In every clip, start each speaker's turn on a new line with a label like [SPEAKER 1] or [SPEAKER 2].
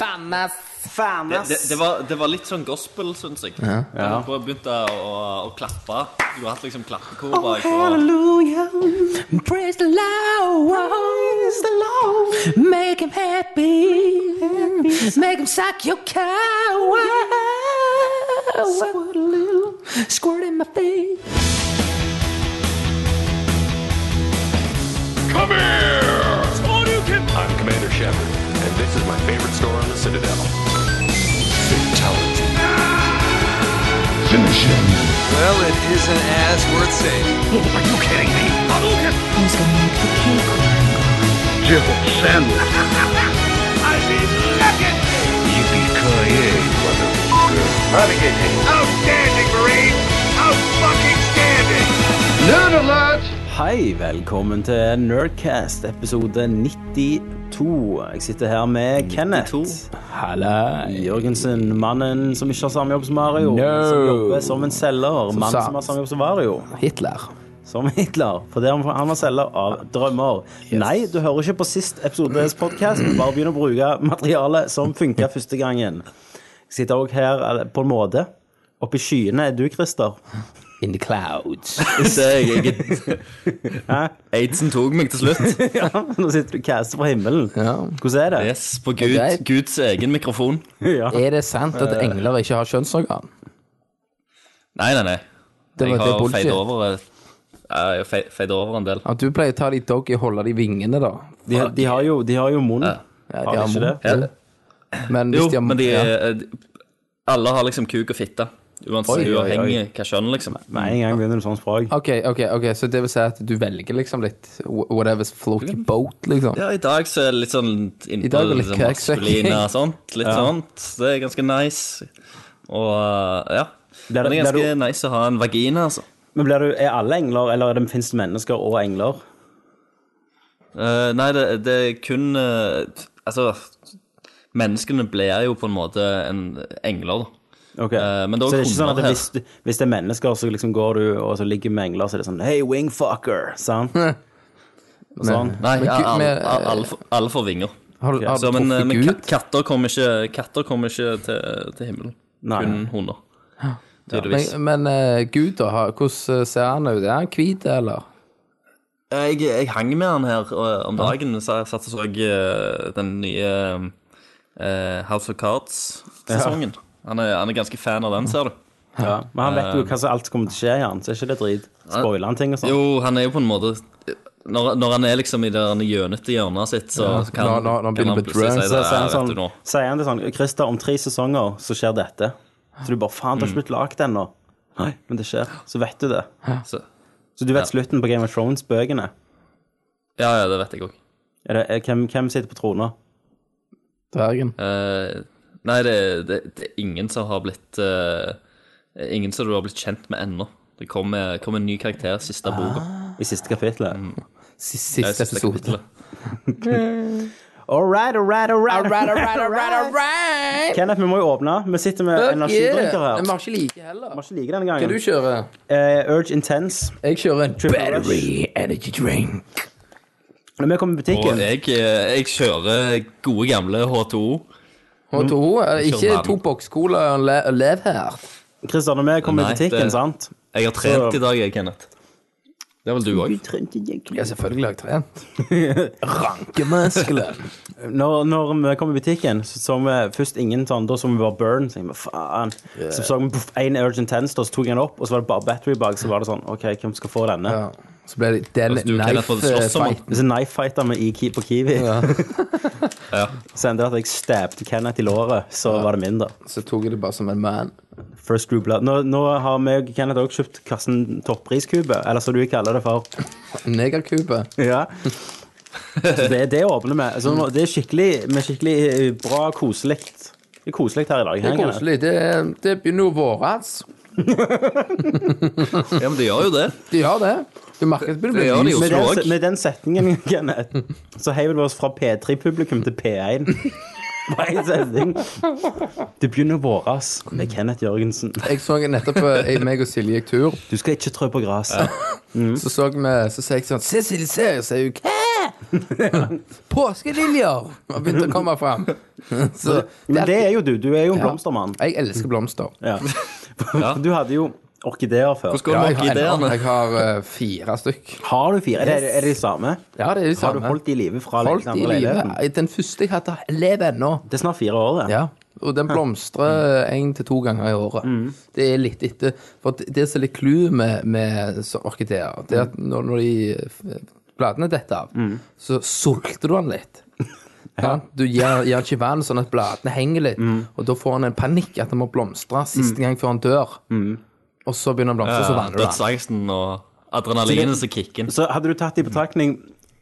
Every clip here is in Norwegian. [SPEAKER 1] Fannes.
[SPEAKER 2] Det,
[SPEAKER 3] Fannes.
[SPEAKER 2] det, det, var, det var litt sånn gospel, syns jeg. Ja.
[SPEAKER 4] Ja.
[SPEAKER 2] Jeg begynte å, å, å klappe. Du har hatt liksom klappekor
[SPEAKER 5] Oh,
[SPEAKER 2] bak. og-
[SPEAKER 3] Hallelujah.
[SPEAKER 1] Praise the Lord. Make him happy. Make him suck your cow. Squirt a little. Squirt in my face.
[SPEAKER 6] Come here! I'm Commander Shepard, and this is my favorite store on the Citadel. Fatality. Finish him.
[SPEAKER 7] Well, it isn't as worth saying.
[SPEAKER 6] Are you kidding me? Outstanding, Marine! Out-fucking standing!
[SPEAKER 4] Hei, velkommen til Nerdcast episode 92. Jeg sitter her med Kenneth.
[SPEAKER 5] Halla.
[SPEAKER 4] Jørgensen, mannen som ikke har samme jobb som Mario.
[SPEAKER 5] No.
[SPEAKER 4] Som jobber som en selger. Mannen
[SPEAKER 5] sant.
[SPEAKER 4] som har samme jobb som Mario.
[SPEAKER 5] Hitler.
[SPEAKER 4] Som Hitler. For det er han- han var selger av drømmer. Nei, du hører ikke på sist episodes podkast. Bare begynn å bruke materialet som funka første gangen. Jeg sitter òg her eller, på en måte. Oppe i skyene er du, Christer.
[SPEAKER 5] In the clouds.
[SPEAKER 2] Jeg- jeg- Aidsen tok meg til slutt.
[SPEAKER 4] Nå sitter du og caster fra himmelen. Hvordan er det?
[SPEAKER 2] Yes, På Gud,
[SPEAKER 5] Greit.
[SPEAKER 2] Guds egen mikrofon.
[SPEAKER 4] Ja.
[SPEAKER 5] Er det sant at engler ikke har kjønnsorgan?
[SPEAKER 2] Nei, nei, nei.
[SPEAKER 5] Det
[SPEAKER 2] Jeg
[SPEAKER 5] var det
[SPEAKER 2] har
[SPEAKER 5] bullshit.
[SPEAKER 2] feid over, eh, ja, jeg har fe- feid over en del.
[SPEAKER 5] Ja, du pleier å ta de doggy og holde de vingene, da.
[SPEAKER 4] De, de har jo, de har jo munn.
[SPEAKER 2] Ja.
[SPEAKER 5] Ja,
[SPEAKER 4] Har de ikke
[SPEAKER 5] munn.
[SPEAKER 2] Ja.
[SPEAKER 5] Men hvis
[SPEAKER 2] Jo,
[SPEAKER 5] de har
[SPEAKER 2] men de,
[SPEAKER 5] ja.
[SPEAKER 2] eh, de- alle har liksom kuk og fitte. Uansett,
[SPEAKER 5] Oi, oi, oi.
[SPEAKER 2] uavhengig hva kjønn, liksom.
[SPEAKER 4] Med en gang begynner du sånn språk.
[SPEAKER 5] OK, ok, ok, så det vil si at du velger liksom litt wh- whatever's float your boat, liksom?
[SPEAKER 2] Ja, i dag så er det litt sånn
[SPEAKER 5] I
[SPEAKER 2] innpå
[SPEAKER 5] dag er det litt
[SPEAKER 2] liksom,
[SPEAKER 5] kakesøking.
[SPEAKER 2] maskuline og sånt. Litt sånt. Det er ganske nice. Og eh, ja. Men
[SPEAKER 4] Der-
[SPEAKER 2] det er
[SPEAKER 4] der
[SPEAKER 2] ganske
[SPEAKER 4] du-
[SPEAKER 2] nice å ha en vagina, altså.
[SPEAKER 4] Men blir du, Er alle engler, eller er det, finnes det mennesker og engler?
[SPEAKER 2] Eh, nei, det, det er kun eh, Altså, menneskene blir jo på en måte en engler, da.
[SPEAKER 4] Ok.
[SPEAKER 2] Eh, men det er
[SPEAKER 4] så det er
[SPEAKER 2] også
[SPEAKER 4] ikke sånn at
[SPEAKER 2] hunder her.
[SPEAKER 4] hvis, du- hvis det er mennesker, så liksom går du og så ligger med engler, så er det sånn Hei, wingfucker! Sant? Og sånn.
[SPEAKER 2] Nei,
[SPEAKER 5] Men gu-
[SPEAKER 2] alle,
[SPEAKER 5] men,
[SPEAKER 2] alle, alle, får- alle får vinger.
[SPEAKER 5] Har, du- har du
[SPEAKER 2] Så, men eh,
[SPEAKER 5] truffet
[SPEAKER 2] men
[SPEAKER 5] Gud?
[SPEAKER 2] kat- katter kommer ikke, katter kommer ikke til, til himmelen.
[SPEAKER 4] Nei.
[SPEAKER 2] Kun hunder. Tydeligvis.
[SPEAKER 5] Men, men eh, Gud, da? har- Hvordan eh, ser han ut? Er han hvit, eller?
[SPEAKER 2] Eh, Jeg, jeg hang med han her og, om dagen. Så jeg satt og så eh, den nye eh, House of Cards-sesongen. Han, er- han er ganske fan av den, ser du.
[SPEAKER 4] Ja. Men han vet jo hva som alt som kommer til å skje i han, så er ikke det drit. Spoiler han ting og sånn?
[SPEAKER 2] Eh. Jo, han er jo på en måte når, når han er liksom i det der gjønete hjørnet sitt, så
[SPEAKER 5] Ja,
[SPEAKER 2] kan,
[SPEAKER 5] når- når- når han
[SPEAKER 2] kan
[SPEAKER 5] begynner
[SPEAKER 2] han
[SPEAKER 5] på
[SPEAKER 2] plutselig
[SPEAKER 5] drugs,
[SPEAKER 2] si
[SPEAKER 4] Så
[SPEAKER 2] det. Ja,
[SPEAKER 4] sier han
[SPEAKER 2] vet du
[SPEAKER 4] sånn,
[SPEAKER 2] nå.
[SPEAKER 4] sier han det sånn Christer, om tre sesonger så skjer dette. Så du bare Faen,
[SPEAKER 2] Mm.
[SPEAKER 4] det har ikke blitt lagd ennå. Nei, men det skjer. Så vet du det.
[SPEAKER 2] Så,
[SPEAKER 4] Så du vet slutten på Game of Thrones-bøkene.
[SPEAKER 2] ja, ja, det vet jeg òg.
[SPEAKER 4] Er det- er- Hvem, hvem sitter på trona?
[SPEAKER 5] Dvergen?
[SPEAKER 2] Eh, nei, det, det, det er ingen som har blitt eh, Ingen som du har blitt kjent med ennå. Det kommer kom en ny karakter i siste boka.
[SPEAKER 4] I siste kapitlet?
[SPEAKER 2] Mm.
[SPEAKER 5] Siste,
[SPEAKER 2] Ja,
[SPEAKER 5] Ah, siste episode.
[SPEAKER 2] kapittelet.
[SPEAKER 4] All right, all right, all right. Kenneth, vi må jo åpne. Vi sitter med
[SPEAKER 5] Fuck
[SPEAKER 4] energidrinker
[SPEAKER 5] yeah.
[SPEAKER 4] her.
[SPEAKER 5] Men vi
[SPEAKER 4] Vi
[SPEAKER 5] har ikke like heller.
[SPEAKER 4] må ikke like denne
[SPEAKER 5] Hva
[SPEAKER 4] gangen.
[SPEAKER 5] du kjører?
[SPEAKER 4] Eh, Urge Intense.
[SPEAKER 5] Jeg kjører en
[SPEAKER 4] Triple Rush.
[SPEAKER 5] battery energy drink.
[SPEAKER 2] Mm.
[SPEAKER 4] Når vi kommer i
[SPEAKER 2] Og
[SPEAKER 4] butikken
[SPEAKER 2] jeg, eh, jeg kjører gode gamle H2O.
[SPEAKER 5] Og to, eh, ikke
[SPEAKER 2] Kjører
[SPEAKER 5] to
[SPEAKER 2] den.
[SPEAKER 5] boks cola og le, lev her.
[SPEAKER 4] Christian, når vi kommer i
[SPEAKER 2] Nei,
[SPEAKER 4] butikken,
[SPEAKER 2] det-
[SPEAKER 4] sant
[SPEAKER 2] Jeg har trent i dag, jeg, Kenneth. Det er vel du òg?
[SPEAKER 5] Ja,
[SPEAKER 4] Altså,
[SPEAKER 5] selvfølgelig har jeg trent. Rankemuskler.
[SPEAKER 4] Når, når vi kom i butikken, så så vi først ingen sånn, da så vi bare burn. Så, tenkte vi, faen. så så vi puff, en Urge Intense, da, så tok jeg den opp, og så var det bare battery bag. Så var det sånn OK, hvem skal få denne?
[SPEAKER 5] Ja. Så ble det den
[SPEAKER 2] Altså, du kan
[SPEAKER 5] knife eh,
[SPEAKER 2] få det slåss om den.
[SPEAKER 5] fight.
[SPEAKER 4] Disse knife fighter med i, Ki- på Kiwi.
[SPEAKER 2] Ja.
[SPEAKER 4] Så endte det at jeg stabbed Kenneth i låret, så var det min, da.
[SPEAKER 5] Så tok jeg det bare som en man.
[SPEAKER 4] First Group Blood. Nå, nå har vi og Kenneth også kjøpt kassen toppriskube, eller som du kaller det for.
[SPEAKER 5] Negerkube.
[SPEAKER 4] Ja. Så det, det åpner vi. Så nå- det er skikkelig, vi er skikkelig eh, bra koselig. Det er koselig her i dag.
[SPEAKER 5] Det er
[SPEAKER 4] Kenneth.
[SPEAKER 5] koselig. Det, er- det begynner å våres.
[SPEAKER 2] Ja, men det gjør jo det.
[SPEAKER 5] De gjør det. Du merker at det
[SPEAKER 2] Det
[SPEAKER 5] begynner å
[SPEAKER 2] gjør
[SPEAKER 5] bli
[SPEAKER 2] de jo.
[SPEAKER 5] lyst.
[SPEAKER 2] Oslo
[SPEAKER 4] Med den, se-
[SPEAKER 2] også.
[SPEAKER 4] med den setningen, Kenneth, så heiver vi oss fra P3-publikum til P1. Bare en setning. Det begynner å våres med Kenneth Jørgensen.
[SPEAKER 5] Jeg så nettopp eh, jeg- meg og Silje gikk tur.
[SPEAKER 4] Du skal ikke trø på gresset.
[SPEAKER 2] Mm.
[SPEAKER 5] Så så vi, så sa jeg sånn Se, Silje, se! Så sier hun hva? Påskeliljer har begynt å komme fram. Så
[SPEAKER 4] Men det er jo du. Du er jo en
[SPEAKER 5] Ja.
[SPEAKER 4] blomstermann.
[SPEAKER 5] Jeg elsker blomster.
[SPEAKER 4] Ja. Du hadde jo orkideer før.
[SPEAKER 2] Hvordan går det
[SPEAKER 5] jeg
[SPEAKER 2] med
[SPEAKER 5] har,
[SPEAKER 2] orkideene?
[SPEAKER 5] jeg har eh, fire stykk.
[SPEAKER 4] Har du fire? Er det, er det de samme?
[SPEAKER 5] Ja, det er jo
[SPEAKER 4] Har du
[SPEAKER 5] samme.
[SPEAKER 4] holdt de i live fra
[SPEAKER 5] Holdt
[SPEAKER 4] den
[SPEAKER 5] i
[SPEAKER 4] andre leiligheten?
[SPEAKER 5] live. Den første jeg hadde, lever ennå.
[SPEAKER 4] Det er snart fire år, det.
[SPEAKER 5] Ja, og den blomstrer én til to ganger i året. Det er litt etter For det- det som er litt clou med, med så- orkideer, det er at når, når de eh, bladene detter av, så sulter du den litt. Sant? Du gir, gir den ikke vann, sånn at bladene henger litt. Og da får han en panikk at den må blomstre siste gang før han dør. Og så begynner den å blomstre, så vanner du den.
[SPEAKER 2] Dødsangsten og adrenalinet som kicker inn.
[SPEAKER 4] Så hadde du tatt i betraktning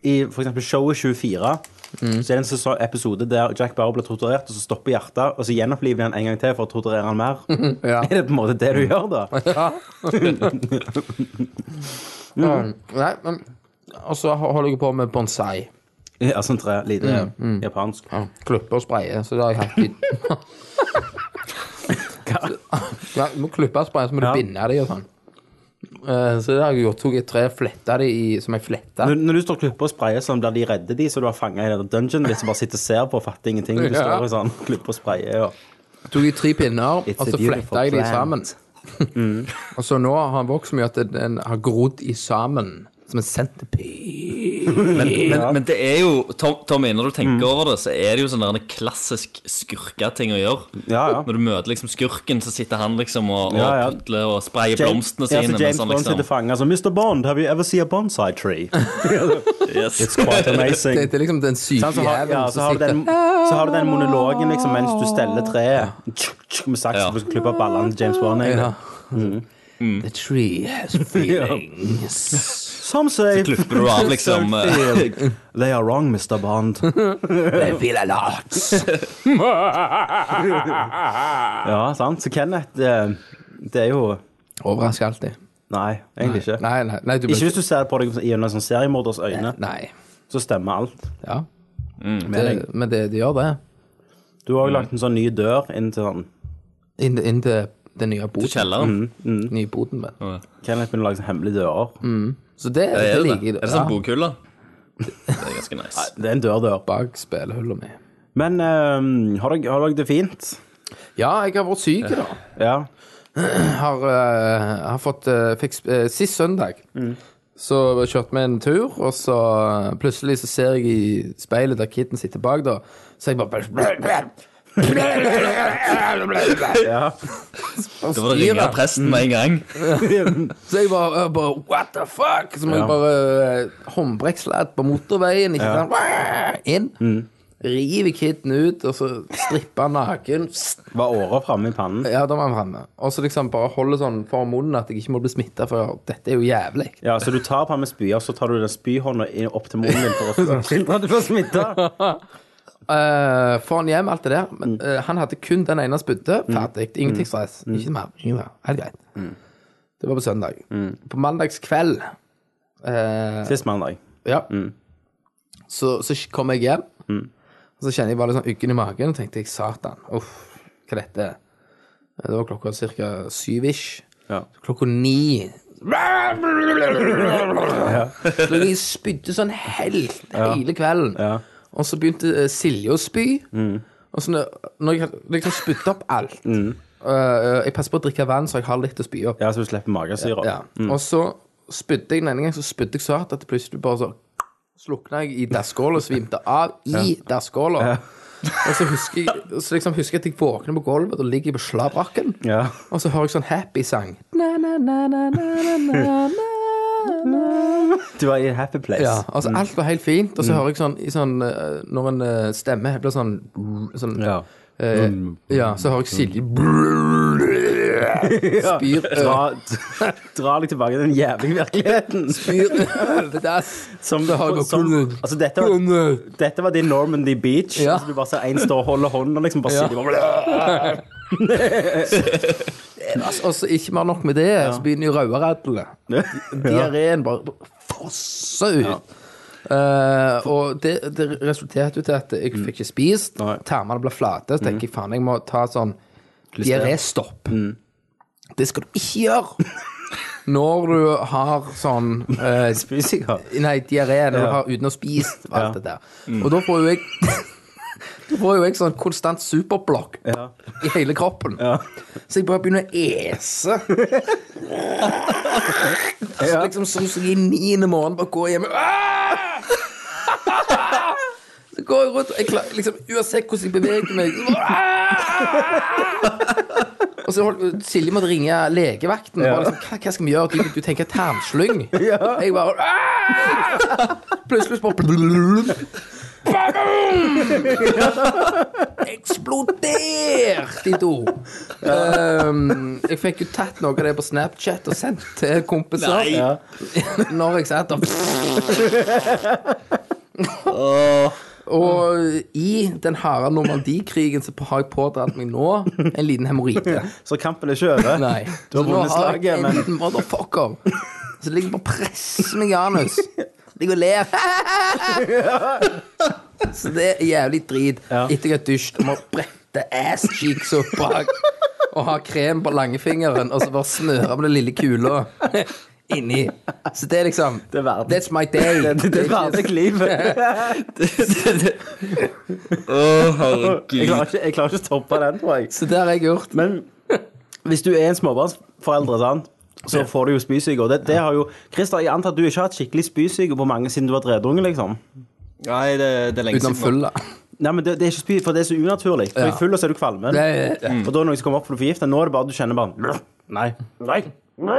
[SPEAKER 4] i for eksempel showet 24,
[SPEAKER 5] Mm.
[SPEAKER 4] så er det en sesong, episode der Jack Bauer blir torturert, og så stopper hjertet, og så gjenoppliver de han en gang til for å torturere han mer.
[SPEAKER 5] Ja.
[SPEAKER 4] Er det på en måte det du gjør, da?
[SPEAKER 5] Ja. Mm. Nei, men Og så holder jeg på med bonsai.
[SPEAKER 4] Ja, sånn tre, lite
[SPEAKER 5] Mm,
[SPEAKER 4] japansk.
[SPEAKER 5] Klippe og spreie, så det har jeg hatt i Ja, Du må klippe og spreie, så må du
[SPEAKER 4] Ja.
[SPEAKER 5] binde dem og sånn. Eh, Så det har jeg gjort. Tok et tre, fletta det i som jeg fletta.
[SPEAKER 4] Når, når du står og klipper og sprayer sånn, blir de redde de, så du har fanget i denne dungeonen ditt, som bare sitter og ser på og fatter ingenting. Du
[SPEAKER 5] Ja.
[SPEAKER 4] står og sånn, klipper og sprayer, og...
[SPEAKER 5] Tok i tre pinner,
[SPEAKER 4] It's
[SPEAKER 5] og
[SPEAKER 4] a
[SPEAKER 5] så
[SPEAKER 4] beautiful
[SPEAKER 5] fletta jeg dem
[SPEAKER 4] plant. Mm.
[SPEAKER 5] sammen. Og så nå har han vokst så mye at den har grodd i sammen. Som en centipede.
[SPEAKER 2] Men, men, men det er jo, Tom, Tommy, når du tenker
[SPEAKER 4] Mm.
[SPEAKER 2] over det, så er det jo sånn der en klassisk skurketing å gjøre.
[SPEAKER 4] Ja, ja.
[SPEAKER 2] Når du møter liksom skurken, så sitter han liksom og, og
[SPEAKER 4] Ja, ja.
[SPEAKER 2] putler og sprayer
[SPEAKER 4] James,
[SPEAKER 2] blomstene
[SPEAKER 4] ja,
[SPEAKER 2] sine. sånn liksom. mens
[SPEAKER 4] så James
[SPEAKER 2] han
[SPEAKER 4] Bond sitter fanget, så Mr. Bond, have you ever seen a bonsai tree?
[SPEAKER 2] yes.
[SPEAKER 4] It's quite amazing.
[SPEAKER 5] Det, det er liksom den syke
[SPEAKER 4] Sant, så, Sånn Altså, har,
[SPEAKER 5] jævelen
[SPEAKER 4] ja, så,
[SPEAKER 5] som
[SPEAKER 4] har du
[SPEAKER 5] sitter
[SPEAKER 4] den, så har du den monologen liksom, mens du steller treet. Tsk, tsk, Med saks
[SPEAKER 2] Ja.
[SPEAKER 4] for å klippe ballene til James Bond. egentlig.
[SPEAKER 5] Ja. Mm.
[SPEAKER 4] Mm.
[SPEAKER 5] The tree has feelings.
[SPEAKER 4] Some say
[SPEAKER 2] Klipper du av liksom eh,
[SPEAKER 4] They are wrong, Mr. Bond.
[SPEAKER 5] They feel a lot.
[SPEAKER 4] Ja, sant. Så Kenneth eh, Det er jo
[SPEAKER 5] Overrasker alltid.
[SPEAKER 4] Nei, egentlig ikke.
[SPEAKER 5] Nei, nei, nei du
[SPEAKER 4] Ikke hvis du ser på deg gjennom en sånn seriemorders øyne,
[SPEAKER 5] Nei.
[SPEAKER 4] så stemmer alt.
[SPEAKER 5] Ja.
[SPEAKER 4] med
[SPEAKER 5] Det,
[SPEAKER 4] deg.
[SPEAKER 5] men det, det gjør det.
[SPEAKER 4] Du har òg lagt en sånn ny dør inn til sånn
[SPEAKER 5] Inn inn til den nye boden.
[SPEAKER 2] eh, kjelleren.
[SPEAKER 5] Nye boden men.
[SPEAKER 4] Kenneth begynner å lage sånne hemmelige dører.
[SPEAKER 5] Mm. Så det,
[SPEAKER 2] Det
[SPEAKER 5] det,
[SPEAKER 2] er, det.
[SPEAKER 5] liker jeg.
[SPEAKER 2] er det sånn bokhylle? Det er ganske nice.
[SPEAKER 4] Det er en dør-dør.
[SPEAKER 5] Bak spillehullet mi.
[SPEAKER 4] Men eh, har dere har dere det fint?
[SPEAKER 5] Ja, jeg har vært syk, da.
[SPEAKER 4] Ja.
[SPEAKER 5] Jeg Har, eh, har fått eh, fikk, sp- eh, Sist søndag så kjørte vi en tur, og så eh, plutselig så ser jeg i speilet der kiden sitter bak, da, så jeg bare
[SPEAKER 4] ja.
[SPEAKER 2] Det var det ringe av presten med en gang.
[SPEAKER 5] Så jeg bare, jeg bare What the fuck? Så må jeg bare eh, håndbrekkslæt på motorveien. Ikke sant? Wah! Inn. River kiden ut, og så stripper han naken.
[SPEAKER 4] Var åra framme i pannen?
[SPEAKER 5] Ja, da var han fremme. Og så liksom bare holder sånn for munnen at jeg ikke må bli smitta, for dette er jo jævlig.
[SPEAKER 4] Ja, så du tar på han med spyer, så tar du den spyhånda inn- opp til munnen din for å forhindre at du får smitte.
[SPEAKER 5] Eh, får han hjem, alt det der. Men eh, han hadde kun den ene spyttet. Ferdig. Ingenting stress. Ikke mer. Ingenting mer. Helt greit. Det var på søndag. På mandagskveld eh,
[SPEAKER 4] Sist mandag.
[SPEAKER 5] Ja.
[SPEAKER 4] Mm.
[SPEAKER 5] Så, så kom jeg hjem, og så kjenner jeg bare litt sånn uggen i magen, og tenkte jeg, satan, uff, hva er dette? Det var klokka cirka syv-ish.
[SPEAKER 4] Ja.
[SPEAKER 5] Klokka ni. Så jeg spydde sånn helt hele kvelden.
[SPEAKER 4] Ja. Mm.
[SPEAKER 5] Og så begynte eh, Silje å spy. Og så når, når jeg hadde liksom spydde opp alt eh, Jeg passer på å drikke vann, så jeg har litt å spy opp.
[SPEAKER 4] Ja, så du slipper magesyre.
[SPEAKER 5] Ja. Og så spydde jeg den ene gangen, så spydde jeg så hardt at det plutselig bare så slukna jeg i dasskåla og svimte av i dasskåla. Og så husker jeg så liksom husker jeg at jeg våkner på gulvet, og da ligger jeg på slabrakken.
[SPEAKER 4] Ja.
[SPEAKER 5] Og så hører jeg sånn happy-sang.
[SPEAKER 4] Du var i en happy place.
[SPEAKER 5] Ja, altså Alt var helt fint, og
[SPEAKER 4] Mm.
[SPEAKER 5] så hører jeg sånn, i sånn eh, Når en eh, stemme blir sånn, sånn
[SPEAKER 4] Ja. Mm.
[SPEAKER 5] eh, ja, så hører jeg Silje Spyr
[SPEAKER 4] Dra, dra deg tilbake til den jævlige virkeligheten.
[SPEAKER 5] Spyr over dass.
[SPEAKER 4] Som,
[SPEAKER 5] Det har jeg eh.
[SPEAKER 4] som,
[SPEAKER 5] kunnet.
[SPEAKER 4] altså dette, var,
[SPEAKER 5] Kunne.
[SPEAKER 4] dette var din Normandy Beach.
[SPEAKER 5] Ja.
[SPEAKER 4] Altså du bare ser én stå og holder hånden og liksom bare
[SPEAKER 5] Ja.
[SPEAKER 4] sitter bare
[SPEAKER 5] Altså, altså, ikke mer nok med det, så begynner jo rødradlene. Diareen bare fosser ut. Eh, og det, det resulterte jo til at jeg fikk ikke spist.
[SPEAKER 4] Mm. Nei. Mm.
[SPEAKER 5] Tarmene ble flate. Så tenker jeg faen, jeg må ta sånn diaréstopp. Det skal du ikke gjøre! når du har sånn eh,
[SPEAKER 4] Fysiker.
[SPEAKER 5] Nei, diaré når
[SPEAKER 4] Ja.
[SPEAKER 5] du har uten å spise og alt
[SPEAKER 4] Ja.
[SPEAKER 5] det der.
[SPEAKER 4] Mm.
[SPEAKER 5] Og da får jo jeg Da får jo jeg sånn konstant superblokk
[SPEAKER 4] Ja.
[SPEAKER 5] i hele kroppen. Så jeg bare begynner å ese. Så liksom som så i niende måned bare går hjem Ah! Så går jeg rundt og jeg klar, liksom, Uansett hvordan jeg beveger meg så bare, ah! Og så holdt, Silje måtte ringe legevakten.
[SPEAKER 4] Ja.
[SPEAKER 5] Bare liksom, hva, hva skal vi gjøre? Du, du tenker tarmslyng.
[SPEAKER 4] Ja.
[SPEAKER 5] Jeg bare ah! Plutselig så bare Bam! Eksplodert i do! Ehm, jeg fikk jo tatt noe av det på Snapchat og sendt til kompiser.
[SPEAKER 2] Nei.
[SPEAKER 4] Ja.
[SPEAKER 5] Når jeg satt der. Og i den harde Normandie-krigen så har jeg pådratt meg nå en liten hemoroide.
[SPEAKER 4] Så kampen er ikke over.
[SPEAKER 5] Nei.
[SPEAKER 4] Du
[SPEAKER 5] Så
[SPEAKER 4] har
[SPEAKER 5] nå
[SPEAKER 4] vunnet
[SPEAKER 5] har jeg
[SPEAKER 4] slaget,
[SPEAKER 5] En
[SPEAKER 4] men
[SPEAKER 5] liten motherfucker. Så ligger jeg bare og presser meg i anus. Ligger og ler. Så det er jævlig drit.
[SPEAKER 4] Ja.
[SPEAKER 5] Etter jeg har dusjet og må brette ass cheeks opp bak og ha krem på langfingeren og så bare snøre med den lille kula inni. Så det er liksom
[SPEAKER 4] Det er verden.
[SPEAKER 5] That's my day.
[SPEAKER 4] det, det, det er verdig liv.
[SPEAKER 2] Å,
[SPEAKER 4] Jeg
[SPEAKER 2] herregud.
[SPEAKER 4] klarer ikke, jeg klarer ikke å stoppe den, tror jeg.
[SPEAKER 5] Så det har jeg gjort.
[SPEAKER 4] Men hvis du er en småbarnsforeldre, sant? så får du jo spysyke. Og det, det har jo Christer, jeg antar at du ikke har hatt skikkelig spysyke på mange siden du var dredunge, liksom.
[SPEAKER 2] Nei, det, det er lenge
[SPEAKER 5] Utenom
[SPEAKER 2] siden. nå.
[SPEAKER 5] fylla.
[SPEAKER 4] Nei, men det, det er ikke spy, for det er så unaturlig. For
[SPEAKER 5] Ja.
[SPEAKER 4] i full og så er du kvalmen.
[SPEAKER 5] Det er-
[SPEAKER 4] For da er det noen som kommer opp for du er forgiftet. Nå er det bare du kjenner bare Nei. Nei.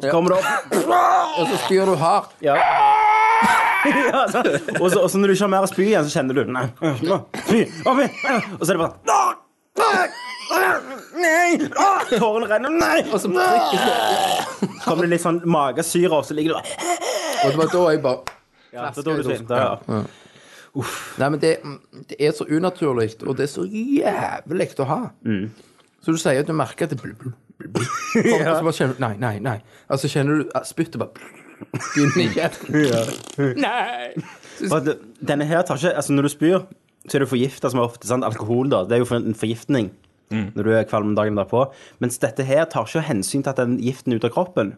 [SPEAKER 4] Så kommer det opp.
[SPEAKER 5] Og så spyr du hardt.
[SPEAKER 4] Ja. ja, så, og, så, og så når du ikke har mer å spy igjen, så kjenner du Nei. øh, nå, Fy. Å, fy. øh», Og så er det bare Nå! øh, Nei! Å, Tårene renner. Nei!
[SPEAKER 5] Og så prikker du.
[SPEAKER 4] kommer det litt sånn magesyre, og så ligger du bare
[SPEAKER 5] Og det var da jeg bare
[SPEAKER 4] ja, så da er du sint, ja. ja.
[SPEAKER 5] Nei, men det, det er så unaturlig, og det er så jævlig å ha.
[SPEAKER 4] Mm.
[SPEAKER 5] Så du sier at du merker at det blub, blub, blub, blub. Og så bare kjenner du Nei, nei, nei. Altså kjenner du at spyttet bare begynner i kjeften.
[SPEAKER 4] For at denne her tar ikke Altså, når du spyr, så er du forgifta som ofte. Sant? Alkohol, da. Det er jo for- en forgiftning
[SPEAKER 2] Mm.
[SPEAKER 4] når du er kvalm dagen derpå. Mens dette her tar ikke hensyn til at den giften er ute av kroppen.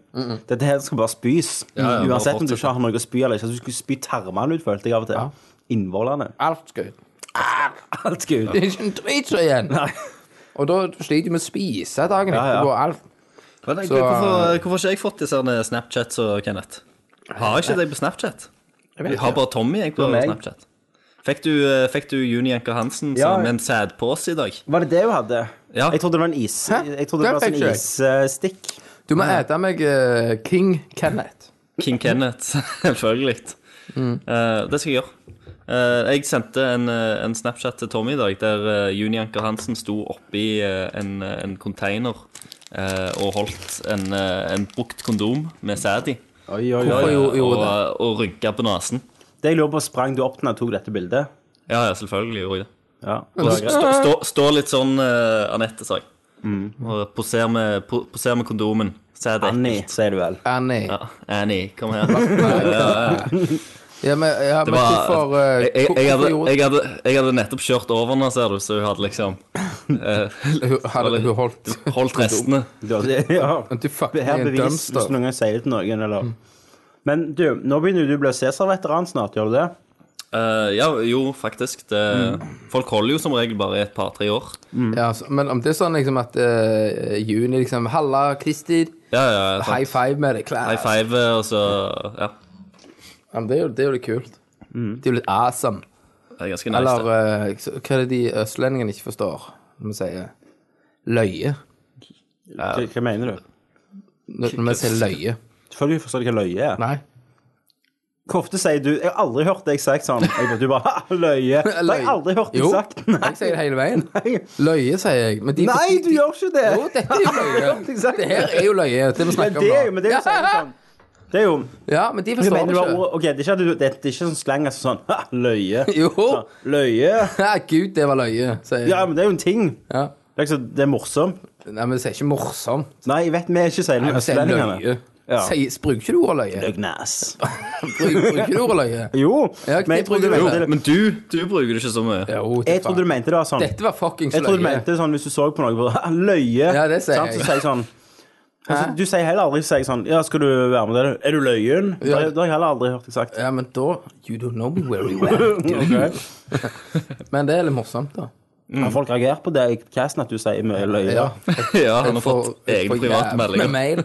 [SPEAKER 4] Dette her skal bare spys.
[SPEAKER 2] ja, bare
[SPEAKER 4] Uansett om du
[SPEAKER 2] fortsett.
[SPEAKER 4] ikke har noe å spy eller ikke. Altså, Du skulle spy termene ut, følte jeg av og til.
[SPEAKER 5] Ja.
[SPEAKER 4] Innvollene.
[SPEAKER 5] Alt skal ut.
[SPEAKER 4] Alt skal ut.
[SPEAKER 5] Det er ikke en drit som er igjen.
[SPEAKER 4] Nei.
[SPEAKER 5] Og da sliter du med å spise dagen
[SPEAKER 4] Ja, ja.
[SPEAKER 5] etterpå. Alt.
[SPEAKER 2] Men,
[SPEAKER 5] Så-
[SPEAKER 2] hvorfor, hvorfor har ikke jeg fått disse her Snapchats og Kenneth? Har ikke deg på Snapchat? Jeg har bare Tommy jeg på
[SPEAKER 4] meg.
[SPEAKER 2] Snapchat. Fikk du, eh, fikk du Juni Anker Hansen
[SPEAKER 4] Ja.
[SPEAKER 2] som en sædpose i dag?
[SPEAKER 4] Var det det hun hadde?
[SPEAKER 2] Ja.
[SPEAKER 4] Jeg trodde det var en is.
[SPEAKER 5] Hæ?
[SPEAKER 4] Jeg trodde det
[SPEAKER 5] Det
[SPEAKER 4] var
[SPEAKER 5] fikk
[SPEAKER 4] sånn
[SPEAKER 5] ikke jeg.
[SPEAKER 4] isstikk.
[SPEAKER 5] Du må ete meg eh, King Kenneth.
[SPEAKER 2] King Kenneth, selvfølgelig.
[SPEAKER 5] Mm.
[SPEAKER 2] Eh, det skal jeg gjøre. Eh, jeg sendte en, eh, en Snapchat til Tommy i dag der eh, Juni Anker Hansen sto oppi eh, en, eh, en container eh, og holdt en, eh, en brukt kondom med sæd i.
[SPEAKER 4] Oi, oi,
[SPEAKER 5] Hvorfor jo- gjorde
[SPEAKER 2] og eh, og rynka på nesen.
[SPEAKER 4] Det jeg lurer på, sprang du opp til når du tok dette bildet?
[SPEAKER 2] Ja, ja, selvfølgelig gjorde jeg det.
[SPEAKER 4] Ja.
[SPEAKER 2] Og stå, stå, stå litt sånn eh, Anette, sa jeg. Og poser med, po- poser med kondomen. Sæd er
[SPEAKER 4] Annie,
[SPEAKER 2] ekkelt.
[SPEAKER 4] sier du vel.
[SPEAKER 5] Annie.
[SPEAKER 2] Ja, Annie, kom her. Ja, ja, ja.
[SPEAKER 5] Ja, men, ja, men hvorfor eh,
[SPEAKER 2] jeg, jeg, jeg, hadde,
[SPEAKER 5] hvorfor gjorde-
[SPEAKER 2] jeg, hadde, jeg hadde nettopp kjørt over henne, ser du, så hun hadde liksom
[SPEAKER 5] Hun- Hadde hun holdt
[SPEAKER 2] holdt restene.
[SPEAKER 4] Ja, det- ja.
[SPEAKER 5] Du fuck
[SPEAKER 4] Det her
[SPEAKER 5] meg en
[SPEAKER 4] bevis
[SPEAKER 5] dumpster.
[SPEAKER 4] hvis noen gang sier det til noen,
[SPEAKER 5] Mm.
[SPEAKER 4] eller Men du, nå begynner du å bli Cæsar-veteran snart, gjør du det?
[SPEAKER 2] Eh, ja, jo, faktisk. Det,
[SPEAKER 5] Mm.
[SPEAKER 2] Folk holder jo som regel bare i et par-tre år.
[SPEAKER 5] Ja, så, men om det er sånn liksom at eh, Juni liksom Halla, Christer.
[SPEAKER 2] Ja, ja, sant.
[SPEAKER 5] High five med det. Klar.
[SPEAKER 2] High five, eh, og så Ja,
[SPEAKER 5] Ja, men det er jo det, er jo litt kult.
[SPEAKER 4] Mm.
[SPEAKER 5] Det er jo litt awesome.
[SPEAKER 2] det er ganske nice.
[SPEAKER 5] Eller
[SPEAKER 2] det.
[SPEAKER 5] eh, så- hva er det de østlendingene ikke forstår? Når vi sier løye.
[SPEAKER 4] Hva, hva mener du?
[SPEAKER 5] Når, når vi sier løye.
[SPEAKER 4] Selvfølgelig forstår du hva løye er.
[SPEAKER 5] Nei.
[SPEAKER 4] Hvor ofte sier du Jeg har aldri hørt deg sagt sånn. Jeg bare, du bare «Ha, løye. Det har jeg aldri hørt deg
[SPEAKER 5] Jo,
[SPEAKER 4] sagt.
[SPEAKER 5] Jeg sier det hele veien.
[SPEAKER 4] Nei.
[SPEAKER 5] Løye, sier jeg. Men de,
[SPEAKER 4] Nei, du gjør ikke det!
[SPEAKER 5] Jo, dette er jo løye.
[SPEAKER 4] Jeg har sagt
[SPEAKER 5] Det her er jo løye. Det vi
[SPEAKER 4] Men
[SPEAKER 5] snakker
[SPEAKER 4] det er jo
[SPEAKER 5] om nå.
[SPEAKER 4] men det er jo sånn, sånn. Det er jo
[SPEAKER 5] Ja, men de
[SPEAKER 4] Hva
[SPEAKER 5] forstår
[SPEAKER 4] mener
[SPEAKER 5] det
[SPEAKER 4] du av
[SPEAKER 5] ikke.
[SPEAKER 4] ordet Ok, det er ikke, at du, det er det er ikke sånn slang altså sånn «Ha, løye.
[SPEAKER 5] Jo.
[SPEAKER 4] Løye.
[SPEAKER 5] Ja, gud, det var løye, sier jeg.
[SPEAKER 4] Ja, men det er jo en ting.
[SPEAKER 5] Ja.
[SPEAKER 4] Det er, ikke så, det er morsomt.
[SPEAKER 5] Nei, men det er ikke morsomt.
[SPEAKER 4] Nei, jeg vet vi er ikke sier det
[SPEAKER 5] Nei,
[SPEAKER 4] med
[SPEAKER 5] men sier
[SPEAKER 4] østlendingene.
[SPEAKER 5] løye.
[SPEAKER 4] Ja.
[SPEAKER 5] Sier- Bruker ikke du ordet løye?
[SPEAKER 4] Øgnas.
[SPEAKER 5] Bruker bruker du ordet løye?
[SPEAKER 4] Jo,
[SPEAKER 5] Ja,
[SPEAKER 4] men
[SPEAKER 5] det
[SPEAKER 4] jeg
[SPEAKER 5] tror jeg
[SPEAKER 4] trodde, du
[SPEAKER 5] var
[SPEAKER 2] Jo,
[SPEAKER 4] mente, det-
[SPEAKER 2] men du, du bruker det ikke så mye.
[SPEAKER 5] Jo,
[SPEAKER 4] jeg trodde du
[SPEAKER 5] faen.
[SPEAKER 4] mente det var sånn
[SPEAKER 5] Dette var fuckings
[SPEAKER 4] Jeg trodde du
[SPEAKER 5] løye.
[SPEAKER 4] mente det sånn hvis du så på noe på løye.
[SPEAKER 5] Ja, det sier
[SPEAKER 4] sant,
[SPEAKER 5] jeg.
[SPEAKER 4] Så sier jeg sånn Altså, du sier heller aldri sier jeg sånn Ja, skal du være med? Er du- Er du løyen?
[SPEAKER 5] Ja.
[SPEAKER 4] Det, det har jeg heller aldri hørt deg sagt.
[SPEAKER 5] Ja, men da You don't know me very well.
[SPEAKER 4] Ok.
[SPEAKER 5] Men det er litt morsomt, da.
[SPEAKER 4] Har folk reagert på det i casten at du sier mye løye?
[SPEAKER 5] Mm. Ja.
[SPEAKER 2] Ja, han har
[SPEAKER 5] Jeg får-
[SPEAKER 2] fått
[SPEAKER 5] jeg
[SPEAKER 2] egne
[SPEAKER 5] får
[SPEAKER 2] private
[SPEAKER 5] jævlig
[SPEAKER 2] meldinger.
[SPEAKER 5] mail.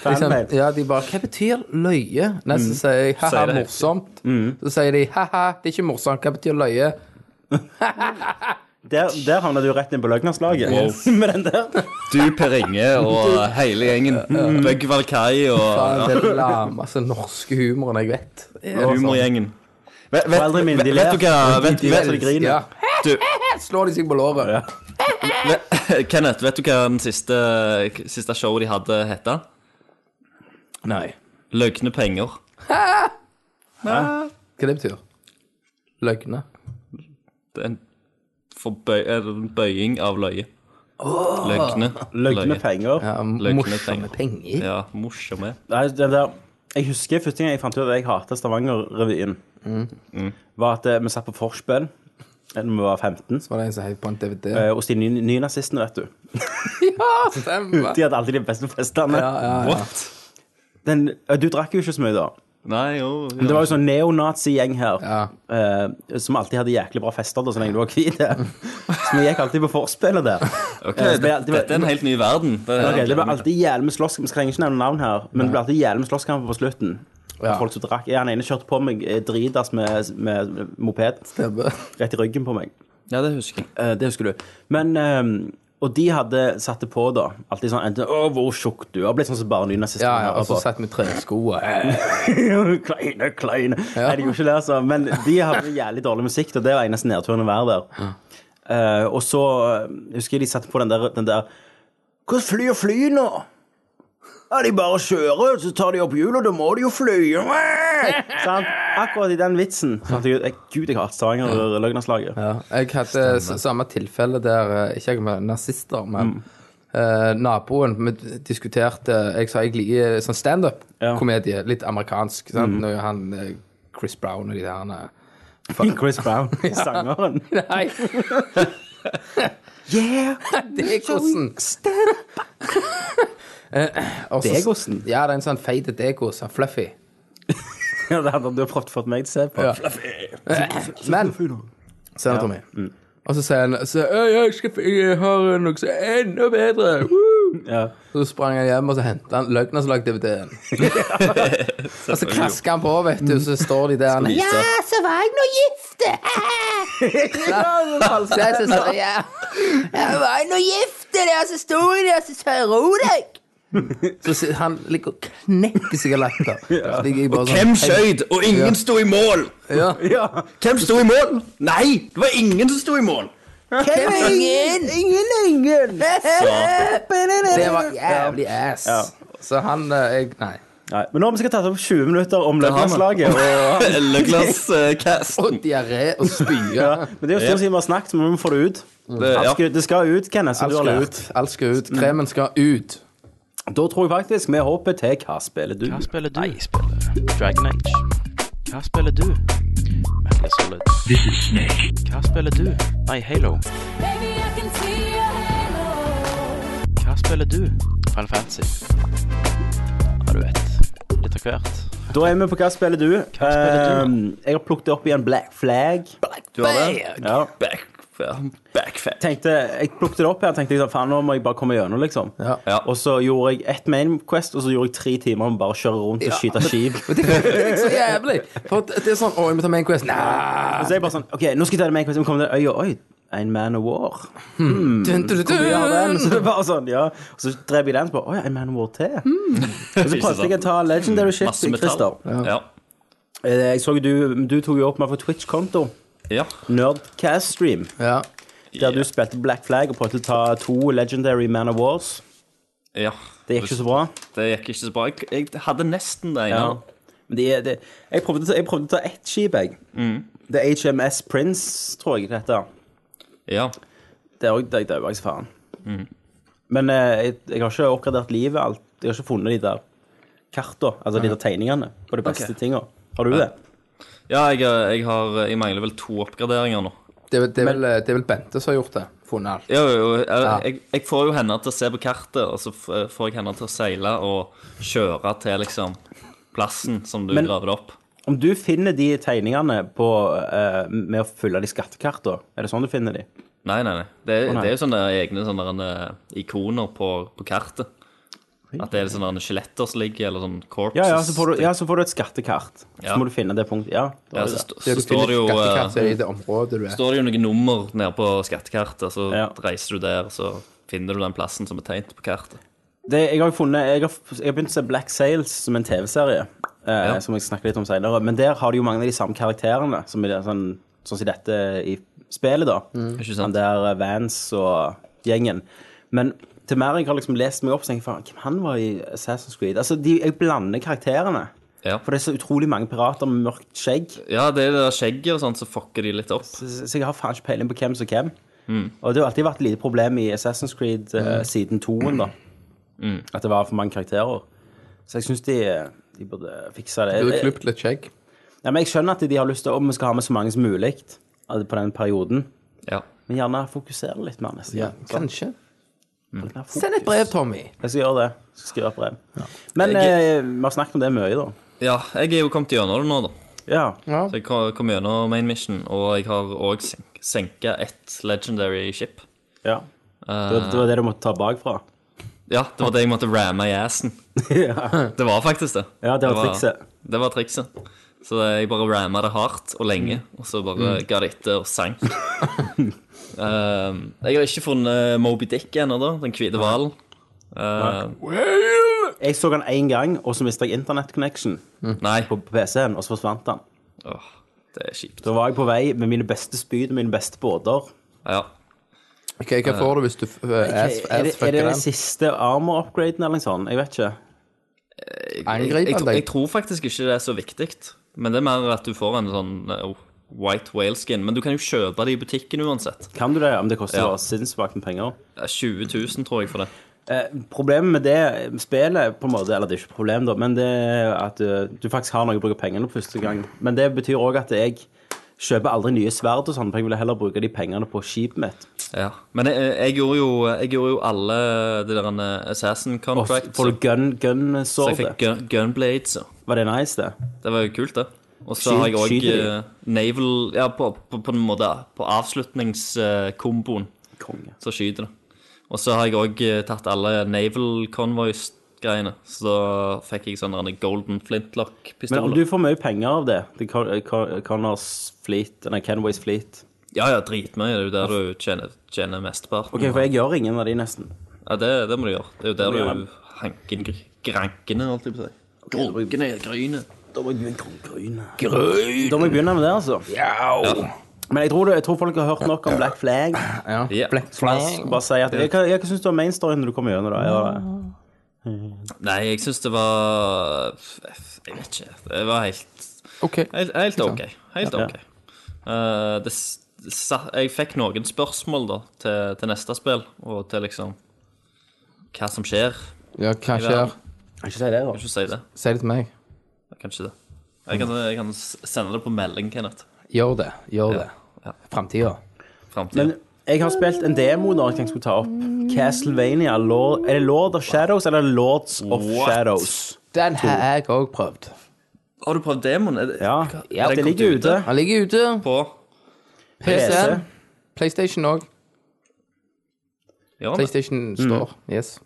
[SPEAKER 4] Fanmail.
[SPEAKER 5] Liksom, ja, de bare 'Hva betyr løye?' Nei,
[SPEAKER 4] Mm.
[SPEAKER 5] så sier jeg 'ha-ha,
[SPEAKER 2] Sier det.
[SPEAKER 5] morsomt'. Så sier de 'ha-ha, det er ikke morsomt'. Hva betyr løye?
[SPEAKER 4] Der, der havna du rett inn på løgnerslaget
[SPEAKER 2] Wow.
[SPEAKER 4] med den der.
[SPEAKER 2] Du, Per Inge og eh, hele gjengen. Bøgg Valkai
[SPEAKER 5] Faen,
[SPEAKER 2] og
[SPEAKER 5] Det er den lameste norske humoren jeg vet.
[SPEAKER 2] ja, humorgjengen. Vet, vet,
[SPEAKER 4] Foreldrene mine,
[SPEAKER 2] vet,
[SPEAKER 4] de
[SPEAKER 2] vet du hva vet,
[SPEAKER 4] de ler så de
[SPEAKER 2] vet,
[SPEAKER 4] Altså, griner.
[SPEAKER 5] Ja.
[SPEAKER 2] du,
[SPEAKER 5] Slår de seg på låret.
[SPEAKER 4] Ja.
[SPEAKER 2] vet, Kenneth, vet du hva den siste, siste showet de hadde, hette?
[SPEAKER 4] Nei.
[SPEAKER 2] Løgne penger.
[SPEAKER 5] Hva det betyr? Løgne.
[SPEAKER 2] Det er en, forbøy, eller en bøying av løye. Løgne.
[SPEAKER 4] Løgne
[SPEAKER 2] løye.
[SPEAKER 4] penger.
[SPEAKER 5] Ja,
[SPEAKER 2] Løgne
[SPEAKER 5] morsomme
[SPEAKER 2] penger.
[SPEAKER 5] penger.
[SPEAKER 2] Ja, morsomme.
[SPEAKER 4] Nei, den der Jeg husker første gang jeg fant ut at jeg hatet Stavanger-revyen,
[SPEAKER 5] Mm.
[SPEAKER 4] var at eh, vi satt på vorspiel da vi var 15.
[SPEAKER 5] Så var det en som heiv på en DVD.
[SPEAKER 4] eh, Hos de ny- nynazistene, vet du.
[SPEAKER 5] Ja, stemmer!
[SPEAKER 4] De hadde alltid de beste festene.
[SPEAKER 5] Ja, ja, ja.
[SPEAKER 2] What?
[SPEAKER 4] Den, eh, du drakk jo ikke så mye da.
[SPEAKER 2] Nei, jo.
[SPEAKER 4] Men det
[SPEAKER 2] jo.
[SPEAKER 4] var jo sånn neonazi-gjeng her
[SPEAKER 5] Ja.
[SPEAKER 4] eh, som alltid hadde jæklig bra fester da, så lenge du var hvit. Så vi gikk alltid på vorspielet der.
[SPEAKER 2] Ok,
[SPEAKER 4] Eh, så ble
[SPEAKER 2] det-
[SPEAKER 4] alltid-
[SPEAKER 2] Dette er en helt ny verden. Det,
[SPEAKER 4] Ok, det ble alltid jævlig med slåsskamp. Vi trenger ikke nevne navn her, men det ble alltid jævlig med slåsskamp på slutten.
[SPEAKER 5] Ja.
[SPEAKER 4] Folk som drakk. Ja, Han ene kjørte på meg eh, dritas med, med moped
[SPEAKER 5] Stemmer.
[SPEAKER 4] rett i ryggen på meg.
[SPEAKER 2] ja, det husker jeg.
[SPEAKER 4] Eh, det husker du. Men eh, Og de hadde satt det på, da. Alltid sånn enten 'Å, hvor tjukk du er'. Blitt sånn som bare nynazister.
[SPEAKER 5] Ja, ja, og så
[SPEAKER 4] hører på.
[SPEAKER 5] satt vi tresko.
[SPEAKER 4] kleine, kleine. Nei, det gjorde ikke det, altså. Men de hadde jævlig dårlig musikk, og det var eneste nedturen å være der. Eh, og så eh, husker jeg de satte på den der, den der Hvordan flyr fly nå? Ja, de bare kjører, så tar de opp hjulet, da må de jo fly. Sant? Akkurat i den vitsen. Så tenkte jeg, Gud, jeg har hatt Stavanger-løgnerslaget.
[SPEAKER 5] Ja. Jeg hadde s- samme tilfelle der eh, Ikke jeg med nazister, men eh, naboen Vi diskuterte Jeg sa jeg liker sånn
[SPEAKER 4] Ja.
[SPEAKER 5] standup-komedie. Litt amerikansk. Sant? Når han eh, Chris Brown og de der han er-
[SPEAKER 4] Chris Brown, sangeren.
[SPEAKER 5] Nei,
[SPEAKER 4] Yeah!
[SPEAKER 5] det er hvordan Og så-
[SPEAKER 4] Degosen?
[SPEAKER 5] Ja, det er en sånn feit degos. sånn Fluffy.
[SPEAKER 4] Ja, det hadde du prøvd å få meg til å se på.
[SPEAKER 5] Ja. Men Sier han Tommy. Og så sier han så, «Øy, jeg, skal, jeg har noe som er enda bedre. Woo!
[SPEAKER 4] Ja.
[SPEAKER 5] Så sprang han hjem og så henta han løgna som lagde DVD-en. og så klasker han på, vet du, så står de der. Han, ja,
[SPEAKER 1] så var jeg nå gifte!
[SPEAKER 5] falsett, så står, ja.
[SPEAKER 1] Jeg var nå gifte, og så sto jeg der, og så sa jeg ro deg!
[SPEAKER 5] Så sitter han ligger og knekker seg av latter. Så ligger jeg
[SPEAKER 4] Altså,
[SPEAKER 5] bare sånn,
[SPEAKER 2] Hvem skøyt, og ingen sto i mål?
[SPEAKER 5] Ja.
[SPEAKER 4] ja.
[SPEAKER 2] Hvem sto i mål? Nei, det var ingen som sto i mål.
[SPEAKER 5] Ingen!
[SPEAKER 4] Ingen, ingen!
[SPEAKER 5] Det var jævlig ass.
[SPEAKER 4] Ja.
[SPEAKER 5] Så han eh, jeg, Nei.
[SPEAKER 4] Nei, men nå har vi sikkert tatt opp 20 minutter om
[SPEAKER 2] har vi.
[SPEAKER 4] løgnerslaget. Og...
[SPEAKER 2] Løglas eh, cast.
[SPEAKER 5] Og diaré og spye.
[SPEAKER 4] Ja, men det er jo stort siden vi har snakket, så vi må få det ut.
[SPEAKER 2] Mm. Det-
[SPEAKER 4] Alt
[SPEAKER 2] Eh, ja.
[SPEAKER 4] skal, det skal ut, Kenneth. Så
[SPEAKER 5] Alt
[SPEAKER 4] du har
[SPEAKER 5] skal
[SPEAKER 4] lært.
[SPEAKER 5] ut. Alt skal ut. Kremen skal ut.
[SPEAKER 4] Da tror jeg faktisk vi hopper til Hva spiller du?
[SPEAKER 3] Hva spiller du? jeg spiller Dragon Age. Hva spiller du? Metal Solid. This is Snake. Hva spiller du? Nei, Halo. Hva spiller du? Final Fantasy. Ja, du vet. Litt av hvert.
[SPEAKER 4] Da er vi på Hva spiller du?
[SPEAKER 3] spiller du?
[SPEAKER 4] Ehm, jeg har plukket opp igjen Black Flag.
[SPEAKER 2] Du har det?
[SPEAKER 4] Ja.
[SPEAKER 2] Back, backfat.
[SPEAKER 4] Tenkte, jeg plukket det opp her tenkte jeg sånn, faen, nå må jeg bare komme gjennom, liksom.
[SPEAKER 5] Ja.
[SPEAKER 2] Ja.
[SPEAKER 4] Og så gjorde jeg ett main quest, og så gjorde jeg tre timer med bare å kjøre rundt og
[SPEAKER 5] Ja.
[SPEAKER 4] skyte skip.
[SPEAKER 5] Men det, det er ikke så jævlig. For at det er sånn Å, jeg må ta Main Quest. Nei.
[SPEAKER 4] Og så er jeg bare sånn, ok, nå skal jeg ta det main quest, vi kommer til øya, oi, en man of war.
[SPEAKER 5] Dun, dun, dun,
[SPEAKER 4] Ja,
[SPEAKER 2] Mm.
[SPEAKER 4] den,
[SPEAKER 5] dun.
[SPEAKER 4] så det er bare sånn, ja. Og så drev jeg den, så bare, oi, en man of war til.
[SPEAKER 2] Mm.
[SPEAKER 4] Og så prøvde jeg å ta legendary shit,
[SPEAKER 2] Masse metall.
[SPEAKER 4] Christer.
[SPEAKER 2] Ja.
[SPEAKER 4] Eh, Jeg så jo du, du tok jo opp meg for Twitch-konto,
[SPEAKER 2] ja.
[SPEAKER 4] Nerdcast-stream,
[SPEAKER 5] Ja.
[SPEAKER 4] der du spilte Black Flag og prøvde å ta to legendary man of wars.
[SPEAKER 2] ja.
[SPEAKER 4] Det gikk ikke så bra.
[SPEAKER 2] Det gikk ikke så bra. Jeg, jeg hadde nesten det ene.
[SPEAKER 4] Ja. Men det, det, jeg, prøvde, å ta- jeg prøvde å ta ett skip, jeg. Det er HMS Prince, tror jeg det heter.
[SPEAKER 2] Ja.
[SPEAKER 4] Det er òg deg daua jeg som faen. Men eh, jeg, jeg har ikke oppgradert livet. Alt. Jeg har ikke funnet de der karta, altså de der tegningene, på de beste
[SPEAKER 2] Ok.
[SPEAKER 4] tinga. Har du det?
[SPEAKER 2] Ja, jeg, jeg har Jeg mangler vel to oppgraderinger nå.
[SPEAKER 5] Det, er vel- det, er vel, eh, det er vel Bente som har gjort det. Funnet alt.
[SPEAKER 2] Jo, jo, jo.
[SPEAKER 5] Ja.
[SPEAKER 2] Jeg, jeg, jeg får jo henne til å se på kartet, og så f- får jeg henne til å seile og kjøre til liksom plassen som du
[SPEAKER 4] Men-
[SPEAKER 2] graver det opp.
[SPEAKER 4] Om du finner de tegningene på, eh, med å fylle de skattekartene, er det sånn du finner de?
[SPEAKER 2] Nei, nei, nei. Det,
[SPEAKER 4] nei.
[SPEAKER 2] det er jo sånne egne sånne der, eh, ikoner på, på kartet. At det er sånne der skjeletter som ligger, eller sånn corpses.
[SPEAKER 4] Ja, ja, så får du, ja, så får du et skattekart. Så
[SPEAKER 2] Ja.
[SPEAKER 4] må du finne det punktet. Ja, da
[SPEAKER 2] Ja,
[SPEAKER 4] er
[SPEAKER 2] så,
[SPEAKER 4] det
[SPEAKER 2] st-
[SPEAKER 5] Det
[SPEAKER 2] så
[SPEAKER 5] du
[SPEAKER 2] står det jo
[SPEAKER 5] finner
[SPEAKER 2] eh,
[SPEAKER 5] skattekartet i det området du er.
[SPEAKER 2] står det jo noen nummer nede på skattekartet, så
[SPEAKER 4] Ja.
[SPEAKER 2] reiser du der, så finner du den plassen som er tegnet på kartet.
[SPEAKER 4] det, jeg har jo funnet Jeg har, jeg har begynt å se Black Sails som en TV-serie, eh,
[SPEAKER 2] Ja.
[SPEAKER 4] som jeg snakker litt om senere. Men der har de jo mange av de samme karakterene, som er det sånn, sånn som dette i spillet, da.
[SPEAKER 2] Ikke
[SPEAKER 4] Han
[SPEAKER 2] sant?
[SPEAKER 4] der eh, Vance og gjengen. Men til mer jeg har liksom lest meg opp, så tenker jeg faen, hvem han var i Assassin's Creed? Altså, de, jeg blander karakterene.
[SPEAKER 2] Ja.
[SPEAKER 4] For det er så utrolig mange pirater med mørkt skjegg.
[SPEAKER 2] ja, det er det der skjegget og sånn, så fucker de litt opp.
[SPEAKER 4] eh, Så så jeg har faen ikke peiling på hvem som hvem. Og det har jo alltid vært et lite problem i Assassin's Creed eh, siden toen, da. At det var for mange karakterer. Så jeg syns de, eh, de burde fikse det.
[SPEAKER 5] Du har
[SPEAKER 4] Jeg-
[SPEAKER 5] klippet litt skjegg.
[SPEAKER 4] Ja, men jeg skjønner at de har lyst til om vi skal ha med så mange som mulig altså på den perioden.
[SPEAKER 2] Ja.
[SPEAKER 4] Men gjerne fokusere litt mer neste
[SPEAKER 5] Ja,
[SPEAKER 4] gang. Sånn,
[SPEAKER 5] kanskje.
[SPEAKER 4] få litt mer fokus.
[SPEAKER 5] Send et brev, Tommy.
[SPEAKER 4] Jeg skal gjøre det. Jeg skal skrive et brev. Men
[SPEAKER 2] Jeg-
[SPEAKER 4] eh, vi har snakket om det mye, da.
[SPEAKER 2] ja, jeg er jo kommet gjennom det nå, da.
[SPEAKER 4] Ja.
[SPEAKER 5] Ja.
[SPEAKER 2] Så jeg kom kom gjennom main mission, og jeg har òg senka ett legendary ship.
[SPEAKER 4] ja. Det, var, det var det du måtte ta bakfra.
[SPEAKER 2] Ja, det var det jeg måtte ramme i assen.
[SPEAKER 4] ja.
[SPEAKER 2] Det var faktisk det.
[SPEAKER 4] ja, det var trikset.
[SPEAKER 2] Det var trikset. Så jeg bare ramma det hardt og lenge, og så bare ga det etter og sank. um, jeg har ikke funnet Moby Dick ennå, da. Den hvite hvalen. Uh,
[SPEAKER 4] Jeg så den én gang, og så mista jeg internett-connection
[SPEAKER 2] nei.
[SPEAKER 4] på på PC-en, og så forsvant den.
[SPEAKER 2] Åh, det er kjipt.
[SPEAKER 4] Da var jeg på vei med mine beste spyd og mine beste båter.
[SPEAKER 2] Ja.
[SPEAKER 5] Ok, Hva får du hvis du uh, ass, ass
[SPEAKER 4] Er det, er det
[SPEAKER 5] fucker
[SPEAKER 4] den
[SPEAKER 5] den?
[SPEAKER 4] siste armor-upgraden eller noe sånt? Jeg vet ikke.
[SPEAKER 2] Jeg,
[SPEAKER 5] Angriper
[SPEAKER 2] jeg,
[SPEAKER 5] han
[SPEAKER 2] tro-
[SPEAKER 5] deg?
[SPEAKER 2] jeg tror faktisk ikke det er så viktig, men det er mer at du får en sånn eh, white whale skin. Men du kan jo kjøpe det i butikken uansett.
[SPEAKER 4] Kan du det? Om det koster
[SPEAKER 2] Ja.
[SPEAKER 4] bare sinnssykt med penger.
[SPEAKER 2] Det er 20 000, tror jeg, for det.
[SPEAKER 4] Eh, problemet med det spillet, på en måte, eller det er ikke et problem, da, men det er at eh, du faktisk har noe å bruke pengene på første gang. Men det betyr òg at jeg kjøper aldri nye sverd og sånn, for jeg ville heller bruke de pengene på skipet mitt.
[SPEAKER 2] Ja. Men jeg, jeg, gjorde jo, jeg gjorde jo alle de der eh, assassin
[SPEAKER 4] Og så
[SPEAKER 2] contracts.
[SPEAKER 4] får du gun,
[SPEAKER 2] Så
[SPEAKER 4] gun-sordet.
[SPEAKER 2] jeg fikk gun, gunblades. ja.
[SPEAKER 4] Var det nice, det?
[SPEAKER 2] Det var jo kult, det. Og så
[SPEAKER 4] Sky-
[SPEAKER 2] har jeg òg
[SPEAKER 4] skyter de?
[SPEAKER 2] naval Ja, på, på, på en måte på avslutningskomboen,
[SPEAKER 4] Konge.
[SPEAKER 2] så skyter det. Og så har jeg òg tatt alle naval convoys-greiene. Så da fikk jeg sånn en golden
[SPEAKER 4] Men om du
[SPEAKER 2] flintlock-pistol.
[SPEAKER 4] får mye penger av det, det Con- Con- Connors Fleet, nei, Kenways Fleet
[SPEAKER 2] Ja, ja, dritmye. Det er jo der du tjener, tjener mesteparten.
[SPEAKER 4] Ok, for jeg gjør ingen av de nesten.
[SPEAKER 2] Ja, det, det må du gjøre. Det er jo der
[SPEAKER 4] Ja.
[SPEAKER 2] du hanker inn gr- grankene, holdt jeg på å si. Grunkene, grynet.
[SPEAKER 4] Da må jeg begynne Da må jeg begynne med det, altså. Men jeg tror, det, jeg tror folk har hørt nok om Black Flag.
[SPEAKER 5] Ja.
[SPEAKER 2] Ja.
[SPEAKER 4] Skal bare si at, jeg, hva, hva syns du om mainstoryen når du kommer gjennom det? Ja,
[SPEAKER 2] Nei, jeg syns det var Jeg vet ikke. Det var helt
[SPEAKER 5] Ok.
[SPEAKER 2] Helt, helt ok. Helt
[SPEAKER 4] Ja.
[SPEAKER 2] ok. Eh, det, s- det sa, jeg fikk noen spørsmål da til, til neste spill, og til liksom hva som skjer. Jeg
[SPEAKER 5] Ja, hva skjer?
[SPEAKER 4] Kan ikke si det, da.
[SPEAKER 2] kan ikke si det.
[SPEAKER 5] Si det til meg.
[SPEAKER 2] Jeg kan ikke det. Jeg kan, jeg kan s- sende det på melding, Kenneth.
[SPEAKER 5] Gjør det. Gjør det.
[SPEAKER 2] Ja.
[SPEAKER 5] Framtida.
[SPEAKER 2] Framtiden.
[SPEAKER 4] Men jeg har spilt en demo når jeg tenkte jeg skulle ta opp Castlevania. Lord, er det Lord of Shadows eller Lords of
[SPEAKER 2] What?
[SPEAKER 4] Shadows?
[SPEAKER 5] Den har jeg òg prøvd.
[SPEAKER 2] Har du prøvd demoen? Er det-
[SPEAKER 4] Ja,
[SPEAKER 2] hva-
[SPEAKER 4] ja
[SPEAKER 2] er
[SPEAKER 4] det
[SPEAKER 2] kommet
[SPEAKER 4] ligger ute.
[SPEAKER 5] Han ligger ute.
[SPEAKER 2] På
[SPEAKER 5] PC. PlayStation òg.
[SPEAKER 2] Ja, men,
[SPEAKER 5] PlayStation står. Yes.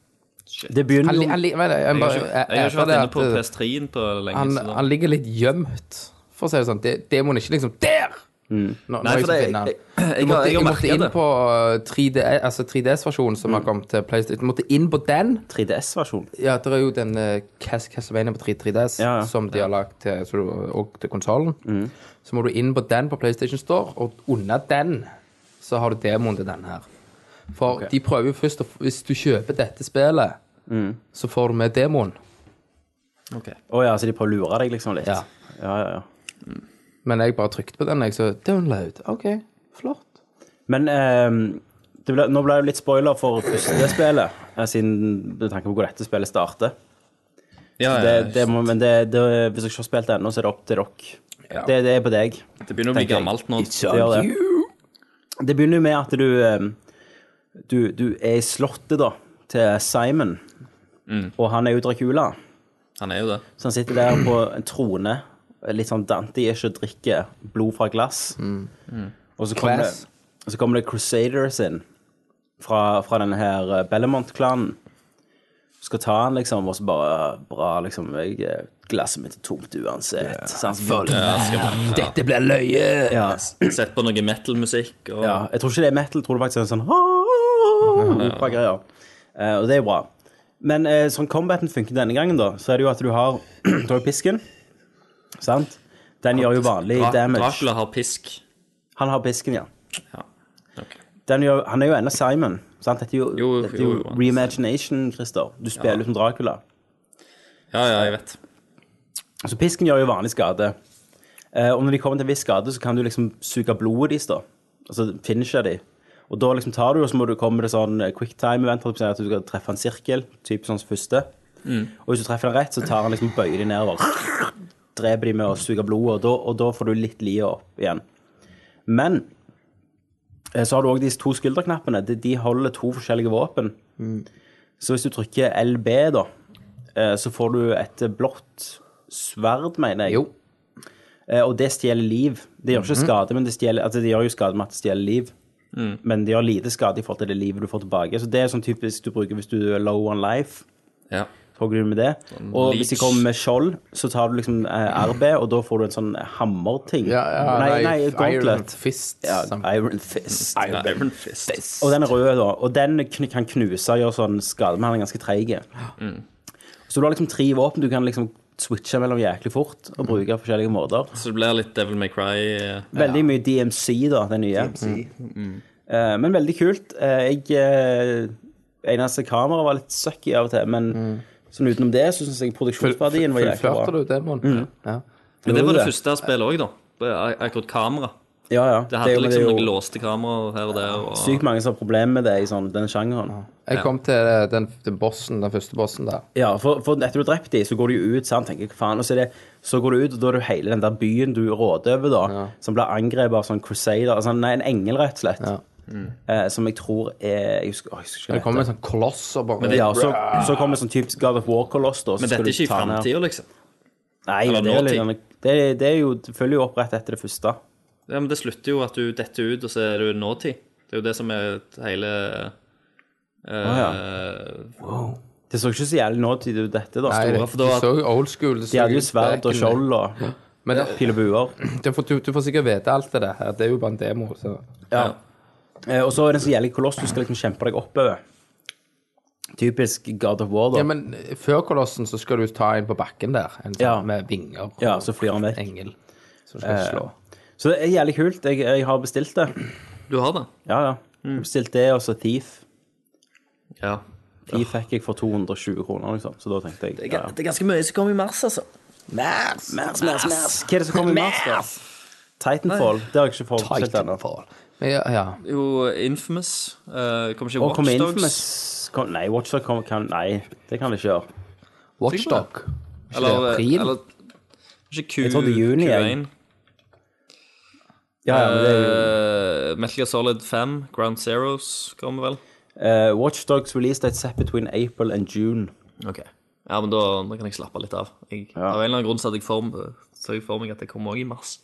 [SPEAKER 4] Det begynner
[SPEAKER 5] Han, li-
[SPEAKER 4] jo
[SPEAKER 5] han, li- vent, jeg,
[SPEAKER 2] Mm. jeg,
[SPEAKER 5] bare,
[SPEAKER 2] har ikke,
[SPEAKER 5] jeg,
[SPEAKER 2] jeg har ikke
[SPEAKER 5] erfarer det
[SPEAKER 2] vært inne på
[SPEAKER 5] at, uh,
[SPEAKER 2] PS3-en på lenge.
[SPEAKER 5] han,
[SPEAKER 2] så da-
[SPEAKER 5] han ligger litt gjemt, for å si det sånn. Det- Demoen er ikke liksom der! Nå,
[SPEAKER 2] Mm. Nei,
[SPEAKER 5] når jeg
[SPEAKER 2] for det,
[SPEAKER 5] skal
[SPEAKER 2] jeg,
[SPEAKER 5] finne
[SPEAKER 2] jeg,
[SPEAKER 5] den.
[SPEAKER 2] jeg,
[SPEAKER 5] Du
[SPEAKER 2] har-
[SPEAKER 5] måtte,
[SPEAKER 2] jeg
[SPEAKER 5] jeg
[SPEAKER 2] har
[SPEAKER 5] måtte
[SPEAKER 2] merket
[SPEAKER 5] inn
[SPEAKER 2] det. Mm.
[SPEAKER 5] på 3D, altså 3DS-versjonen som har kommet til PlayStation. Du måtte inn på den.
[SPEAKER 4] 3DS-versjon.
[SPEAKER 5] Ja, det er jo den eh, Cas- Castlevania på 3 3DS
[SPEAKER 4] Ja, ja.
[SPEAKER 5] som de har lagt til, så du, og til konsollen.
[SPEAKER 2] Mm.
[SPEAKER 5] Så må du inn på den på PlayStation Store, og under den så har du demoen til den her. For de prøver jo først å f- Hvis du kjøper dette spillet,
[SPEAKER 2] Mm.
[SPEAKER 5] så får du med demoen.
[SPEAKER 4] Å ja, så de prøver å lure deg liksom litt?
[SPEAKER 5] Ja.
[SPEAKER 4] ja, ja. ja.
[SPEAKER 5] Men jeg bare trykte på den, jeg, så download. OK, flott.
[SPEAKER 4] Men ehm, det ble, nå ble det jo litt spoiler for første spillet, eh, siden med tanke på hvor dette spillet starter.
[SPEAKER 2] Ja, ja,
[SPEAKER 4] Det,
[SPEAKER 2] ja.
[SPEAKER 4] det må, men det, det, hvis dere ikke har spilt det ennå, så er det opp til dere. Det, det er på deg.
[SPEAKER 2] det begynner å bli
[SPEAKER 4] tenker jeg.
[SPEAKER 2] gammelt nå.
[SPEAKER 4] Det gjør det. Det begynner jo med at du, eh, du, du er i slottet da, til Simon,
[SPEAKER 2] Mm.
[SPEAKER 4] og han er jo Dracula.
[SPEAKER 2] Han er jo det.
[SPEAKER 4] Så han sitter der på en trone, litt sånn Dante-ish, og drikker blod fra glass. Og, så kommer det,
[SPEAKER 5] Glass.
[SPEAKER 4] og så kommer det Crusaders inn fra, fra denne her eh, Bellamont-klanen. Skal ta han, liksom, og så bare Bra, liksom. Jeg, eh, glasset mitt er tomt uansett. Så han
[SPEAKER 5] Følg
[SPEAKER 4] ja.
[SPEAKER 5] med. Dette blir løye.
[SPEAKER 4] Ja.
[SPEAKER 2] Sett på noe metal-musikk og
[SPEAKER 4] Jeg tror ikke det er metal, tror det faktisk er en sånn Opera-greier. Eh, og det er jo bra. Men eh, sånn combaten funker denne gangen, da, så er det jo at du har Du har jo pisken, sant? Den gjør jo vanlig
[SPEAKER 2] Dra-
[SPEAKER 4] damage.
[SPEAKER 2] Dracula har pisk.
[SPEAKER 4] Han har pisken, ja.
[SPEAKER 2] Ja. ok.
[SPEAKER 4] Den gjør, han er jo ennå Simon. Sant? Dette er jo,
[SPEAKER 2] Jo,
[SPEAKER 4] dette er jo
[SPEAKER 2] jo, jo.
[SPEAKER 4] reimagination, Christer. Du spiller som Dracula.
[SPEAKER 2] ja, ja, jeg vet.
[SPEAKER 4] Så pisken gjør jo vanlig skade. Eh, og når de kommer til en viss skade, så kan du liksom suge blodet deres, da. Altså finishe de. Og da liksom tar du, og så må du komme til sånn eh, quick time event, holdt jeg på å si, at du skal treffe en sirkel, typ sånn som første. Og hvis du treffer den rett, så tar han liksom bøyer de nedover. Dreper de med å suge blodet, og da, og da får du litt livet opp igjen. Men eh, så har du òg disse to skulderknappene. De, de holder to forskjellige våpen. Så hvis du trykker LB, da, eh, så får du et blått sverd, mener jeg.
[SPEAKER 5] Jo. Mhm.
[SPEAKER 4] Eh, Og det stjeler liv. Det gjør ikke skade, men det stjeler, altså det gjør jo skade med at det stjeler liv. Men det gjør lite skade i forhold til det livet du får tilbake. Så det er sånn typisk du bruker hvis du er low on life.
[SPEAKER 2] Ja.
[SPEAKER 4] Så hogger du med det. Og hvis de
[SPEAKER 2] leech.
[SPEAKER 4] kommer med skjold, så tar du liksom eh, RB, og da får du en sånn hammerting.
[SPEAKER 5] Ja, ja,
[SPEAKER 4] nei, nei,
[SPEAKER 5] Iron
[SPEAKER 4] gauntlet.
[SPEAKER 5] Fist.
[SPEAKER 4] Ja,
[SPEAKER 5] samt-
[SPEAKER 4] Iron Fist.
[SPEAKER 2] Ja, Iron Fist.
[SPEAKER 4] Og den er rød, da. Og den kn kan knuse og gjøre sånn skade, men han er ganske treig.
[SPEAKER 2] Mm.
[SPEAKER 4] Så du har liksom tre våpen du kan liksom switche mellom jæklig fort og bruke på forskjellige måter.
[SPEAKER 2] Så det blir litt Devil May Cry. eh,
[SPEAKER 4] Veldig mye DMC, da, den nye.
[SPEAKER 2] Mm.
[SPEAKER 4] Eh, men veldig kult. Eh, jeg eh, Eneste kameraet var litt sucky av og til, men sånn utenom det så syns jeg produksjonsverdien var jæklig
[SPEAKER 5] Fullførte
[SPEAKER 4] bra. Mm.
[SPEAKER 5] du demoen? Ja.
[SPEAKER 2] Men det
[SPEAKER 4] Gjorde
[SPEAKER 2] var det
[SPEAKER 4] det.
[SPEAKER 2] første spillet òg, da. Ak- Akkurat kamera.
[SPEAKER 4] Ja, ja.
[SPEAKER 2] Det hadde
[SPEAKER 4] jo-
[SPEAKER 2] liksom
[SPEAKER 4] jo
[SPEAKER 2] noen låste kameraer her og der. Og...
[SPEAKER 4] Sykt mange som har problemer med det i sånn, den sjangeren.
[SPEAKER 5] Jeg kom til eh, den, den bossen, den første bossen der.
[SPEAKER 4] Ja, for, for etter du har drept dem, så går du jo ut, sant? tenker jeg, hva faen, og så, er det, så går du ut, og da er du hele den der byen du råder over, da, som blir angrepet av sånn crusader, altså, nei, en engel rett og slett,
[SPEAKER 5] Ja.
[SPEAKER 4] eh, som jeg tror er, jeg husker, å, jeg
[SPEAKER 5] Det
[SPEAKER 4] husker ikke hva det
[SPEAKER 5] kom
[SPEAKER 4] heter.
[SPEAKER 5] en sånn koloss og bare
[SPEAKER 4] Ja, så, så kommer sånn typisk God of War-koloss, da. så
[SPEAKER 2] Men
[SPEAKER 4] skal
[SPEAKER 2] dette er
[SPEAKER 4] du
[SPEAKER 2] ikke i
[SPEAKER 4] ta ned-
[SPEAKER 2] framtida, liksom.
[SPEAKER 4] Nei,
[SPEAKER 2] Eller
[SPEAKER 4] det, er litt,
[SPEAKER 2] nåtid.
[SPEAKER 4] grann- det, er- det er jo, det følger jo opp rett etter det første.
[SPEAKER 2] Ja, men det slutter jo at du detter ut, og så er du nåtid. Det er jo det som er hele eh,
[SPEAKER 4] Det så ikke så jævlig nåtid ut, dette, da.
[SPEAKER 5] Nei,
[SPEAKER 4] Store-
[SPEAKER 5] det,
[SPEAKER 2] for da-
[SPEAKER 5] det så jo old school det så
[SPEAKER 4] De hadde jo
[SPEAKER 5] ut
[SPEAKER 4] sverd og
[SPEAKER 5] backen.
[SPEAKER 4] skjold og
[SPEAKER 5] Men det,
[SPEAKER 4] pil og buer.
[SPEAKER 5] det får, du, du får sikkert vite alt det der. Det er jo bare en demo. Så.
[SPEAKER 4] Ja. Eh, Og så er det en så jævlig koloss du skal liksom kjempe deg oppover. Typisk God of War, da.
[SPEAKER 5] Ja, men eh, før kolossen så skal du ta en på bakken der. En sånn
[SPEAKER 4] Ja.
[SPEAKER 5] med vinger og
[SPEAKER 4] Ja, Eh. så flyr han vekk.
[SPEAKER 5] engel som skal slå.
[SPEAKER 4] Så det er jævlig kult. Jeg, jeg har bestilt det.
[SPEAKER 2] Du har det?
[SPEAKER 4] Ja, ja. Jeg Bestilt det, og så Thief.
[SPEAKER 2] Ja.
[SPEAKER 4] Thief fikk jeg for 220 kroner, liksom. Så da tenkte jeg ja, ja.
[SPEAKER 2] Det er ganske mye som kommer i mars, altså.
[SPEAKER 4] Mars, mars, mars. Hva er det som kommer i mars? da? Titanfall. Det har jeg ikke fått bestilt ennå.
[SPEAKER 5] Men ja, ja.
[SPEAKER 2] Jo, Infamous. Uh, kommer ikke
[SPEAKER 4] Og kommer
[SPEAKER 2] Watch
[SPEAKER 4] Infamous
[SPEAKER 2] Dogs?
[SPEAKER 4] kom, Nei, Watchdog kom, kan Nei, det kan det ikke gjøre.
[SPEAKER 5] Watchdog.
[SPEAKER 2] Eller,
[SPEAKER 5] det april?
[SPEAKER 2] eller Ikke Q,
[SPEAKER 4] Jeg tror det er juni, jeg.
[SPEAKER 2] Q1.
[SPEAKER 4] Ja, ja, men det er jo
[SPEAKER 2] Eh, Metal Gear Solid 5, Ground Zeros kommer vel.
[SPEAKER 4] Eh, Watchdogs released at set between April and June.
[SPEAKER 2] Ok. Ja, men da, da kan jeg slappe litt av. Jeg, Av en eller annen grunn så hadde jeg for, så jeg for meg at det kommer også i mars.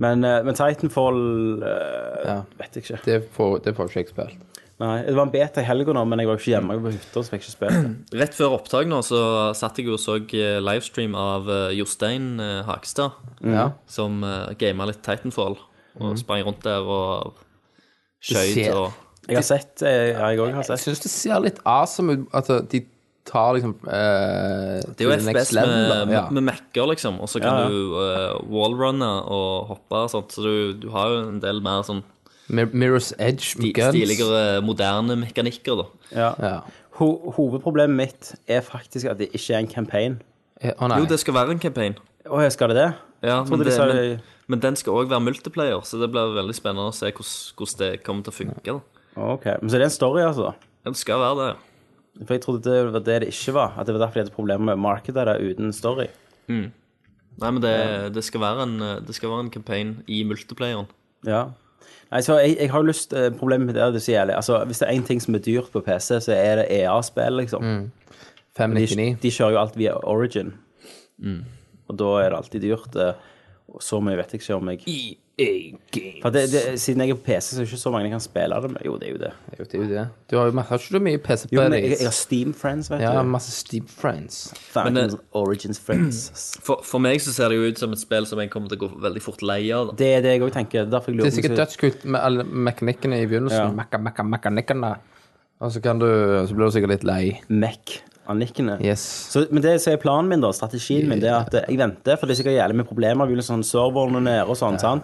[SPEAKER 4] Men, eh, men Titanfall eh,
[SPEAKER 5] Ja.
[SPEAKER 4] Vet jeg ikke.
[SPEAKER 5] Det får, det får ikke jeg spilt.
[SPEAKER 4] Nei, Det var en beta i helga nå, men jeg var jo ikke hjemme. Jeg var på hytta, så fikk jeg ikke spilt det.
[SPEAKER 2] Rett før opptak nå så satt jeg og så eh, livestream av eh, Jostein eh, Hakstad,
[SPEAKER 5] Ja.
[SPEAKER 2] som uh, gama litt Titanfall. Og sprang rundt der og
[SPEAKER 5] Det
[SPEAKER 2] skøyt
[SPEAKER 5] ser-
[SPEAKER 2] og
[SPEAKER 4] Jeg har sett eh, Ja, jeg òg har
[SPEAKER 5] Jeg
[SPEAKER 4] sett.
[SPEAKER 5] syns det ser litt awesome ut at de tar liksom eh,
[SPEAKER 2] Det er jo
[SPEAKER 5] til next
[SPEAKER 2] FPS
[SPEAKER 5] level, da.
[SPEAKER 2] med,
[SPEAKER 5] ja.
[SPEAKER 2] med mekker, liksom. Og så kan
[SPEAKER 4] Ja, ja.
[SPEAKER 2] du eh, wallrunne og hoppe og sånt. Så du, du har jo en del mer sånn
[SPEAKER 5] Mir- Mirror's Edge med guns.
[SPEAKER 2] stiligere, moderne mekanikker, da.
[SPEAKER 4] Ja.
[SPEAKER 5] Ja.
[SPEAKER 4] Ho hovedproblemet mitt er faktisk at det ikke er en campaign.
[SPEAKER 5] Eh, Å nei.
[SPEAKER 2] Jo, det skal være en campaign.
[SPEAKER 4] Å, jeg skal det det?
[SPEAKER 2] Ja,
[SPEAKER 4] Jeg
[SPEAKER 2] men,
[SPEAKER 4] trodde de
[SPEAKER 2] det,
[SPEAKER 4] sa
[SPEAKER 2] men, men den skal òg være multiplayer, så det blir veldig spennende å se hvordan hvordan det kommer til å funke. da.
[SPEAKER 4] Ok, men Så det er en story, altså?
[SPEAKER 2] Ja, det skal være det.
[SPEAKER 4] For jeg trodde det var det det ikke var. At det var derfor de hadde problemer med å markede det uten story.
[SPEAKER 2] Nei, men det, det, skal være en, eh, det skal være en campaign i multiplayeren.
[SPEAKER 4] Ja. Nei, så jeg, jeg har jo lyst eh, Problemet med det er det så jævlig. Altså, hvis det er én ting som er dyrt på PC, så er det EA-spill, liksom. De,
[SPEAKER 5] 599.
[SPEAKER 4] de kjører jo alt via Origin.
[SPEAKER 5] Mm.
[SPEAKER 4] Og da er det alltid dyrt. eh, og Så mye vet jeg ikke om jeg
[SPEAKER 5] E
[SPEAKER 4] For det, det, Siden jeg er på PC, så er det ikke så mange jeg kan spille det med. Jo, det er jo det.
[SPEAKER 5] Det er jo- det er jo det. Du har jo har ikke så mye PC
[SPEAKER 4] Jo,
[SPEAKER 5] på
[SPEAKER 4] men jeg, jeg
[SPEAKER 5] deg.
[SPEAKER 4] har Steam Friends, vet
[SPEAKER 5] Ja,
[SPEAKER 4] du.
[SPEAKER 5] masse Steep Friends.
[SPEAKER 4] Faen,
[SPEAKER 2] Men det-
[SPEAKER 4] Origins Friends.
[SPEAKER 2] For, for meg så ser det jo ut som et spill som jeg kommer til å gå veldig fort lei av. Da.
[SPEAKER 4] Det er det jeg òg tenker. Det er Derfor jeg
[SPEAKER 5] Det
[SPEAKER 4] lurer
[SPEAKER 5] er
[SPEAKER 4] på om
[SPEAKER 5] sikkert
[SPEAKER 4] jeg
[SPEAKER 5] dødskult med alle mekanikkene i
[SPEAKER 4] Ja.
[SPEAKER 5] begynnelsen. Mekka, mekka, mekanikkene. Og så kan du Så blir du sikkert litt lei.
[SPEAKER 4] skal- Mac-anikkene.
[SPEAKER 5] Yes.
[SPEAKER 4] Så, men det som er planen min, da, strategien min, det er at eh, jeg venter, for det er sikkert jævlig med problemer. Vi vil sånn serverne nede og sånn, sant.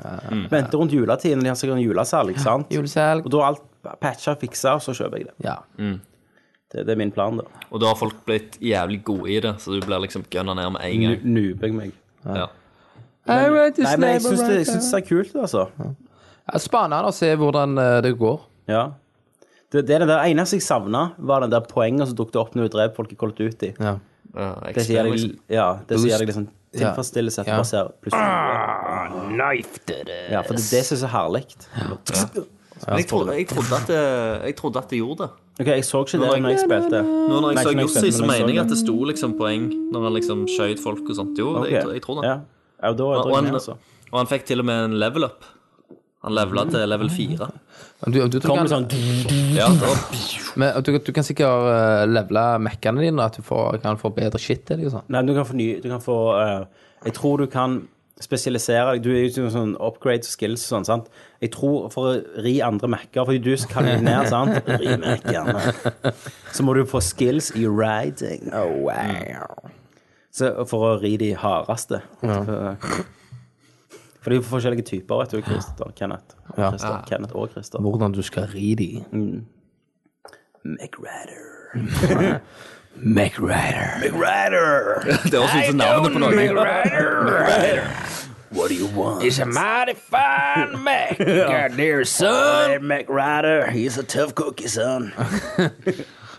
[SPEAKER 4] Venter rundt juletiden, de har sikkert en julesalg, sant.
[SPEAKER 5] Julesalg.
[SPEAKER 4] Og da Mm. er alt patcha, fiksa, og så kjøper jeg det.
[SPEAKER 5] Ja.
[SPEAKER 4] det. Det er min plan, da.
[SPEAKER 2] Og da har folk blitt jævlig gode i det, så du blir liksom gunna ned med en gang.
[SPEAKER 4] Noober jeg meg.
[SPEAKER 2] Ja.
[SPEAKER 4] Nei, men jeg syns det, jeg synes det er kult, altså.
[SPEAKER 5] Ja, Spennende å se hvordan eh, det går.
[SPEAKER 4] Ja. Det, det er det der eneste jeg savna, var den der poenget som dukket opp når du drev folk i Colt Duty.
[SPEAKER 5] Ja.
[SPEAKER 2] Ja, liksom-
[SPEAKER 4] Det som gjør deg,
[SPEAKER 2] experience.
[SPEAKER 4] ja, det som
[SPEAKER 5] Boost.
[SPEAKER 4] gjør deg liksom tilfredsstillelse at du
[SPEAKER 5] Ja.
[SPEAKER 4] bare ser plutselig
[SPEAKER 2] Ah,
[SPEAKER 4] Ja, for det, det synes jeg er herlig.
[SPEAKER 2] Men jeg, trodde, jeg, trodde at det, jeg trodde at det gjorde det.
[SPEAKER 4] Ok, jeg så ikke det
[SPEAKER 2] Når jeg-
[SPEAKER 4] når jeg spilte.
[SPEAKER 2] Nå når
[SPEAKER 4] Nei,
[SPEAKER 2] jeg
[SPEAKER 4] ikke
[SPEAKER 2] så
[SPEAKER 4] når jeg
[SPEAKER 2] Jossi,
[SPEAKER 4] spilte,
[SPEAKER 2] så
[SPEAKER 4] men jeg så
[SPEAKER 2] mener jeg at
[SPEAKER 4] det.
[SPEAKER 2] det sto liksom poeng når han liksom skjøt folk og sånt. Jo, det- jeg, jeg tror det.
[SPEAKER 4] Ja. ja, da er
[SPEAKER 2] Og, og,
[SPEAKER 4] jeg
[SPEAKER 2] han,
[SPEAKER 4] med, altså.
[SPEAKER 2] og han fikk til og med en level up. Han levela til level 4.
[SPEAKER 5] Men Du, du,
[SPEAKER 4] Kommer
[SPEAKER 5] kan,
[SPEAKER 4] sånn
[SPEAKER 2] Ja, da,
[SPEAKER 5] men, du, du kan sikkert uh, levele mekkene dine, at du får, kan få bedre shit til dem og sånn.
[SPEAKER 4] Nei, men du kan få ny Du kan få eh, Jeg tror du kan spesialisere deg. Du er jo sånn upgrades og skills og sånn, sant. Jeg tror for å ri andre Mac-er, fordi du kan jo ned, sant. Ri Mac-ene. Så må du få skills i riding. Oh, wow. Så for å ri de hardeste. For det er jo forskjellige typer, vet du, Christer, Kenneth, og
[SPEAKER 5] Ja.
[SPEAKER 4] Christer, Kenneth og Christer.
[SPEAKER 5] Hvordan du skal ri dem.
[SPEAKER 4] Mac Rider.
[SPEAKER 5] MacRider.
[SPEAKER 4] Mac Rider!
[SPEAKER 2] det høres ut som navnet på noe.
[SPEAKER 4] What do you want?
[SPEAKER 5] It's a mighty fine Mac, god dear son.
[SPEAKER 4] Hey, Mac Rider, he's a tough cookie, son.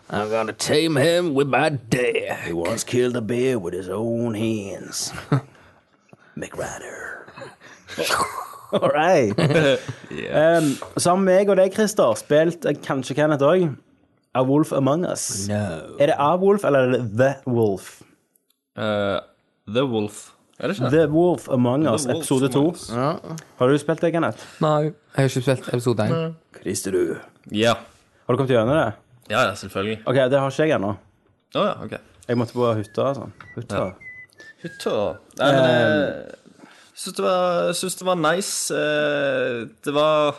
[SPEAKER 5] I'm gonna tame him with my dad.
[SPEAKER 4] He once killed a bear with his own hands. McRider. All right. um, så har meg og deg, Christer, spilt eh, kanskje Kenneth òg. A Wolf Among Us. Er det A Wolf eller er det The Wolf?
[SPEAKER 2] Eh, The Wolf. Er det ikke det?
[SPEAKER 4] The Wolf Among Us,
[SPEAKER 2] The Wolf
[SPEAKER 4] episode to.
[SPEAKER 2] Among Us.
[SPEAKER 4] Har du spilt det, Kenneth?
[SPEAKER 5] Nei, jeg har ikke spilt episode 1.
[SPEAKER 4] Christer, du.
[SPEAKER 2] Ja.
[SPEAKER 4] Har du kommet gjennom det?
[SPEAKER 2] ja, ja, selvfølgelig.
[SPEAKER 4] Ok, Det har ikke jeg ennå.
[SPEAKER 2] Å ja, OK.
[SPEAKER 4] Jeg måtte på hytta. og Sånn. Hytta.
[SPEAKER 2] Hutta. Nei, men eh, jeg syns det, var- syns det var nice. Eh, Det var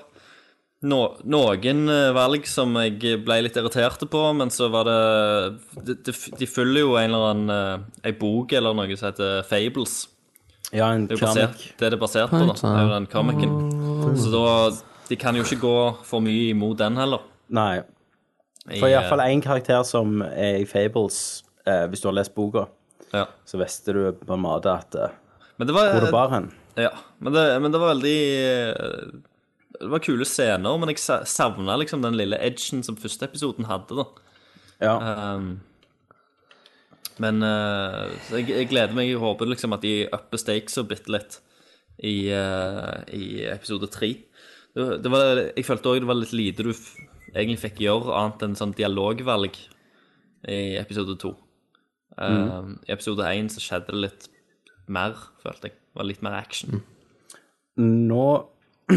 [SPEAKER 2] no, noen eh, valg som jeg ble litt irriterte på, men så var det De, de, de følger jo en eller annen eh, Ei bok eller noe som heter Fables.
[SPEAKER 4] Ja, en
[SPEAKER 2] Det er, jo basert,
[SPEAKER 4] keramikk.
[SPEAKER 2] det er det basert på, da. Det er jo den komikeren. Så da De kan jo ikke gå for mye imot den heller.
[SPEAKER 4] Nei.
[SPEAKER 2] I,
[SPEAKER 4] For iallfall én karakter som er i Fables, eh, hvis du har lest boka.
[SPEAKER 2] eh, ja.
[SPEAKER 4] så visste du på en måte at eh,
[SPEAKER 2] Men det var,
[SPEAKER 4] hvor det bar hen.
[SPEAKER 2] Ja, men det, men det var veldig eh, Det var kule scener, men jeg sa- savna liksom den lille edgen som første episoden hadde, da.
[SPEAKER 5] Eh.
[SPEAKER 4] Ja.
[SPEAKER 2] Um, men eh, så jeg, jeg gleder meg. Jeg håper liksom at de upper stakes og bitte litt i, eh, i episode tre. Det, det var, jeg følte òg det var litt lite du f egentlig fikk gjøre, annet enn sånn dialogvalg i episode to. Um, I episode én så skjedde det litt mer, følte jeg. Det var litt mer action.
[SPEAKER 4] Nå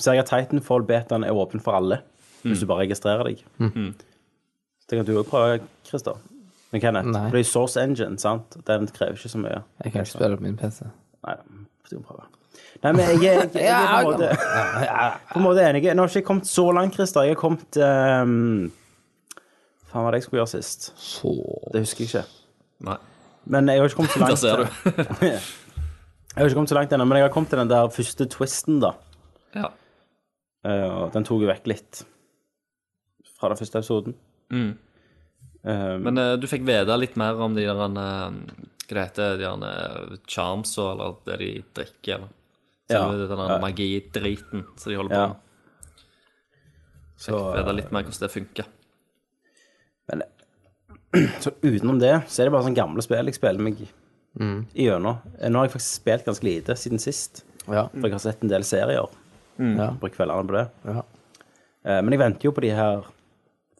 [SPEAKER 4] ser jeg at Titanfall-betaen er åpen for alle,
[SPEAKER 5] Mm.
[SPEAKER 4] hvis du bare registrerer deg. Det kan du òg prøve, Christer. Men Kenneth,
[SPEAKER 5] Nei.
[SPEAKER 4] for det er Source Engine, sant? Den krever ikke så mye.
[SPEAKER 5] Jeg kan ikke spille på min PC.
[SPEAKER 4] Nei, du må prøve. Nei, men jeg, er- jeg, jeg, er på en måte, på en måte enig. Nå har jeg ikke kommet så langt, Christer. Jeg har kommet ehm, Faen, hva var det jeg skulle gjøre sist?
[SPEAKER 5] Så
[SPEAKER 4] Det husker jeg ikke.
[SPEAKER 2] Nei.
[SPEAKER 4] Men jeg har ikke kommet så langt.
[SPEAKER 2] Der ser du.
[SPEAKER 4] Jeg har ikke kommet så langt ennå, men jeg har kommet til den der første twisten, da.
[SPEAKER 2] ja.
[SPEAKER 4] Eh, og den tok jo vekk litt fra den første episoden. Eh,
[SPEAKER 2] Mm. Men eh, du fikk vite litt mer om de der eh, Hva det heter de der eh, charms og eller det de drikker, eller
[SPEAKER 4] Ja.
[SPEAKER 2] Selve den der magidriten som de holder på
[SPEAKER 4] Ja.
[SPEAKER 2] med.
[SPEAKER 4] så,
[SPEAKER 2] Fikk vite litt mer hvordan det funker.
[SPEAKER 4] men, så utenom det, så er det bare sånne gamle spill jeg spiller meg
[SPEAKER 5] Mm.
[SPEAKER 4] igjennom. Eh, Nå har jeg faktisk spilt ganske lite siden sist,
[SPEAKER 5] Ja.
[SPEAKER 4] for jeg har sett en del serier.
[SPEAKER 2] Mm.
[SPEAKER 5] Ja.
[SPEAKER 4] Bruker kveldene på det.
[SPEAKER 5] Ja.
[SPEAKER 4] Eh, men jeg venter jo på de her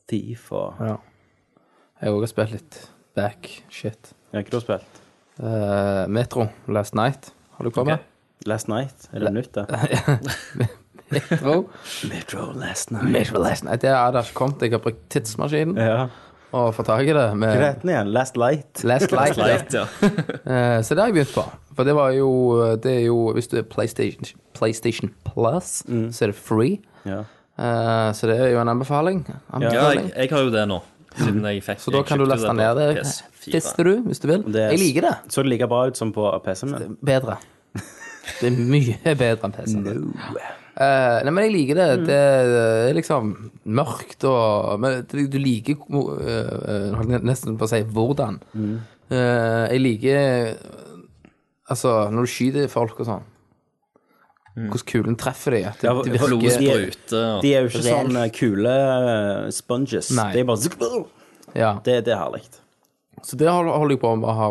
[SPEAKER 4] Thief og
[SPEAKER 5] Ja. Jeg har også spilt litt back shit.
[SPEAKER 4] Jeg har ikke du spilt?
[SPEAKER 5] Eh, Metro Last Night har du kommet.
[SPEAKER 4] Last Night? Er det nytt, det?
[SPEAKER 5] Metro.
[SPEAKER 4] Metro Last Night.
[SPEAKER 5] Metro Last Night. Det har det ikke kommet. Jeg har brukt tidsmaskinen
[SPEAKER 4] Ja.
[SPEAKER 5] og fått tak i det.
[SPEAKER 4] Hva
[SPEAKER 5] Med
[SPEAKER 4] heter den igjen? Last Light?
[SPEAKER 5] Last Light. ja.
[SPEAKER 2] Light, ja.
[SPEAKER 5] Eh, så det har jeg begynt på. For det var jo Det er jo Hvis du er PlayStation, PlayStation Plus, så er det free.
[SPEAKER 4] Ja.
[SPEAKER 5] Eh, så det er jo en anbefaling.
[SPEAKER 2] ja
[SPEAKER 5] anbefaling.
[SPEAKER 2] jeg, jeg har jo det nå. Siden jeg fikk
[SPEAKER 5] så da kan du laste ned det. Fister du, hvis du vil.
[SPEAKER 4] Det er-
[SPEAKER 5] Jeg liker det.
[SPEAKER 4] Så det like bra ut som på PC-en min?
[SPEAKER 5] Bedre. Det er mye bedre enn PC-en. Eh, nei, men jeg liker det. Det er liksom mørkt og Men du du liker eh, holdt jeg nesten på å si hvordan. Eh, jeg liker Altså, når du skyter folk og sånn Hvordan kulen treffer dem. At det,
[SPEAKER 4] Ja,
[SPEAKER 5] det
[SPEAKER 4] for-
[SPEAKER 2] Blodet
[SPEAKER 5] virker
[SPEAKER 2] sprute og
[SPEAKER 4] De er jo ikke sånn eh, kule eh, sponges.
[SPEAKER 5] Nei.
[SPEAKER 4] De er bare zzz-
[SPEAKER 5] ja.
[SPEAKER 4] Det, det er herlig.
[SPEAKER 5] Så det holder, holder jeg på med å ha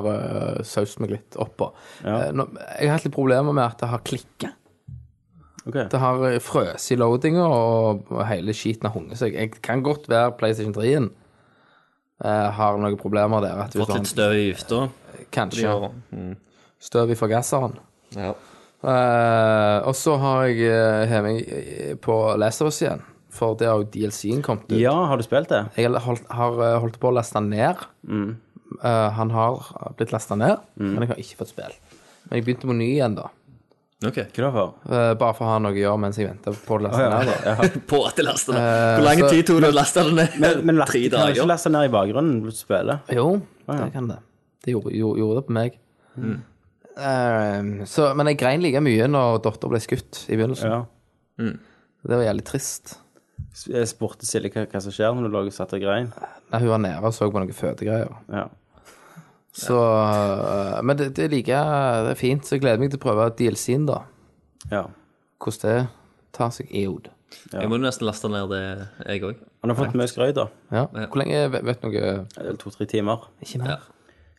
[SPEAKER 5] eh, saust meg litt oppå. Eh, nå- jeg har hatt litt problemer med at det har klikka.
[SPEAKER 4] Ok.
[SPEAKER 5] Det har eh, frøs i loadinga, og og hele skiten har hunget seg. Jeg kan godt være PlayStation 3-en eh, har noen problemer der. At hvis
[SPEAKER 2] fått
[SPEAKER 5] han,
[SPEAKER 2] litt støv i gifta.
[SPEAKER 5] kanskje
[SPEAKER 2] Ja.
[SPEAKER 5] støv i forgasseren.
[SPEAKER 2] Ja.
[SPEAKER 5] Eh, og så har jeg eh, hevet meg på Lazarus igjen, for der har jo DLC-en kommet ut.
[SPEAKER 4] Ja, har du spilt det?
[SPEAKER 5] Jeg har holdt, har eh, holdt på å laste han ned. Eh, han har blitt lasta ned, men jeg har ikke fått spill. Men jeg begynte på ny igjen, da.
[SPEAKER 2] Ok.
[SPEAKER 4] Hva da for?
[SPEAKER 5] Eh, bare for å ha noe å gjøre mens jeg venter på å laste ned. Da.
[SPEAKER 2] På at jeg lastet det.
[SPEAKER 5] Eh,
[SPEAKER 2] Hvor lang tid tok det å laste det ned?
[SPEAKER 4] Men, men last,
[SPEAKER 2] Tre
[SPEAKER 4] kan du ikke
[SPEAKER 2] dager.
[SPEAKER 4] laste ned i bakgrunnen når du spiller?
[SPEAKER 5] Jo, det kan det. Det gjorde, gjorde, gjorde det på meg. Eh, så, men jeg grein like mye når datter ble skutt i begynnelsen.
[SPEAKER 4] Ja.
[SPEAKER 5] Det var jævlig trist.
[SPEAKER 4] S- eh, Jeg spurte Silje hva, hva som skjer når du lå og satt og grein.
[SPEAKER 5] Nei, hun var nede og så på noen fødegreier.
[SPEAKER 4] Ja.
[SPEAKER 5] Så, eh, men det, det, er like, det er fint, så jeg gleder meg til å prøve DLC-en, da.
[SPEAKER 4] ja.
[SPEAKER 5] Hvordan det tar seg i hodet.
[SPEAKER 2] Jeg må jo nesten laste ned det, jeg òg.
[SPEAKER 4] Han har fått mye skrøy, da.
[SPEAKER 5] Ja. Hvor lenge vet, vet noe
[SPEAKER 4] To-tre timer.
[SPEAKER 5] Ikke mer.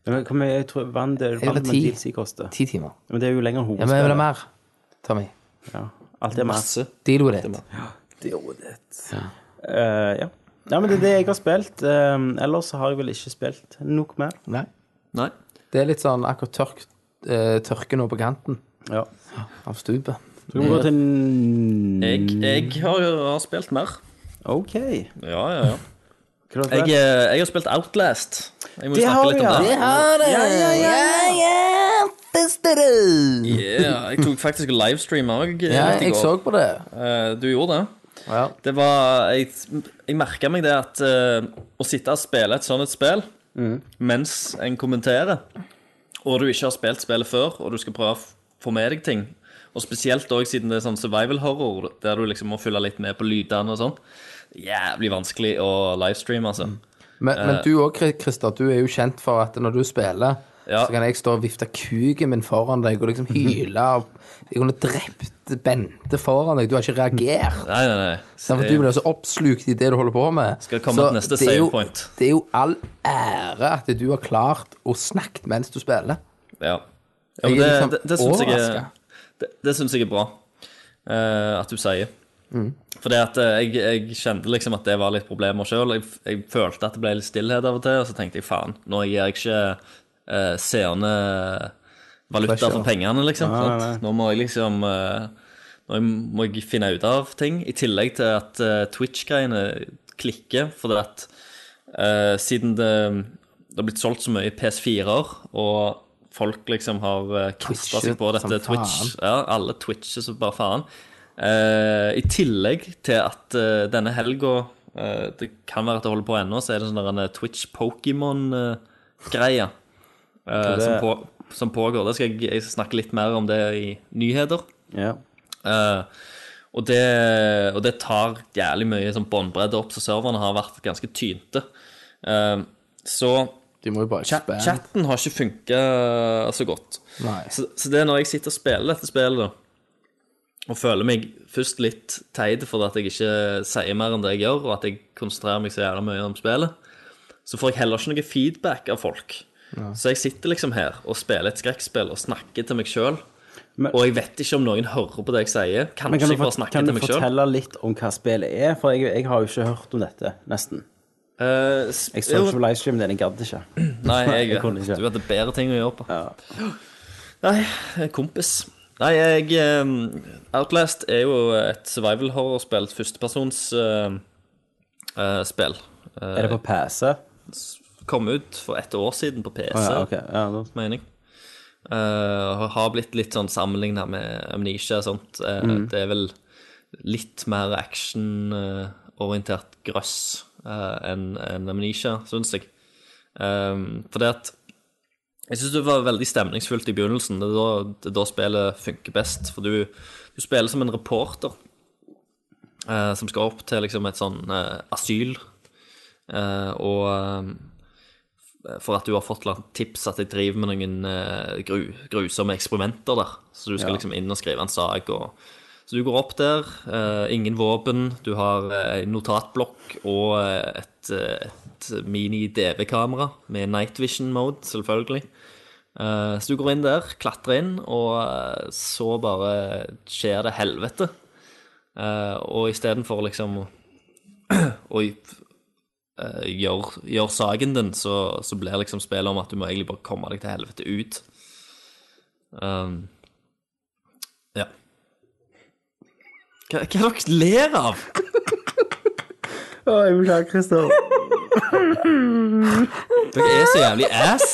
[SPEAKER 4] Men hvor mye jeg tror vann det
[SPEAKER 5] vil ha
[SPEAKER 4] vann med
[SPEAKER 5] ti.
[SPEAKER 4] DLC koster?
[SPEAKER 5] Ti timer.
[SPEAKER 4] Men det er jo lenger enn
[SPEAKER 5] Ja, men jeg vil
[SPEAKER 4] hovedspillet.
[SPEAKER 5] ha mer, Tommy.
[SPEAKER 4] Ja. Alt er masse.
[SPEAKER 5] Deal with it.
[SPEAKER 4] Eh, ja. ja, men det er det jeg har spilt. Eh, ellers så har jeg vel ikke spilt nok mer.
[SPEAKER 5] Nei.
[SPEAKER 2] Nei.
[SPEAKER 5] Det er litt sånn akkurat tørk, eh, tørke nå på kanten
[SPEAKER 4] Ja.
[SPEAKER 5] av stupet.
[SPEAKER 4] Så kan vi gå til n-
[SPEAKER 2] Jeg,
[SPEAKER 5] Mm.
[SPEAKER 2] jeg har, har spilt mer.
[SPEAKER 4] OK.
[SPEAKER 2] Ja, ja, ja.
[SPEAKER 4] Hva har du
[SPEAKER 2] Jeg,
[SPEAKER 4] spilt?
[SPEAKER 2] eh, jeg har spilt Outlast. Jeg må jo
[SPEAKER 4] Det har
[SPEAKER 2] snakke litt
[SPEAKER 4] vi,
[SPEAKER 2] om
[SPEAKER 4] ja.
[SPEAKER 2] det.
[SPEAKER 4] Ja, ja, ja.
[SPEAKER 2] Yeah, jeg tok faktisk livestream òg.
[SPEAKER 5] Ja, jeg så på det.
[SPEAKER 2] Eh, Du gjorde det?
[SPEAKER 5] Ja.
[SPEAKER 2] Det var Jeg, jeg merka meg det at eh, å sitte og spille et sånt et spill
[SPEAKER 5] Mm.
[SPEAKER 2] mens en kommenterer, og du ikke har spilt spillet før, og du skal prøve å f- få med deg ting, og spesielt òg siden det er sånn survival horror, der du liksom må følge litt med på lydene og sånn, jævlig vanskelig å livestreame,
[SPEAKER 5] Mm.
[SPEAKER 2] altså.
[SPEAKER 5] Men, men du òg, Christer, du er jo kjent for at når du spiller,
[SPEAKER 2] Ja. Mhm.
[SPEAKER 5] så kan jeg stå og vifte kuken min foran deg og liksom hyle. og Jeg kunne drept Bente foran deg. Du har ikke reagert.
[SPEAKER 2] Nei, nei, nei.
[SPEAKER 5] Det er for at du blir så oppslukt i det du holder på med.
[SPEAKER 2] Skal komme
[SPEAKER 5] Så
[SPEAKER 2] til neste
[SPEAKER 5] det er
[SPEAKER 2] save
[SPEAKER 5] jo-
[SPEAKER 2] point.
[SPEAKER 5] Det er jo all ære at du har klart å snakke mens du spiller.
[SPEAKER 2] Ja. ja men
[SPEAKER 5] Jeg
[SPEAKER 2] det,
[SPEAKER 5] er liksom
[SPEAKER 2] det, det syns jeg,
[SPEAKER 5] overrasket.
[SPEAKER 2] er- det, det synes jeg er bra eh, at du sier.
[SPEAKER 5] Mm.
[SPEAKER 2] For det at eh, jeg, jeg kjente liksom at det var litt problemer sjøl. Jeg, f- jeg følte at det ble litt stillhet av og til, og så tenkte jeg faen, nå gir jeg ikke uh, seerne valuta
[SPEAKER 5] Pressure.
[SPEAKER 2] for pengene, liksom. sant? Nå må jeg liksom eh, Nå må jeg finne ut av ting. I tillegg til at eh, Twitch-greiene klikker, for det at Eh, siden det, det har blitt solgt så mye PS4-er, og folk liksom har uh, kasta
[SPEAKER 5] Twitchet
[SPEAKER 2] seg på dette
[SPEAKER 5] som
[SPEAKER 2] Twitch Ja, alle twitcher som bare faen. Eh, I tillegg til at eh, denne helga eh, Det kan være at det holder på ennå, så er det sånn der en Twitch-Pokémon-greie eh, som, på, som pågår. Det skal jeg, jeg skal snakke litt mer om det i nyheter.
[SPEAKER 4] Ja.
[SPEAKER 2] Eh, og, det, og det tar jævlig mye sånn båndbredde opp, så serverne har vært ganske tynte. Eh, så
[SPEAKER 5] De må jo bare
[SPEAKER 2] chat,
[SPEAKER 5] spille.
[SPEAKER 2] chatten har ikke funka så godt.
[SPEAKER 5] Nei.
[SPEAKER 2] Så, så det er når jeg sitter og spiller dette spillet, da, og føler meg først litt teit for at jeg ikke sier mer enn det jeg gjør, og at jeg konsentrerer meg så jævla mye om spillet, så får jeg heller ikke noe feedback av folk. Så jeg sitter liksom her og spiller et skrekkspill og snakker til meg sjøl.
[SPEAKER 4] Men-
[SPEAKER 2] Og jeg vet ikke om noen hører på det jeg sier. Kanskje
[SPEAKER 4] Men kan du,
[SPEAKER 2] jeg bare
[SPEAKER 4] fort-
[SPEAKER 2] snakker
[SPEAKER 4] kan du
[SPEAKER 2] til meg sjøl.
[SPEAKER 4] fortelle litt om hva spillet er? For jeg, jeg har jo ikke hørt om dette, nesten. Jeg så ikke på livestream, den jeg gadd ikke.
[SPEAKER 2] Eh, Nei, jeg,
[SPEAKER 4] Jeg kunne ikke.
[SPEAKER 2] du hadde bedre ting å gjøre på. Nei, eh, kompis. Nei, jeg eh, Outlast er jo et survival horror-spill. et Førstepersons eh, eh, spill. Eh,
[SPEAKER 4] Er det på PC?
[SPEAKER 2] Kom ut for et år siden på PC,
[SPEAKER 4] Å ja, ok. Ja, da-
[SPEAKER 2] mener jeg. Eh, og har blitt litt sånn sammenligna med Amnesia og sånt. Eh, Det er vel litt mer actionorientert grøss eh, enn enn Amnesia, syns jeg. Um, fordi at Jeg syns det var veldig stemningsfullt i begynnelsen. Det er da, det er da spillet funker best. For du, du spiller som en reporter eh, som skal opp til liksom et sånn eh, asyl. Eh, og eh, for at du har fått noen tips at jeg driver med noen eh, gru, grusomme eksperimenter der. Så du skal liksom inn og skrive en sak. Og, så du går opp der. eh, ingen våpen. Du har eh, en notatblokk og eh, et, eh, et mini-DV-kamera med night vision mode, selvfølgelig. Eh, så du går inn der, klatrer inn, og eh, så bare skjer det helvete. Eh, og istedenfor liksom å eh, gjør, gjør saken din, så, så blir liksom spillet om at du må egentlig bare komme deg til helvete ut. Um, ja. Hva, hva er det dere ler av?
[SPEAKER 4] Å, jeg beklager, Christer.
[SPEAKER 2] Dere er så jævlig ass.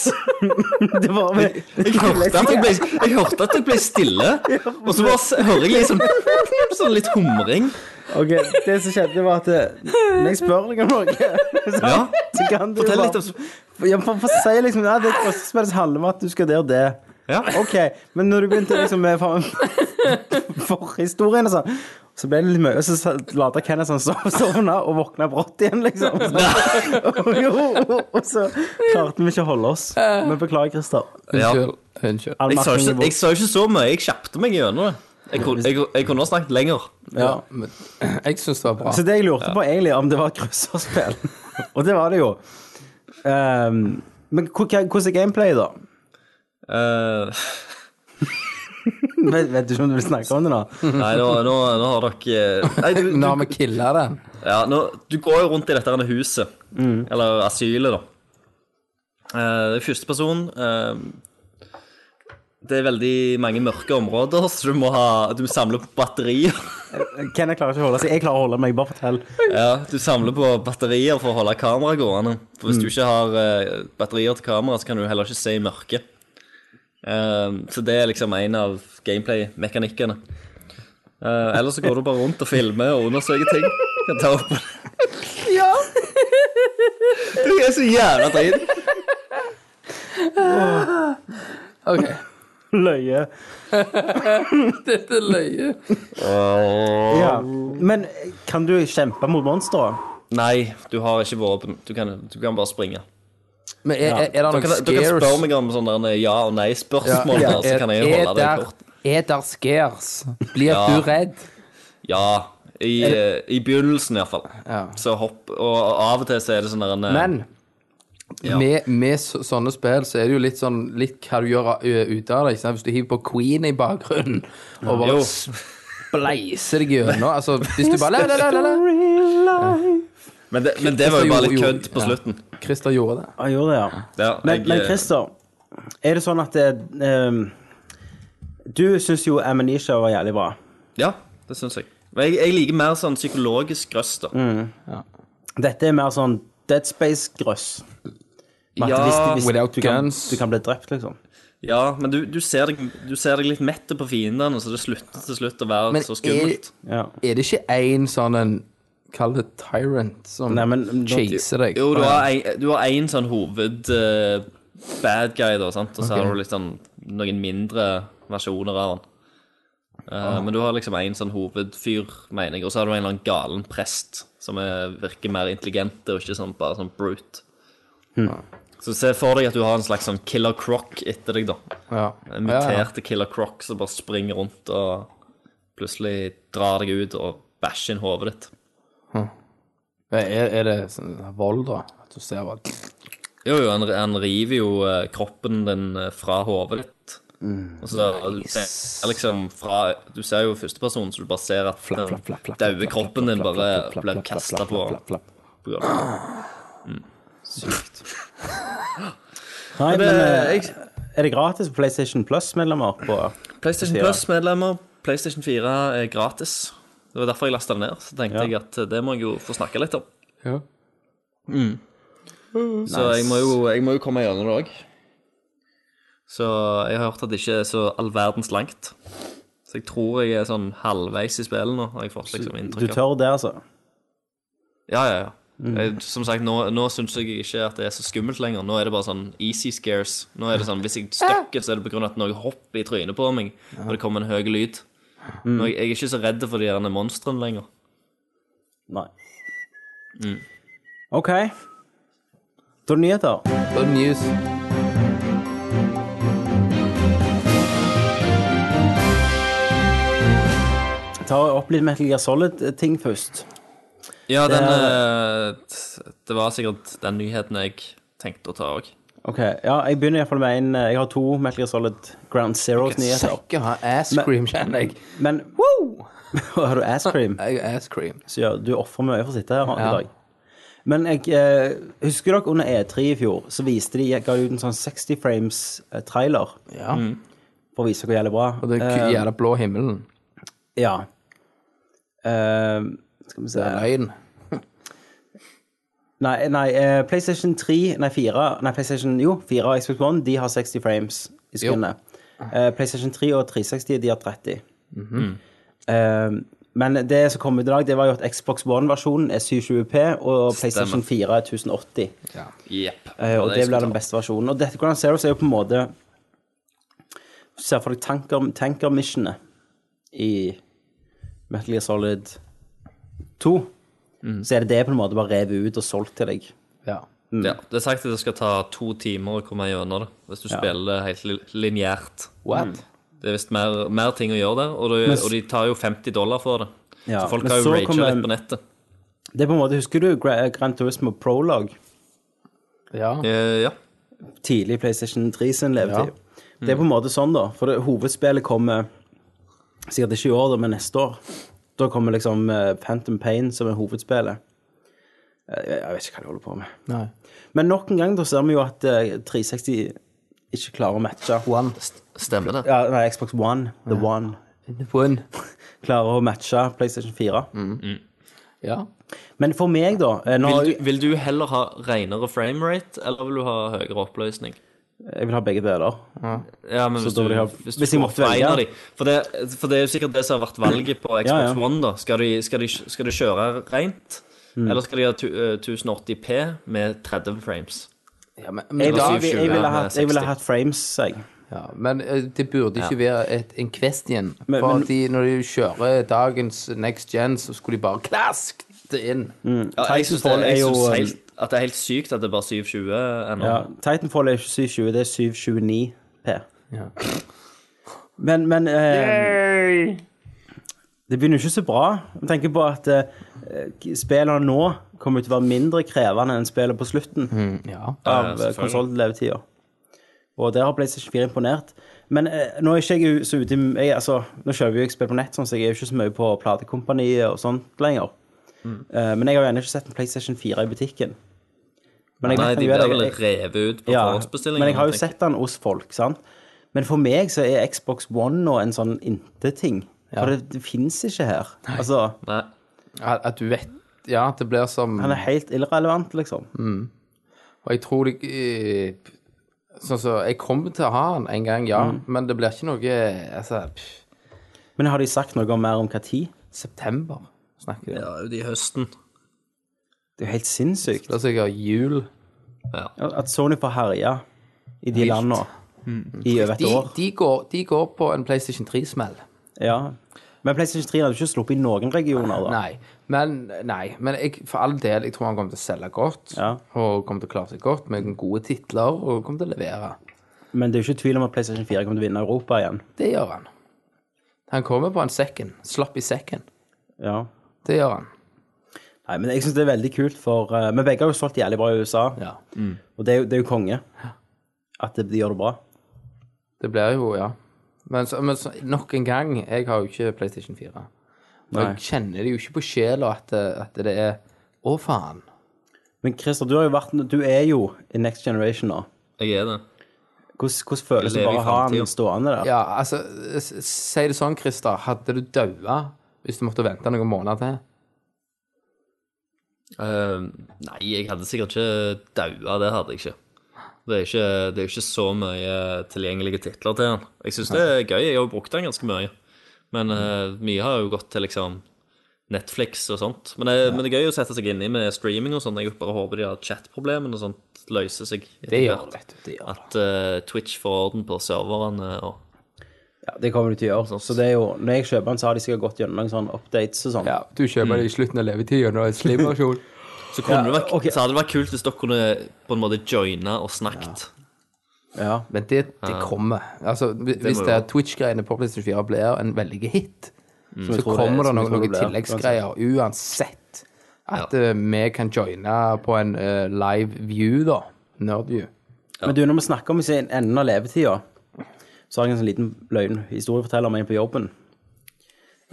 [SPEAKER 4] Det var meg.
[SPEAKER 2] Jeg hørte at jeg ble, jeg hørte at jeg ble stille, og så bare s- hører jeg liksom sånn litt humring.
[SPEAKER 4] Ok, det som skjedde, var at eh, når jeg spør deg om noe, så,
[SPEAKER 2] Ja.
[SPEAKER 4] så kan du
[SPEAKER 2] Fortell
[SPEAKER 4] bare-
[SPEAKER 2] litt om sp-
[SPEAKER 4] Ja, for, for å si liksom Nei, det er et puslespill som handler om at du skal det og det.
[SPEAKER 2] Ja.
[SPEAKER 4] OK, men når du begynte liksom med for, forhistorien og sånn, så ble det litt mye, og så lata Kenneth sånn sov- sovna og våkna brått igjen, liksom. Så, og, jo, og så klarte vi ikke å holde oss. Men beklager, Christer.
[SPEAKER 2] Ja.
[SPEAKER 5] Unnskyld. Unnskyld.
[SPEAKER 4] All
[SPEAKER 2] Jeg sa ikke,
[SPEAKER 4] markering er bort.
[SPEAKER 2] jeg sa ikke så mye. Jeg kjappte meg gjennom det. Jeg, kunne- jeg, jeg kunne ha snakket lenger.
[SPEAKER 4] ja.
[SPEAKER 5] Men jeg syns det var bra.
[SPEAKER 4] Så
[SPEAKER 2] Altså,
[SPEAKER 4] det jeg lurte på egentlig, om det var et krysserspill. og det var det jo. Ehm, men hvor- hva- hvordan er gameplayet, da?
[SPEAKER 2] Eh,
[SPEAKER 4] Vet, vet du ikke om du vil snakke om det nå?
[SPEAKER 2] nei, nå, nå, nå har dere eh, Nei, du,
[SPEAKER 5] Nå har vi killa den.
[SPEAKER 2] Ja, nå, du går jo rundt i dette her huset, eller asylet, da. Eh, det er første person. eh, det er veldig mange mørke områder, så du må ha Du samler på batterier.
[SPEAKER 4] Ken, jeg klarer ikke å holde seg. Jeg klarer å holde meg, bare fortell.
[SPEAKER 2] ja, du samler på batterier for å holde kameraet gående.
[SPEAKER 5] Mm.
[SPEAKER 2] For hvis du ikke har eh, batterier til kamera, så kan du heller ikke se i mørket. Eh, så det er liksom en av gameplay-mekanikkene. Eh, ellers så går du bare rundt og filmer og undersøker ting. Kan ta opp
[SPEAKER 1] Ja.
[SPEAKER 2] Du er så jævla drit.
[SPEAKER 5] OK.
[SPEAKER 4] Løye.
[SPEAKER 5] Dette er løye.
[SPEAKER 4] Ja. Men kan du kjempe mot monstre?
[SPEAKER 2] Nei, du har ikke våpen. Du kan, du kan bare springe.
[SPEAKER 5] Men er, er, er det
[SPEAKER 2] Du kan,
[SPEAKER 5] noe
[SPEAKER 2] du kan spørre
[SPEAKER 5] scares?
[SPEAKER 2] meg om sånne der eh, ja- og nei-spørsmål,
[SPEAKER 5] Ja,
[SPEAKER 2] der, så kan jeg holde det kort.
[SPEAKER 5] Er der scares? Blir
[SPEAKER 2] Ja.
[SPEAKER 5] du redd?
[SPEAKER 2] Ja. I, eh, I begynnelsen, iallfall.
[SPEAKER 5] Ja.
[SPEAKER 2] Så hopp Og av og til så er det sånn der en eh,
[SPEAKER 5] Men
[SPEAKER 2] Ja.
[SPEAKER 5] med, med så, sånne spill så er det jo litt sånn litt hva du gjør ø, ut av det. Ikke sant? Hvis du hiver på Queen i bakgrunnen og bare
[SPEAKER 2] Jo.
[SPEAKER 5] spleiser deg gjennom altså, Hvis du bare la, la, la, la, la.
[SPEAKER 2] Men det, men det var jo
[SPEAKER 5] Jo,
[SPEAKER 2] bare litt
[SPEAKER 5] jo,
[SPEAKER 2] kødd på
[SPEAKER 5] ja.
[SPEAKER 2] slutten.
[SPEAKER 5] Christer gjorde det.
[SPEAKER 4] Ja, gjorde det, ja.
[SPEAKER 2] Ja,
[SPEAKER 4] Men,
[SPEAKER 2] jeg,
[SPEAKER 4] men
[SPEAKER 2] eh,
[SPEAKER 4] Christer, er det sånn at det, ehm, Du syns jo Amnesia var jævlig bra.
[SPEAKER 2] Ja, det syns jeg. Men jeg, jeg liker mer sånn psykologisk røst, da.
[SPEAKER 5] Mm.
[SPEAKER 4] Dette er mer sånn Dead Space-grøss. Med at
[SPEAKER 2] Ja,
[SPEAKER 5] without
[SPEAKER 4] du kan,
[SPEAKER 5] guns.
[SPEAKER 4] Du kan bli drept, liksom.
[SPEAKER 2] Ja, men du, du, ser deg, du ser deg litt mett på fiendene, så det slutter til slutt å være
[SPEAKER 5] Men
[SPEAKER 2] så
[SPEAKER 5] er,
[SPEAKER 2] skummelt.
[SPEAKER 4] Ja.
[SPEAKER 5] er det ikke én sånn en Kall det tyrant som
[SPEAKER 4] Nei, men-
[SPEAKER 5] chaser deg.
[SPEAKER 2] Jo, du har en, du har en sånn hoved eh, bad guy, da, sant? og så har du litt sånn noen mindre versjoner av han. Eh,
[SPEAKER 5] Ah.
[SPEAKER 2] Men du har liksom en sånn hovedfyr, mener jeg, og så har du en eller annen galen prest som er, virker mer intelligent og ikke sånn, bare sånn brute.
[SPEAKER 5] Hm.
[SPEAKER 2] Ah. Så se for deg at du har en slags sånn killer croc etter deg, da.
[SPEAKER 5] Ja.
[SPEAKER 2] En
[SPEAKER 5] Ja, ja.
[SPEAKER 2] muterte killer croc som bare springer rundt og plutselig drar deg ut og bæsjer inn hodet ditt.
[SPEAKER 5] Er, er det sånn vold, da? At du ser bare
[SPEAKER 2] Jo, jo, han, han river jo eh, kroppen din eh, fra hodet ditt. Og så du ser liksom fra Du ser jo førstepersonen, så du bare ser at
[SPEAKER 4] Flapp, flapp, flapp, flapp,
[SPEAKER 2] den
[SPEAKER 4] flapp,
[SPEAKER 2] daue kroppen din bare blir kasta på på gulvet. Sykt.
[SPEAKER 4] Nei, men,
[SPEAKER 2] Men,
[SPEAKER 4] eh,
[SPEAKER 2] eh, jeg,
[SPEAKER 4] er det gratis for PlayStation Plus-medlemmer? på
[SPEAKER 2] PlayStation
[SPEAKER 4] sier
[SPEAKER 2] Plus-medlemmer, PlayStation 4 er gratis. Det var derfor jeg lasta det ned. Så tenkte jeg at eh, det må jeg jo få snakke litt om. Mm.
[SPEAKER 5] Ja.
[SPEAKER 2] Så jeg, må jo, jeg må jo komme gjennom det òg. Så jeg har hørt at det ikke er så all verdens langt. Så jeg tror jeg er sånn halvveis i spillet nå. Har jeg fått liksom
[SPEAKER 4] Du
[SPEAKER 2] inntrykk av.
[SPEAKER 4] tør det, altså?
[SPEAKER 2] Ja, ja, ja.
[SPEAKER 4] Mm.
[SPEAKER 2] Jeg, som sagt, nå, nå syns jeg ikke at det er så skummelt lenger. Nå er det bare sånn easy scares. Nå er det sånn, Hvis jeg støkker, så er det pga. at noe hopper i trynet på meg, og det kommer en høy lyd.
[SPEAKER 4] Mm.
[SPEAKER 2] Nå, jeg, jeg er ikke så redd for de gjerne monstrene lenger.
[SPEAKER 4] Nei.
[SPEAKER 2] Mm.
[SPEAKER 4] OK. Da er det nyheter.
[SPEAKER 5] Da er det news.
[SPEAKER 4] Ta opp litt Metal Gear Solid-ting først.
[SPEAKER 2] Ja,
[SPEAKER 4] Det
[SPEAKER 2] den,
[SPEAKER 4] er-
[SPEAKER 2] eh, t- det var sikkert den nyheten jeg tenkte å ta òg.
[SPEAKER 4] Ok, ja, Jeg begynner i hvert fall med en eh, Jeg har to Metal Gear Solid Ground Zeros-nyheter.
[SPEAKER 5] Sekker har ass cream, kjenner jeg.
[SPEAKER 4] Men Woo! Har du ass cream,
[SPEAKER 5] Jeg har ass cream.
[SPEAKER 4] så ja, du ofrer mye for å sitte her
[SPEAKER 5] Ja.
[SPEAKER 4] i dag. Men jeg eh, husker dere under E3 i fjor, så viste de ga de ut en sånn 60 frames-trailer
[SPEAKER 5] Ja.
[SPEAKER 4] for å vise hvor jævlig bra.
[SPEAKER 5] Og den
[SPEAKER 4] Eh,
[SPEAKER 5] ku- jævla blå himmelen.
[SPEAKER 4] ja. Eh, skal vi se
[SPEAKER 5] Det er løgn.
[SPEAKER 4] Nei, nei eh, PlayStation 3, nei 4, nei PlayStation, jo, 4 og Xbox One, de har 60 frames i sekundet. Eh, PlayStation 3 og 360, de har 30. Eh, men det som kom ut i dag, det var jo at Xbox One-versjonen er 720p, og PlayStation 4 er 1080.
[SPEAKER 5] Ja.
[SPEAKER 2] Jepp.
[SPEAKER 4] Eh, og
[SPEAKER 2] er
[SPEAKER 4] det
[SPEAKER 2] jeg
[SPEAKER 4] blir
[SPEAKER 2] skulle
[SPEAKER 4] den
[SPEAKER 2] ta.
[SPEAKER 4] beste versjonen. Og dette Grand Zeros er jo på en måte Du ser for deg tanker- tanker-missionet i Metal Gear Solid 2. Så er det det på en måte bare revet ut og solgt til deg.
[SPEAKER 5] ja.
[SPEAKER 2] Ja, det er sagt at det skal ta to timer å komme gjennom det, hvis du spiller det helt li- lineært.
[SPEAKER 5] What?
[SPEAKER 2] Det er visst mer, mer ting å gjøre der, og, det,
[SPEAKER 4] Men s-
[SPEAKER 2] og de tar jo 50 dollar for det.
[SPEAKER 4] Ja,
[SPEAKER 2] så folk
[SPEAKER 4] men
[SPEAKER 2] har
[SPEAKER 4] så
[SPEAKER 2] jo raget
[SPEAKER 4] kommer-
[SPEAKER 2] litt på nettet.
[SPEAKER 4] Det er på en måte, Husker du Gra- Gran Turismo Prologue?
[SPEAKER 5] Ja.
[SPEAKER 2] Eh, ja.
[SPEAKER 4] Tidlig i PlayStation 3 sin levetid. Det er på en måte sånn, da. For det, hovedspillet kommer sikkert ikke i år, da, men neste år. Da kommer liksom eh, Phantom Pain, som er hovedspillet. Eh, Jeg, jeg vet ikke hva de holder på med.
[SPEAKER 5] Nei.
[SPEAKER 4] Men nok en gang da ser vi jo at eh, 360 ikke klarer å matche.
[SPEAKER 5] One.
[SPEAKER 2] Stemmer det.
[SPEAKER 4] Ja, nei, Xbox One, The One,
[SPEAKER 5] One.
[SPEAKER 4] klarer å matche PlayStation 4.
[SPEAKER 5] Ja.
[SPEAKER 4] Men for meg, da eh, nå,
[SPEAKER 2] Vil du, vil du heller ha renere framerate, eller vil du ha høyere oppløsning?
[SPEAKER 4] Jeg vil ha begge deler.
[SPEAKER 2] Ja, men hvis,
[SPEAKER 4] da
[SPEAKER 2] du,
[SPEAKER 4] vil jeg ha-
[SPEAKER 2] hvis,
[SPEAKER 4] hvis
[SPEAKER 2] du
[SPEAKER 4] jeg
[SPEAKER 2] får
[SPEAKER 4] måtte velge.
[SPEAKER 2] en av de. For det, for det er jo sikkert det som har vært valget på Xbox
[SPEAKER 4] Ja, ja.
[SPEAKER 2] One. da Skal de, skal de, skal de kjøre rent,
[SPEAKER 4] Mm.
[SPEAKER 2] eller skal de ha tu- eh, 1080P med 30 frames?
[SPEAKER 5] ja men, men,
[SPEAKER 4] Jeg,
[SPEAKER 2] vil
[SPEAKER 5] da,
[SPEAKER 2] ha
[SPEAKER 4] jeg, jeg, ville hatt- jeg ville
[SPEAKER 2] 60.
[SPEAKER 4] hatt frames, jeg.
[SPEAKER 5] ja, men eh, det burde ikke være et, en question.
[SPEAKER 4] Men-
[SPEAKER 5] For
[SPEAKER 4] men-
[SPEAKER 5] at de, når de kjører dagens Next Gen, så skulle de bare klask det inn.
[SPEAKER 2] Ja, jeg syns det,
[SPEAKER 4] Titanfall
[SPEAKER 2] jeg
[SPEAKER 4] er jo-
[SPEAKER 2] synes helt, at det er helt sykt at det er bare 720 ennå.
[SPEAKER 4] Ja, Titanfall er ikke 720, det er 729P.
[SPEAKER 5] Ja.
[SPEAKER 4] Men, men eh, Det begynner jo ikke så bra. Jeg tenker på at eh, spillene nå kommer til å være mindre krevende enn spillet på slutten
[SPEAKER 5] Ja.
[SPEAKER 2] Mhm.
[SPEAKER 4] av eh,
[SPEAKER 2] selvfølgelig.
[SPEAKER 4] konsolllevetida. Og der har PlayStation 4 imponert. Men eh, nå er ikke jeg jo så ute i- jeg, altså, Nå kjøper jo jeg spill på nett, sånn, så jeg er jo ikke så mye på platekompaniet og sånt lenger.
[SPEAKER 2] Mm.
[SPEAKER 4] Eh, men jeg har jo ennå ikke sett en PlayStation 4 i butikken. Men jeg
[SPEAKER 2] Nei,
[SPEAKER 4] vet
[SPEAKER 2] de
[SPEAKER 4] jo at
[SPEAKER 2] blir
[SPEAKER 4] jeg-
[SPEAKER 2] vel
[SPEAKER 4] jeg-
[SPEAKER 2] revet ut på
[SPEAKER 4] Ja,
[SPEAKER 2] forhåndsbestillingen.
[SPEAKER 4] Men jeg har jo
[SPEAKER 2] tenker
[SPEAKER 4] sett den hos folk, sant. Men for meg så er Xbox One nå en sånn inteting. For det, det fins ikke her. Altså,
[SPEAKER 2] Nei.
[SPEAKER 5] At, at du vet Ja, at det blir som
[SPEAKER 4] han er helt irrelevant, liksom.
[SPEAKER 5] Og jeg tror det eh, Sånn så, Jeg kommer til å ha den en gang, ja, men det blir ikke noe altså, pff,
[SPEAKER 4] Men har de sagt noe om mer om hva tid?
[SPEAKER 5] September snakker vi om.
[SPEAKER 2] Ja, det er jo de i høsten.
[SPEAKER 4] Det er jo helt sinnssykt.
[SPEAKER 5] Det er sikkert jul.
[SPEAKER 4] At Sony får herje i de landene i over
[SPEAKER 5] Mm.
[SPEAKER 4] et
[SPEAKER 5] De,
[SPEAKER 4] år.
[SPEAKER 5] de, går, de går på en PlayStation 3-smell.
[SPEAKER 4] Ja. Men PlayStation 3 hadde ikke sluppet i noen regioner, da.
[SPEAKER 5] Nei. Men, nei, men jeg, for all del, jeg tror han kommer til å selge godt.
[SPEAKER 4] Ja.
[SPEAKER 5] Og kommer til å klare seg godt med gode titler og kommer til å levere.
[SPEAKER 4] Men det er jo ikke tvil om at PlayStation 4 kommer til å vinne Europa igjen.
[SPEAKER 5] Det gjør han. Han kommer på en second. Slapp i second.
[SPEAKER 4] Ja.
[SPEAKER 5] Det gjør han.
[SPEAKER 4] Nei, men jeg syns det er veldig kult, for eh, Men begge har jo solgt jævlig bra i USA.
[SPEAKER 5] Ja.
[SPEAKER 4] Og det er, jo, det er jo konge at de, de gjør det bra.
[SPEAKER 5] Det blir jo, ja. Men, så, men så, nok en gang, jeg har jo ikke PlayStation 4. Og
[SPEAKER 4] Nei.
[SPEAKER 5] jeg kjenner det jo ikke på sjela at, det- at det er Å, faen.
[SPEAKER 4] Men Christer, du, har jo vært, du er jo i Next Generation nå.
[SPEAKER 2] Jeg er det.
[SPEAKER 4] Hvordan, hvordan føles det
[SPEAKER 2] Jeg lever i
[SPEAKER 4] bare å ha
[SPEAKER 2] fremtiden.
[SPEAKER 4] han stående der?
[SPEAKER 5] Ja, altså, s- si det sånn, Christer. Hadde du daua hvis du måtte vente noen måneder til?
[SPEAKER 2] Eh, nei, jeg hadde sikkert ikke daua, det hadde jeg ikke. Det er ikke, det er ikke så mye tilgjengelige titler til han. Jeg syns det er gøy, jeg har jo brukt den ganske mye. Men eh, mye har jo gått til liksom Netflix og sånt. Men det, men det er gøy å sette seg inni med streaming og sånn. Jeg bare håper de har chatproblemene og sånt løser seg.
[SPEAKER 5] Det
[SPEAKER 2] etter
[SPEAKER 5] gjør
[SPEAKER 2] hvert.
[SPEAKER 5] det, vet du, det gjør
[SPEAKER 2] At eh, Twitch får orden på serverne og
[SPEAKER 4] Ja, det kommer du til å gjøre. Så det er jo, når jeg kjøper den, så har de sikkert gått gjennom noen sånne updates og sånn.
[SPEAKER 5] Ja, du kjøper det i slutten av levetida når det er slim versjon.
[SPEAKER 2] så, kunne det vært,
[SPEAKER 4] ok.
[SPEAKER 2] så hadde det vært kult hvis dere kunne på en måte joina og snakket.
[SPEAKER 4] Ja.
[SPEAKER 5] Men det, det kommer. Altså, hvi- hvis
[SPEAKER 2] må
[SPEAKER 5] det
[SPEAKER 2] jo-
[SPEAKER 5] er Twitch-greiene på PlayStation 4 blir en veldig hit, så
[SPEAKER 4] jeg tror det-
[SPEAKER 5] kommer det
[SPEAKER 4] som jeg
[SPEAKER 5] noen,
[SPEAKER 4] tror det
[SPEAKER 5] noen
[SPEAKER 4] blir,
[SPEAKER 5] tilleggsgreier uansett. At eh, vi kan joine på en eh, live view, da. Nerdview.
[SPEAKER 4] Men du, når vi snakker om i sin- enden av levetida, så har jeg en sånn liten løgn historieforteller med inn på jobben,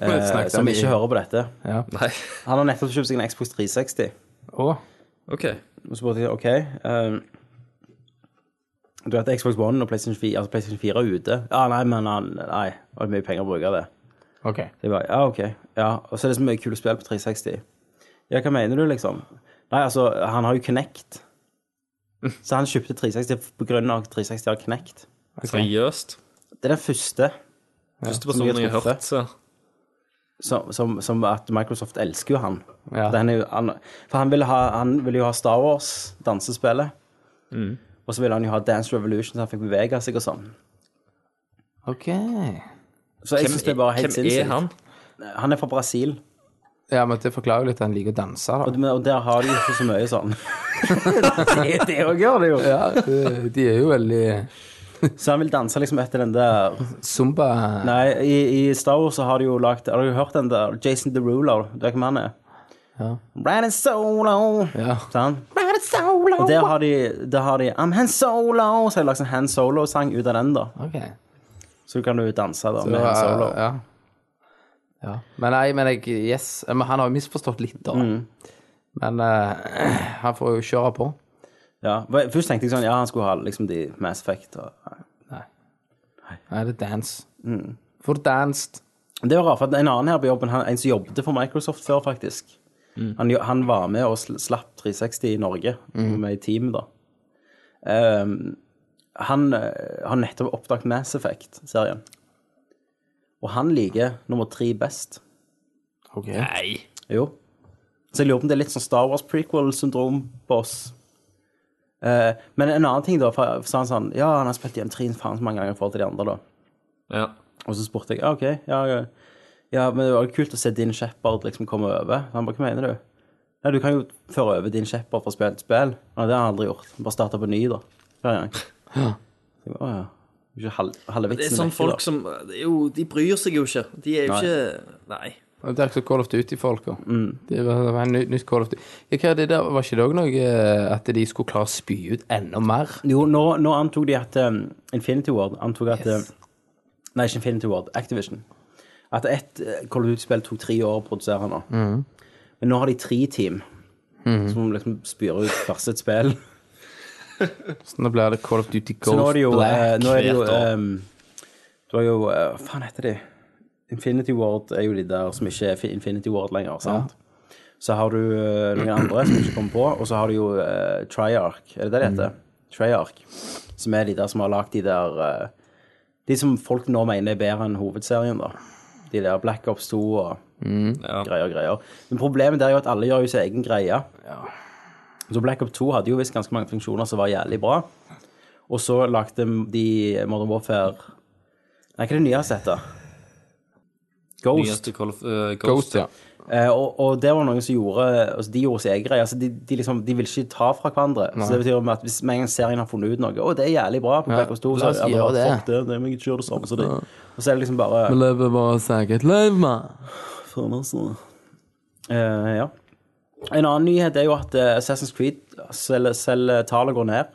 [SPEAKER 4] eh, som ikke hører på dette.
[SPEAKER 5] Ja.
[SPEAKER 2] Nei.
[SPEAKER 4] Han har nettopp kjøpt seg en Xbox 360.
[SPEAKER 5] Å,
[SPEAKER 2] OK.
[SPEAKER 4] Og så spurte jeg OK eh, Du vet Xbox One og PlayStation 4, altså PlayStation 4 er ute. Ja, nei, men han, nei, det var mye penger å bruke av det.
[SPEAKER 5] OK.
[SPEAKER 4] Det var, ja, ok. Ja, og så er det så mye kule spill på 360. Ja, hva mener du, liksom? Nei, altså, han har jo Kinect. Så han kjøpte 360 på grunn av at 360 har Kinect.
[SPEAKER 2] Seriøst.
[SPEAKER 4] Det er den første
[SPEAKER 2] Første personen jeg har hørt, så
[SPEAKER 4] som, som, som at Microsoft elsker jo han.
[SPEAKER 5] Ja.
[SPEAKER 4] For, han er jo, han, for han, ville ha, han ville jo ha Star Wars, dansespillet. Og så ville han jo ha Dance Revolution, så han fikk bevege seg og sånn.
[SPEAKER 5] Ok.
[SPEAKER 4] Så jeg synes det er bare helt
[SPEAKER 2] hvem er
[SPEAKER 4] sinnssykt.
[SPEAKER 2] han?
[SPEAKER 4] Han er fra Brasil,
[SPEAKER 5] Ja, men det forklarer jo litt at han liker å danse, da.
[SPEAKER 4] og, og der har de jo ikke så mye sånn. det, det også gjør det jo.
[SPEAKER 5] Ja, eh, de er jo veldig
[SPEAKER 4] Så han vil danse liksom etter den der
[SPEAKER 5] Zumba
[SPEAKER 4] Nei, i, i Star Wars så har de jo lagt Har du hørt den der Jason Derulo? Du vet hvem han er?
[SPEAKER 5] Ja.
[SPEAKER 4] Riding solo.
[SPEAKER 5] Ja.
[SPEAKER 4] Sånn. solo. Og der har de, der har de I'm Han Solo. Så har de lagt en Han Solo-sang ut av den, da.
[SPEAKER 5] OK.
[SPEAKER 4] Så kan du danse da med
[SPEAKER 5] Ja,
[SPEAKER 4] Han Solo.
[SPEAKER 5] ja. ja. Men nei, men jeg Yes. Men han har jo misforstått litt, da.
[SPEAKER 4] Mm.
[SPEAKER 5] Men eh, han får jo kjøre på.
[SPEAKER 4] Ja. for Først tenkte jeg sånn Ja, han skulle ha liksom de Mass Effect og
[SPEAKER 5] Nei, det er dance.
[SPEAKER 4] Mm.
[SPEAKER 5] For danced.
[SPEAKER 4] Det var rart, for en annen her på jobben, han, en som jobbet for Microsoft før, faktisk han, jo- han var med og sl- slapp 360 i Norge, med i team da. Ehm, han eh, har nettopp oppdaget Mass Effect-serien. Og han liker nummer tre best.
[SPEAKER 5] Ok.
[SPEAKER 2] Nei.
[SPEAKER 4] Jo. Så jeg lurer på om det er litt sånn Star Wars prequel-syndrom på oss. Eh, men en annen ting da, for, for sa han sånn, ja, han har spilt igjen treen faen så mange ganger i forhold til de andre da.
[SPEAKER 2] Ja.
[SPEAKER 4] Og så spurte jeg «Ja, OK, ja, ja, ja, men det var jo kult å se din Shepherd liksom komme over. Han bare, hva mener du? Nei, du kan jo føre over din Shepherd fra spill til spill. Nei, det har han aldri gjort. Han bare starta på ny, da. Hver gang. Så jeg bare, «Å, ja. Det er Ikke halv, halve
[SPEAKER 2] Det er
[SPEAKER 4] vitsen
[SPEAKER 2] sånn
[SPEAKER 4] vekke,
[SPEAKER 2] folk
[SPEAKER 4] da.
[SPEAKER 2] som det er jo, De bryr seg jo ikke. De er jo ikke Nei.
[SPEAKER 5] Og Det er ikke så Call of Duty-folk. og.
[SPEAKER 4] Mm.
[SPEAKER 5] Det var, det var en ny, nytt Call of Duty. Ja, hva er det der? Var ikke det òg noe eh, at de skulle klare å spy ut enda mer?
[SPEAKER 4] Jo, nå, nå antok de at um, Infinity Ward antok at
[SPEAKER 5] Yes.
[SPEAKER 4] um, Nei, ikke Infinity Ward, Activision. At ett uh, Call of Duty-spill tok tre år å produsere nå.
[SPEAKER 2] Mhm.
[SPEAKER 4] Men nå har de tre team som liksom spyr ut hvert sitt spill.
[SPEAKER 5] Så nå blir det Call of Duty
[SPEAKER 4] Så
[SPEAKER 5] Ghost
[SPEAKER 4] nå er det jo,
[SPEAKER 5] Black.
[SPEAKER 4] eh, nå er det jo
[SPEAKER 2] hvert år.
[SPEAKER 4] ehm, Du har jo eh, Hva faen heter de? Infinity Ward er jo de der som ikke er fi- Infinity Ward lenger, sant? Så har du eh, noen andre som ikke kommer på, og så har du jo eh, Triarch, er det det det heter? Triarch. Som er de der som har lagd de der eh, De som folk nå mener er bedre enn hovedserien, da. De der Black Ops 2 og
[SPEAKER 5] Mm.
[SPEAKER 4] greier greier. Men problemet der er jo at alle gjør jo sin egen greie. Så Black Ops 2 hadde jo visst ganske mange funksjoner som var jævlig bra. Og så lagde de Modern Warfare Nei, hva er det nye jeg har sett, da? Ghost.
[SPEAKER 2] Nyeste Call of, eh,
[SPEAKER 5] Ghost, ja.
[SPEAKER 4] Eh, og, og det var noen som gjorde altså De gjorde sin egen greie. Altså de, de, liksom, de vil ikke ta fra hverandre. Så det betyr jo at hvis med en gang serien har funnet ut noe Å, det er jævlig bra på Black Ops 2,
[SPEAKER 5] la
[SPEAKER 4] så
[SPEAKER 5] oss
[SPEAKER 4] er det
[SPEAKER 5] gjøre
[SPEAKER 4] bare,
[SPEAKER 5] det.
[SPEAKER 4] fuck det. det må jeg ikke gjøre det samme som de. Og så er det liksom bare
[SPEAKER 5] Vi lever vårt eget liv, mann.
[SPEAKER 4] Faen, altså. Eh, ja. En annen nyhet er jo at eh, Assassin's Creed selger, selger tallet går ned.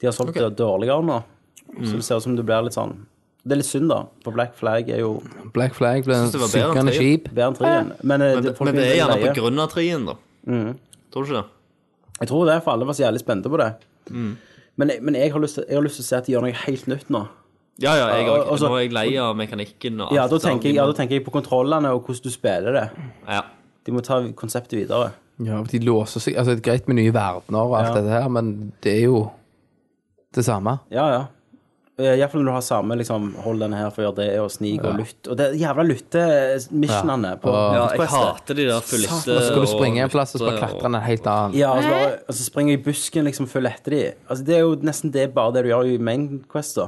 [SPEAKER 4] De har solgt det dårligere nå. Så det ser ut som du blir litt sånn Det er litt synd, da, for Black Flag er jo
[SPEAKER 5] Black Flag ble en
[SPEAKER 2] det var bedre enn
[SPEAKER 5] synkende
[SPEAKER 2] tre.
[SPEAKER 5] skip.
[SPEAKER 4] bedre enn trien. Men, eh,
[SPEAKER 2] Men det,
[SPEAKER 4] folk
[SPEAKER 2] men
[SPEAKER 4] Mhm.
[SPEAKER 2] det
[SPEAKER 4] blir
[SPEAKER 2] er gjerne
[SPEAKER 4] leie.
[SPEAKER 2] på grunn av trien, da. Tror du ikke det?
[SPEAKER 4] Jeg tror det, for alle var så jævlig spente på det. Men, jeg- men jeg, har lyst til, jeg har lyst til å se at de gjør noe helt nytt nå.
[SPEAKER 2] Ja, ja, jeg,
[SPEAKER 4] Og- og så-
[SPEAKER 2] nå er jeg lei av mekanikken og alt.
[SPEAKER 4] Ja, da
[SPEAKER 2] av-
[SPEAKER 4] tenker jeg, ja, da tenker jeg på kontrollene og hvordan du spiller det.
[SPEAKER 2] Ja.
[SPEAKER 4] De må ta konseptet videre.
[SPEAKER 5] Ja, for de låser seg Altså, det er greit med nye verdener og alt
[SPEAKER 4] Ja.
[SPEAKER 5] dette her, men det er jo det samme.
[SPEAKER 4] Ja, Eh, ja. Iallfall når du har samme liksom, hold denne her for å gjøre det, og snik og lytt. Og det er jævla lytte-missionene på
[SPEAKER 2] ja,
[SPEAKER 4] på
[SPEAKER 2] jeg
[SPEAKER 4] Quest, det.
[SPEAKER 2] hater de der fulliste
[SPEAKER 5] Da skal du springe en
[SPEAKER 2] og-
[SPEAKER 5] plass og så bare
[SPEAKER 2] og-
[SPEAKER 5] klatre ned en helt annen.
[SPEAKER 4] Ja, og så, bare, og så springer jeg i busken liksom før jeg letter de. Altså, det er jo nesten det bare det du gjør i main quest, da.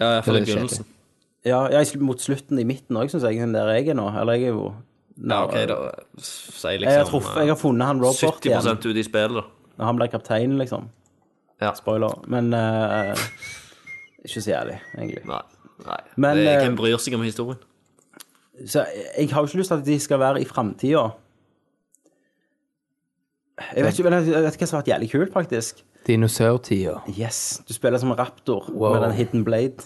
[SPEAKER 2] Ja, jeg får
[SPEAKER 5] Det
[SPEAKER 2] det
[SPEAKER 5] er
[SPEAKER 2] i begynnelsen.
[SPEAKER 4] Ja, ja i sl- mot slutten i midten òg, syns jeg, den der jeg er nå. Eller jeg er jo
[SPEAKER 2] Ja, OK, da sier
[SPEAKER 4] eh, Jeg har,
[SPEAKER 2] liksom
[SPEAKER 4] truffet, jeg har funnet han Robert igjen.
[SPEAKER 2] 70 ut i spillet, da.
[SPEAKER 4] Når han ble kaptein, liksom.
[SPEAKER 2] Ja.
[SPEAKER 4] Spoiler. Men eh, ikke så jævlig, egentlig.
[SPEAKER 2] Nei. nei.
[SPEAKER 4] Men,
[SPEAKER 2] det,
[SPEAKER 4] eh,
[SPEAKER 2] hvem bryr seg om historien?
[SPEAKER 4] Så jeg, jeg har jo ikke lyst til at de skal være i framtida. Jeg vet ikke men jeg jeg vet ikke hva som har vært jævlig kult, faktisk.
[SPEAKER 5] Dinosaurtida.
[SPEAKER 4] Yes, Du spiller som en raptor
[SPEAKER 5] Wow.
[SPEAKER 4] med den hidden blade.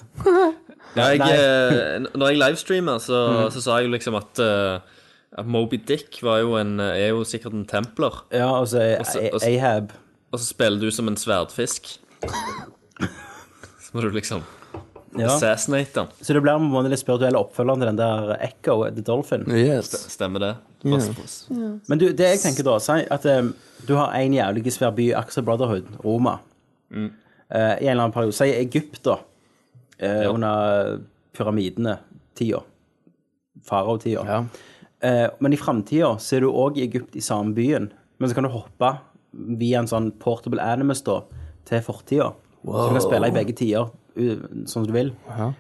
[SPEAKER 2] Ja, jeg,
[SPEAKER 4] Nei. Mm.
[SPEAKER 2] eh, n- når jeg livestreamer, så, så sa jeg jo liksom at, eh, at Moby Dick var jo en, er jo sikkert en templer.
[SPEAKER 4] Ja, og så er
[SPEAKER 2] så- og så-
[SPEAKER 4] Eh, Ahab
[SPEAKER 2] Og så spiller du som en sverdfisk. Så må du liksom
[SPEAKER 4] ja.
[SPEAKER 2] assassinate den.
[SPEAKER 4] Så det blir på en måte litt spirituelle oppfølgeren til den der Echo the Dolphin.
[SPEAKER 5] Yes.
[SPEAKER 2] Stemmer det? Fast- fast.
[SPEAKER 4] Men du, det jeg tenker da, si at eh, du har en jævlig svær by, Axel Brotherhood, Roma. Eh, I en eller annen periode. Si Egypt, da. eh, Under pyramidene-tida. Farao-tida.
[SPEAKER 5] Ja.
[SPEAKER 4] Eh, men i framtida så er du òg i Egypt, i samme byen. Men så kan du hoppe via en sånn portable animus da, til fortida. Så du kan spille i begge tider u- sånn som du vil.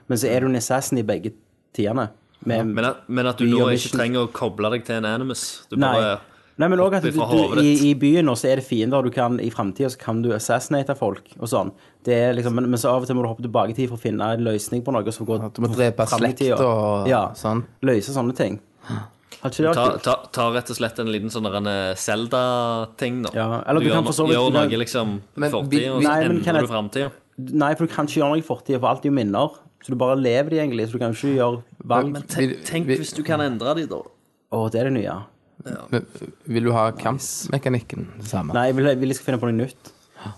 [SPEAKER 4] Men så er du en assassin i begge tidene. Med,
[SPEAKER 2] Men at, men at du
[SPEAKER 4] Vi
[SPEAKER 2] nå
[SPEAKER 4] gjør
[SPEAKER 2] ikke
[SPEAKER 4] mission.
[SPEAKER 2] trenger å koble deg til en animus. Du
[SPEAKER 4] Nei.
[SPEAKER 2] bare
[SPEAKER 4] Nei, men også at
[SPEAKER 2] hopper
[SPEAKER 4] du,
[SPEAKER 2] fra
[SPEAKER 4] du,
[SPEAKER 2] hovedet
[SPEAKER 4] i,
[SPEAKER 2] ditt.
[SPEAKER 4] i byen nå så er det fiender du kan I fremtiden så kan du assassinate folk Og sånn Det er liksom Men, men så av og til må du hoppe tilbake i tid For å finne en løsning på noe Som går
[SPEAKER 5] At du må drepe
[SPEAKER 4] frem i
[SPEAKER 5] slekt
[SPEAKER 4] tida.
[SPEAKER 5] og
[SPEAKER 4] ja,
[SPEAKER 5] sånn.
[SPEAKER 4] Løse sånne ting Har ikke det
[SPEAKER 2] ta,
[SPEAKER 4] vært kult?
[SPEAKER 2] ta, ta rett og slett en liten sånn derre Zelda-ting, da.
[SPEAKER 4] Ja, eller du
[SPEAKER 2] gjør,
[SPEAKER 4] kan
[SPEAKER 2] no-
[SPEAKER 4] for så vidt-
[SPEAKER 2] gjør
[SPEAKER 4] du kan-
[SPEAKER 2] noe liksom
[SPEAKER 5] Men vi-
[SPEAKER 2] fortid,
[SPEAKER 5] vi-
[SPEAKER 2] og så
[SPEAKER 4] Nei, men kan
[SPEAKER 2] endrer
[SPEAKER 4] jeg-
[SPEAKER 2] du framtida.
[SPEAKER 4] Nei, for du kan ikke gjøre noe i fortiden For alt er jo minner Så du bare lever de egentlig Så du kan ikke gjøre valg
[SPEAKER 5] Men
[SPEAKER 4] Åh,
[SPEAKER 5] tenk- Vi- tenk vi- hvis
[SPEAKER 2] du kan endre de, da.
[SPEAKER 4] det er det nye
[SPEAKER 5] Men Vil du ha kampmekanikken det samme?
[SPEAKER 4] Nei, jeg vil, jeg vil jeg skal finne på noe nytt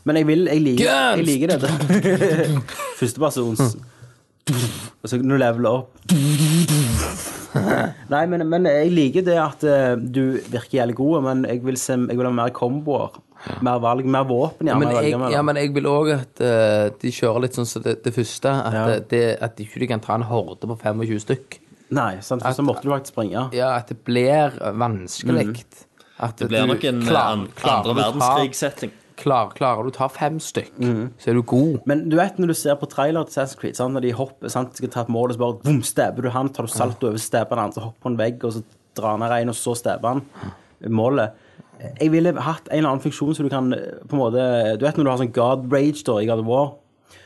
[SPEAKER 4] Men jeg vil, jeg liker, jeg liker det Første persons Og så kan du levele opp Nei, men, men jeg liker det at eh, Du virker jævlig god Men jeg vil, se, jeg vil ha mer komboer Mer valg, mer våpen gjerne,
[SPEAKER 5] Men
[SPEAKER 4] å velge
[SPEAKER 5] jeg,
[SPEAKER 4] mellom.
[SPEAKER 5] ja, men jeg vil òg at eh, de kjører litt sånn som det, det første. At,
[SPEAKER 4] Ja.
[SPEAKER 5] eh, det, at de ikke kan ta en horde på 25 stykk.
[SPEAKER 4] Nei, sant, for så måtte du faktisk springe
[SPEAKER 5] Ja, at det blir vanskelig. At
[SPEAKER 2] Mm. Det blir
[SPEAKER 5] du
[SPEAKER 2] nok en
[SPEAKER 5] klar-
[SPEAKER 2] an,
[SPEAKER 5] klarer
[SPEAKER 2] andre
[SPEAKER 5] du ta-
[SPEAKER 2] verdenskrig-setting.
[SPEAKER 5] klar, Klarer du å ta fem stykk, så er du god.
[SPEAKER 4] Men du vet når du ser på trailer til Assassin's Creed, sant? når de hopper, sant? skal ta et mål, og så bare boom, stabber du han, tar du salto over, stabber han, så hopper han vegg, og så drar han her inn, og så stabber han målet. Jeg ville hatt en eller annen funksjon så du kan eh, på en måte, du vet når du har sånn God Rage da, i God of War,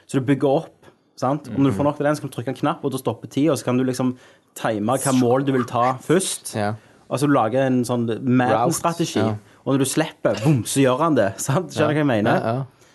[SPEAKER 4] så du bygger opp, sant? Og når du får nok til den, så kan du trykke en knapp, og da stopper tida, og så kan du liksom time hva mål du vil ta først.
[SPEAKER 5] Ja.
[SPEAKER 4] Altså du lager en sånn Madden-strategi,
[SPEAKER 5] Route,
[SPEAKER 4] og når du slipper, boom, så gjør han det, sant? Skjønner du hva jeg mener?
[SPEAKER 5] Ja, ja.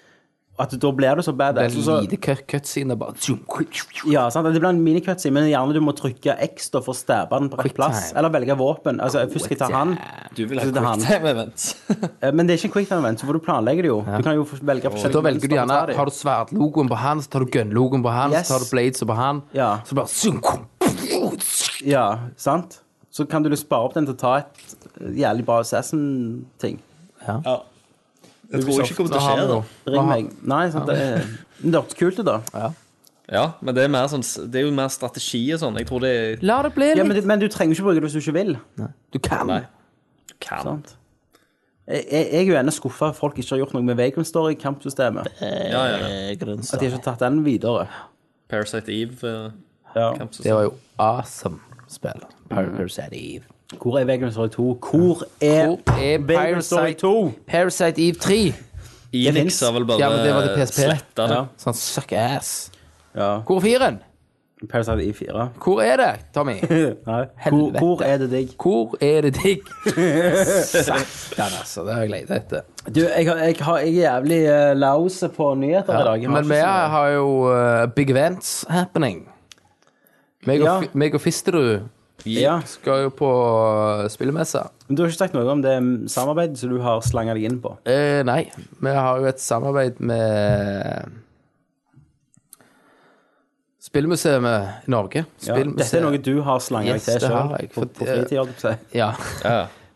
[SPEAKER 4] At da blir du så
[SPEAKER 5] Det
[SPEAKER 4] badass.
[SPEAKER 5] er
[SPEAKER 4] og så-
[SPEAKER 5] lite cut- cutscene. Bare zoom, quick,
[SPEAKER 4] Ja, sant? det blir en minikutsing, men gjerne du må trykke X da for å stabbe den på rett
[SPEAKER 5] Quick
[SPEAKER 4] plass.
[SPEAKER 5] time.
[SPEAKER 4] Eller velge våpen.
[SPEAKER 5] Ah,
[SPEAKER 4] Altså, først skal jeg ta han.
[SPEAKER 2] Du vil ha
[SPEAKER 4] Så det er han.
[SPEAKER 2] quicktime-event.
[SPEAKER 4] Eh, Men det er ikke en quick time event, så får du planlegge det jo. Du kan jo f- velge
[SPEAKER 5] Så
[SPEAKER 4] forskjellige
[SPEAKER 5] da velger du gjerne
[SPEAKER 4] våpen som
[SPEAKER 5] Har du sverdlogoen på han, så tar du gunlogoen på han,
[SPEAKER 4] Yes.
[SPEAKER 5] så tar du blades på han.
[SPEAKER 4] Ja.
[SPEAKER 5] Så bare zoom, quick.
[SPEAKER 4] tar de. Ja, sant? Så kan du liksom spare opp den til å ta et eh, jævlig bra Assassin-ting.
[SPEAKER 2] Jeg tror ikke det kommer til
[SPEAKER 5] Da
[SPEAKER 2] å
[SPEAKER 5] har
[SPEAKER 2] skje,
[SPEAKER 5] vi
[SPEAKER 2] da.
[SPEAKER 5] noe.
[SPEAKER 4] Ring meg. Nei, sant? Det er, men det er kult, det, da.
[SPEAKER 2] Ja, men det er, mer sånn, det er jo mer strategi og sånn. Jeg tror det er
[SPEAKER 5] La det bli
[SPEAKER 4] Ja, men,
[SPEAKER 5] litt.
[SPEAKER 4] du- men du trenger ikke bruke det hvis du ikke vil.
[SPEAKER 5] Du kan.
[SPEAKER 2] Nei. kan.
[SPEAKER 4] Sant? Jeg, jeg jeg er jo ennå skuffa at folk ikke har gjort noe med Vagrant Story-kampsystemet.
[SPEAKER 2] Ja, ja, ja.
[SPEAKER 4] At de ikke har tatt den videre.
[SPEAKER 2] Parasite Eve. eh,
[SPEAKER 4] Ja.
[SPEAKER 2] Campus.
[SPEAKER 5] Det var jo awesome spill. Parasite Eve.
[SPEAKER 4] Hvor er Vagrant Story 2? Hvor er
[SPEAKER 5] Hvor er
[SPEAKER 4] Vagrant Story
[SPEAKER 5] Parasite-
[SPEAKER 4] 2?
[SPEAKER 5] Parasite Eve 3.
[SPEAKER 2] Enix har vel bare
[SPEAKER 5] Ja, men det var til PSP.
[SPEAKER 2] sletta det.
[SPEAKER 4] Ja.
[SPEAKER 5] Sånn suck ass.
[SPEAKER 4] Ja.
[SPEAKER 5] Hvor er fireren?
[SPEAKER 4] Parasite i 4.
[SPEAKER 5] Hvor er det, Tommy?
[SPEAKER 4] Nei. Hvor, hvor er det digg?
[SPEAKER 5] Hvor er det digg? Satan, altså. Det har jeg leita etter.
[SPEAKER 4] Du, jeg, har- jeg, har, jeg er jævlig uh, lause på nyheter i dag. Jeg har
[SPEAKER 5] Men
[SPEAKER 4] ikke
[SPEAKER 5] vi
[SPEAKER 4] så mye.
[SPEAKER 5] har jo eh, big events happening. Meg og,
[SPEAKER 4] Ja.
[SPEAKER 5] Fi- meg og Fisterud
[SPEAKER 4] ja.
[SPEAKER 5] skal jo på eh, spillemesse.
[SPEAKER 4] Men du har ikke sagt noe om det samarbeidet som du har slanga deg inn på.
[SPEAKER 5] Eh, nei, vi har jo et samarbeid med Spillmuseet i Norge.
[SPEAKER 4] Ja, dette er noe du har slanga
[SPEAKER 5] Yes,
[SPEAKER 4] deg til
[SPEAKER 5] det har
[SPEAKER 4] sjøl
[SPEAKER 5] jeg,
[SPEAKER 4] på,
[SPEAKER 5] for
[SPEAKER 4] på
[SPEAKER 5] det-
[SPEAKER 4] fritida. holdt jeg på å si.
[SPEAKER 5] Ja.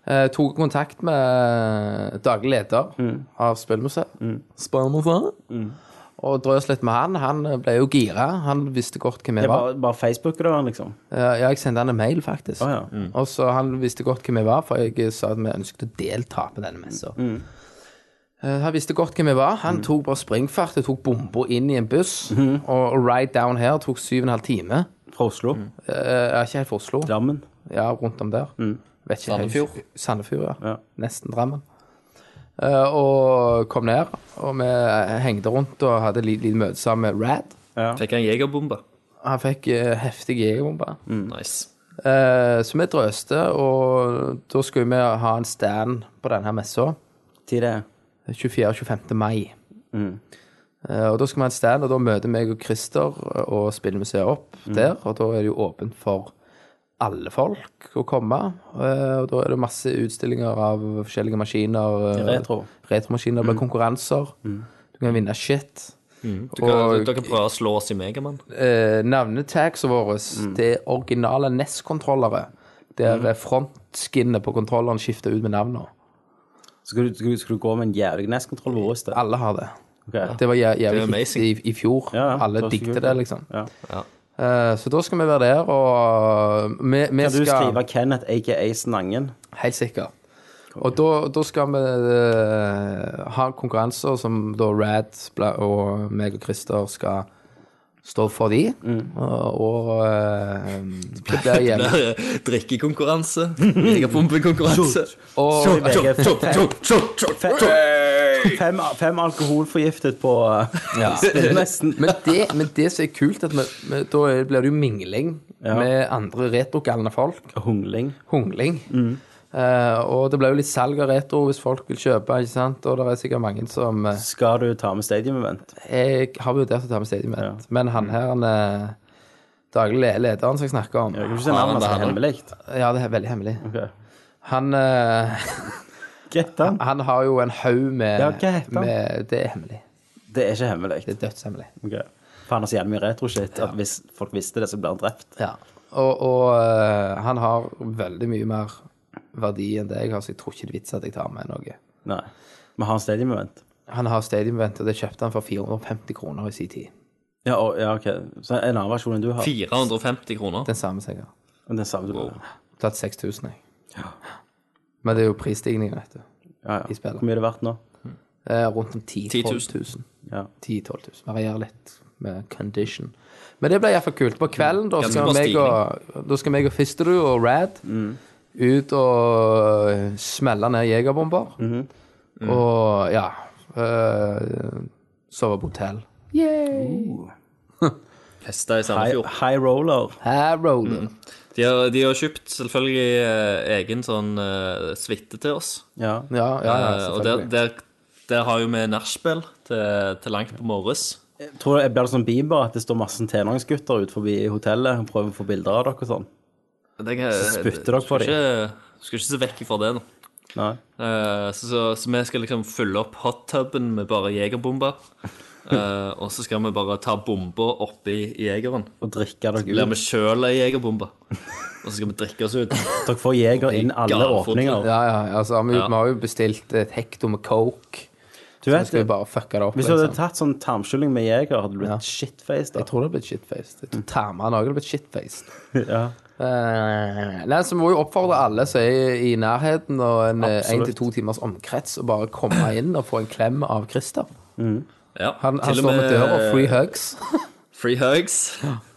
[SPEAKER 5] Eh, tok kontakt med daglig leder
[SPEAKER 4] Mm.
[SPEAKER 5] av Spillmuseet. Spillmuseet. Og drøs litt med han. Han ble jo gira. Han visste godt hvem
[SPEAKER 4] Det
[SPEAKER 5] jeg
[SPEAKER 4] er
[SPEAKER 5] var.
[SPEAKER 4] bare, bare Facebook-er da, liksom.
[SPEAKER 5] Eh, Ja, jeg sendte han en mail, faktisk.
[SPEAKER 4] Å, ja.
[SPEAKER 5] Og så Han visste godt hvem jeg var, for jeg sa at vi ønsket å delta på denne messa. Eh, Han visste godt hvem jeg var. Han tok bare springfart og tok bomba inn i en buss. Og ride down her tok syv og en halv time.
[SPEAKER 4] Fra Oslo.
[SPEAKER 5] Eh, Jeg er ikke helt fra Oslo.
[SPEAKER 4] Drammen.
[SPEAKER 5] Ja, rundt om der. Vet ikke helt-
[SPEAKER 2] Sandefjord.
[SPEAKER 5] Sandefjord, ja.
[SPEAKER 4] Ja.
[SPEAKER 5] Nesten Drammen. Eh, og kom ned, og vi hengte rundt og hadde et lite lite møte sammen med Rad.
[SPEAKER 2] Fikk en jegerbombe.
[SPEAKER 5] Han fikk eh, heftig jegerbombe.
[SPEAKER 2] Nice.
[SPEAKER 5] Eh, så vi drøste, og da skulle vi ha en stand på denne messa.
[SPEAKER 4] Tid det er.
[SPEAKER 5] 24. og 25. mai. Eh, og da skal vi ha en stand, og da møter meg og Christer og Spillmuseet opp der. Og da er det jo åpent for alle folk å komme. Eh, og da er det masse utstillinger av forskjellige maskiner. eh,
[SPEAKER 4] Retro.
[SPEAKER 5] Retromaskiner. Det blir konkurranser. Du kan vinne shit.
[SPEAKER 2] Dere, dere prøver å slå oss i Megaman.
[SPEAKER 5] eh, navnetags våre,
[SPEAKER 4] Mm.
[SPEAKER 5] det er originale E NES-kontrollere, der eh, frontskinnet på kontrolleren skifter ut med navnene.
[SPEAKER 4] Skal du, skal, du- skal du gå med en jævlig NES-kontroll på brystet?
[SPEAKER 5] Alle har det.
[SPEAKER 4] Ok.
[SPEAKER 5] Det var jæ-
[SPEAKER 2] Det er
[SPEAKER 5] jævlig hit
[SPEAKER 2] amazing.
[SPEAKER 5] i, i fjor.
[SPEAKER 4] Ja, ja. Det
[SPEAKER 5] Alle
[SPEAKER 4] var så
[SPEAKER 5] digte
[SPEAKER 4] kult,
[SPEAKER 5] det,
[SPEAKER 4] ja.
[SPEAKER 5] liksom.
[SPEAKER 4] Ja.
[SPEAKER 5] Eh, så da skal vi være der, og eh, vi, vi
[SPEAKER 4] Kan
[SPEAKER 5] skal
[SPEAKER 4] du skrive Kenneth, aka Snangen?
[SPEAKER 5] Helt sikkert. Og da, da skal vi eh, ha konkurranser som da Rad bla- og meg og Christer skal stå for de.
[SPEAKER 4] Mm.
[SPEAKER 5] Og, og eh, det blir jævlig
[SPEAKER 2] eh, Drikkekonkurranse. Jegerbombekonkurranse.
[SPEAKER 5] Og-
[SPEAKER 2] Tjopp, tjopp, tjopp, tjopp, tjopp, tjopp.
[SPEAKER 4] Fem, fem, fem alkoholforgiftet på eh,
[SPEAKER 5] Ja.
[SPEAKER 4] spillemessen.
[SPEAKER 5] men, det, men det som er kult, at vi, vi, da er- blir det jo mingling med andre retrogalne folk.
[SPEAKER 4] Hungling.
[SPEAKER 5] Hungling.
[SPEAKER 4] Mm.
[SPEAKER 5] Eh, og det blir jo litt salg av retro hvis folk vil kjøpe, ikke sant? og det er sikkert mange som eh,
[SPEAKER 4] Skal du ta med Stadium Event?
[SPEAKER 5] Jeg har vurdert å ta med Stadium Event, men han her, han eh, daglig le- lederen som jeg snakker om
[SPEAKER 4] Jeg kan ikke si navnet, det
[SPEAKER 2] det
[SPEAKER 4] er
[SPEAKER 2] handler-
[SPEAKER 4] hemmelig.
[SPEAKER 5] Ja, det er veldig hemmelig.
[SPEAKER 4] Ok.
[SPEAKER 5] Han, eh,
[SPEAKER 4] Greit, da.
[SPEAKER 5] han har jo en haug med,
[SPEAKER 4] Ja, hva heter han?
[SPEAKER 5] med Det er hemmelig.
[SPEAKER 4] Det er ikke hemmelig.
[SPEAKER 5] Det er dødshemmelig.
[SPEAKER 4] Ok. For han har så jævlig mye retro-shit at hvis folk visste det, så ble han drept.
[SPEAKER 5] Ja. Og, og eh, han har veldig mye mer verdi enn det jeg har, så jeg tror ikke det er vits at jeg tar med noe.
[SPEAKER 4] Nei. Vi har en Stadium Event.
[SPEAKER 5] Han har Stadium Event, og det kjøpte han for 450 kroner i sin tid.
[SPEAKER 4] Ja, og, ja, ok. Så en annen versjon enn du har.
[SPEAKER 2] 450 kroner.
[SPEAKER 5] Den samme som jeg har.
[SPEAKER 4] Men Den samme du
[SPEAKER 2] Wow.
[SPEAKER 5] Tatt 6000, jeg. Men det er jo prisstigning, vet du.
[SPEAKER 4] Ja, ja.
[SPEAKER 5] I spillet.
[SPEAKER 4] Hvor mye er det verdt nå?
[SPEAKER 5] Eh, rundt om 10
[SPEAKER 2] 10 000.
[SPEAKER 5] 000-12 000.
[SPEAKER 4] Ja.
[SPEAKER 5] 10 000-12 000. Varierer litt med condition. Men det ble iallfall kult. På kvelden da
[SPEAKER 2] Ganske
[SPEAKER 5] skal,
[SPEAKER 2] bra
[SPEAKER 5] meg og, da skal meg og Fisterud og Rad ut og eh, smelle ned jegerbomber. Og ja eh, Sove på hotell.
[SPEAKER 2] Festa i
[SPEAKER 4] High,
[SPEAKER 2] Sandefjord.
[SPEAKER 4] high roller.
[SPEAKER 5] Her roller.
[SPEAKER 2] De har, de har kjøpt selvfølgelig eh, egen sånn eh, suite til oss.
[SPEAKER 4] Ja.
[SPEAKER 5] Ja, ja, ja,
[SPEAKER 2] Eh, og der,
[SPEAKER 5] selvfølgelig.
[SPEAKER 2] der, der har jo vi nachspiel til, til langt på morges.
[SPEAKER 4] Tror du det blir sånn Bieber at det står masse tenåringsgutter ut forbi hotellet og prøver å få bilder av dere og sånn?
[SPEAKER 2] Det kan-
[SPEAKER 4] spytter dere på
[SPEAKER 2] skal ikke- Skal ikke se vekk fra det nå.
[SPEAKER 4] Nei.
[SPEAKER 2] Eh, så, så, så vi skal liksom fylle opp hottuben med bare jegerbomber. Eh, og så skal vi bare ta bomber oppi jegeren.
[SPEAKER 4] Og drikker dere
[SPEAKER 2] Blir
[SPEAKER 4] ut.
[SPEAKER 2] vi sjøl ei jegerbombe. Og så skal vi drikke oss ut.
[SPEAKER 4] Dere får jeger inn alle
[SPEAKER 2] Galfoten.
[SPEAKER 4] åpninger.
[SPEAKER 5] Ja, ja, altså, vi,
[SPEAKER 2] Ja.
[SPEAKER 5] vi har jo bestilt et hekto med coke.
[SPEAKER 4] Du
[SPEAKER 5] Nå
[SPEAKER 4] vet,
[SPEAKER 5] skal vi bare fucke det opp.
[SPEAKER 4] hvis du hadde
[SPEAKER 5] liksom.
[SPEAKER 4] tatt sånn tarmskylling med jeger, hadde du blitt
[SPEAKER 5] Ja.
[SPEAKER 4] shitfaced da.
[SPEAKER 5] Jeg tror det hadde blitt shitfaced. Jeg tror tarmene òg hadde blitt shitfaced.
[SPEAKER 4] Ja.
[SPEAKER 5] Eh, Nei, så må vi oppfordre alle som er i nærheten og en eh, en
[SPEAKER 4] Absolutt.
[SPEAKER 5] til to timers omkrets, og bare komme inn og få en klem av Christer.
[SPEAKER 2] Ja,
[SPEAKER 5] Han, han
[SPEAKER 2] til og
[SPEAKER 5] står
[SPEAKER 2] eh,
[SPEAKER 5] med døra, free hugs.
[SPEAKER 2] Free hugs.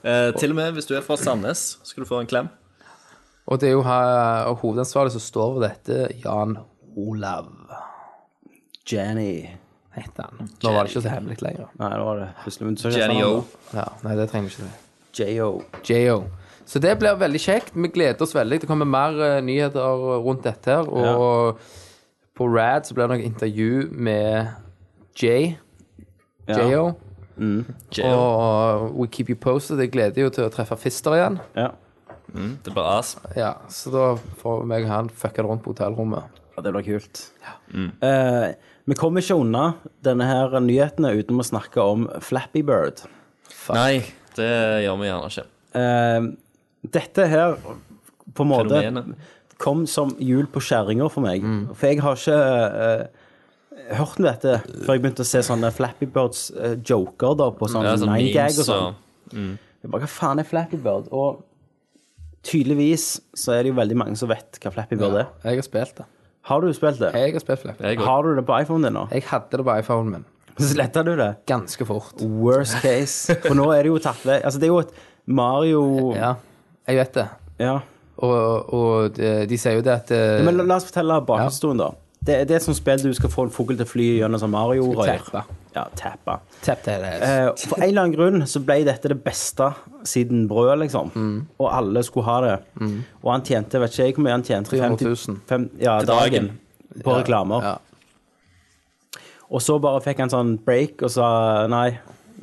[SPEAKER 2] Eh, til og med hvis du er fra Sandnes, skal du få en klem.
[SPEAKER 5] Og det er jo her, og hovedansvarlig som står ved dette, Jan Olav
[SPEAKER 4] Jenny.
[SPEAKER 5] heter han. Nå var det ikke så hemmelig lenger.
[SPEAKER 4] Nei, det var det. Plutselig, men du så ikke
[SPEAKER 2] Jenny
[SPEAKER 4] sånn,
[SPEAKER 2] O.
[SPEAKER 4] da.
[SPEAKER 5] Ja, nei, det trenger vi ikke si.
[SPEAKER 4] J.O.
[SPEAKER 5] JO. Så det blir veldig kjekt. Vi gleder oss veldig. Det kommer mer eh, nyheter rundt dette her. Og på Rad så blir det noe intervju med Jay. JO.
[SPEAKER 2] Jail.
[SPEAKER 5] Og we keep you posted. Jeg gleder jo til å treffe Fister igjen.
[SPEAKER 4] Ja.
[SPEAKER 2] Det blir asp.
[SPEAKER 5] Ja, Så da får meg og han fucka det rundt på hotellrommet.
[SPEAKER 4] Ja, det blir kult. Eh, vi kommer ikke unna denne her nyhetene uten å snakke om Flappy Bird.
[SPEAKER 2] Nei, det gjør vi gjerne ikke.
[SPEAKER 4] Eh, dette her på en måte
[SPEAKER 2] Fenomenet.
[SPEAKER 4] kom som jul på skjæringa for meg.
[SPEAKER 2] Mm.
[SPEAKER 4] For jeg har ikke eh, hørt om dette før jeg begynte å se sånne Flappy Birds-joker da, på sånn
[SPEAKER 2] Det er sånn
[SPEAKER 4] nine gag
[SPEAKER 2] memes
[SPEAKER 4] og sånn.
[SPEAKER 2] og
[SPEAKER 4] Jeg bare, hva faen er Flappy Bird? Og tydeligvis så er det jo veldig mange som vet hva Flappy Bird er.
[SPEAKER 5] Jeg har spilt det.
[SPEAKER 4] Har du spilt det?
[SPEAKER 5] Jeg har spilt Flappy.
[SPEAKER 2] Jeg òg.
[SPEAKER 4] Har du det på iPhone din nå?
[SPEAKER 5] Jeg hadde det på iPhonen min
[SPEAKER 4] Sletta du det?
[SPEAKER 5] ganske fort.
[SPEAKER 4] Worst case. For nå er det jo tatt vekk. Altså, det er jo et Mario
[SPEAKER 5] Ja, jeg vet det.
[SPEAKER 4] Ja.
[SPEAKER 5] Og, og de, de sier jo det at eh,
[SPEAKER 4] Men la, la oss fortelle bakhistorien, da. Det, det er et sånt spill du skal få en fugl til å fly gjennom sånn Mario-rør.
[SPEAKER 5] Tappa.
[SPEAKER 4] Ja, tappa.
[SPEAKER 5] Tapp til det.
[SPEAKER 4] Eh, for en eller annen grunn så ble dette det beste siden brød, liksom.
[SPEAKER 5] Mm.
[SPEAKER 4] Og alle skulle ha det. Og han tjente, vet ikke jeg hvor mye han tjente
[SPEAKER 5] 300 000.
[SPEAKER 4] fem, ja, dagen. På reklamer.
[SPEAKER 5] Ja.
[SPEAKER 4] Og så bare fikk han sånn break og sa nei,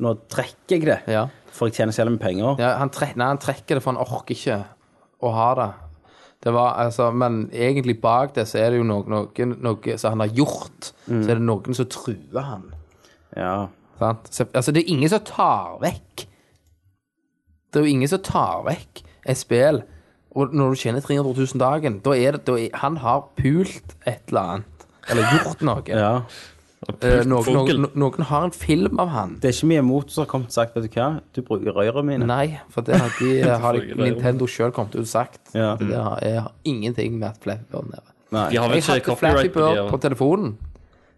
[SPEAKER 4] nå trekker jeg det.
[SPEAKER 5] Ja.
[SPEAKER 4] For jeg tjener så jævlig mye penger.
[SPEAKER 5] Ja, han, tre nei, han trekker det, for han orker ikke å ha det. det var, altså, men egentlig bak det så er det jo noe, noe, noe som han har gjort.
[SPEAKER 4] Mm.
[SPEAKER 5] Så er det noen som truer han.
[SPEAKER 4] Ja.
[SPEAKER 5] Sant? Så, altså, det er ingen som tar vekk. Det er jo ingen som tar vekk et spill. Og når du tjener 300 000 dagen, da er det da er, Han har pult et eller annet. Eller gjort noe.
[SPEAKER 4] ja.
[SPEAKER 5] Eh, noen,
[SPEAKER 2] Fugl.
[SPEAKER 5] noen, noen har en film av han.
[SPEAKER 4] Det er ikke mye imot som har kommet og sagt Vet du hva, du bruker røyrene mine.
[SPEAKER 5] Nei, for det har, de, eh, har de,
[SPEAKER 2] Selvfølgelig.
[SPEAKER 5] Nintendo sjøl kommet ut og sagt.
[SPEAKER 4] Ja.
[SPEAKER 5] Det har, jeg har ingenting med at Flappy Bird er der.
[SPEAKER 2] De har vel
[SPEAKER 5] Jeg
[SPEAKER 2] ikke
[SPEAKER 5] hadde Flappy
[SPEAKER 2] copyright på de
[SPEAKER 5] Bird på
[SPEAKER 2] her.
[SPEAKER 5] telefonen.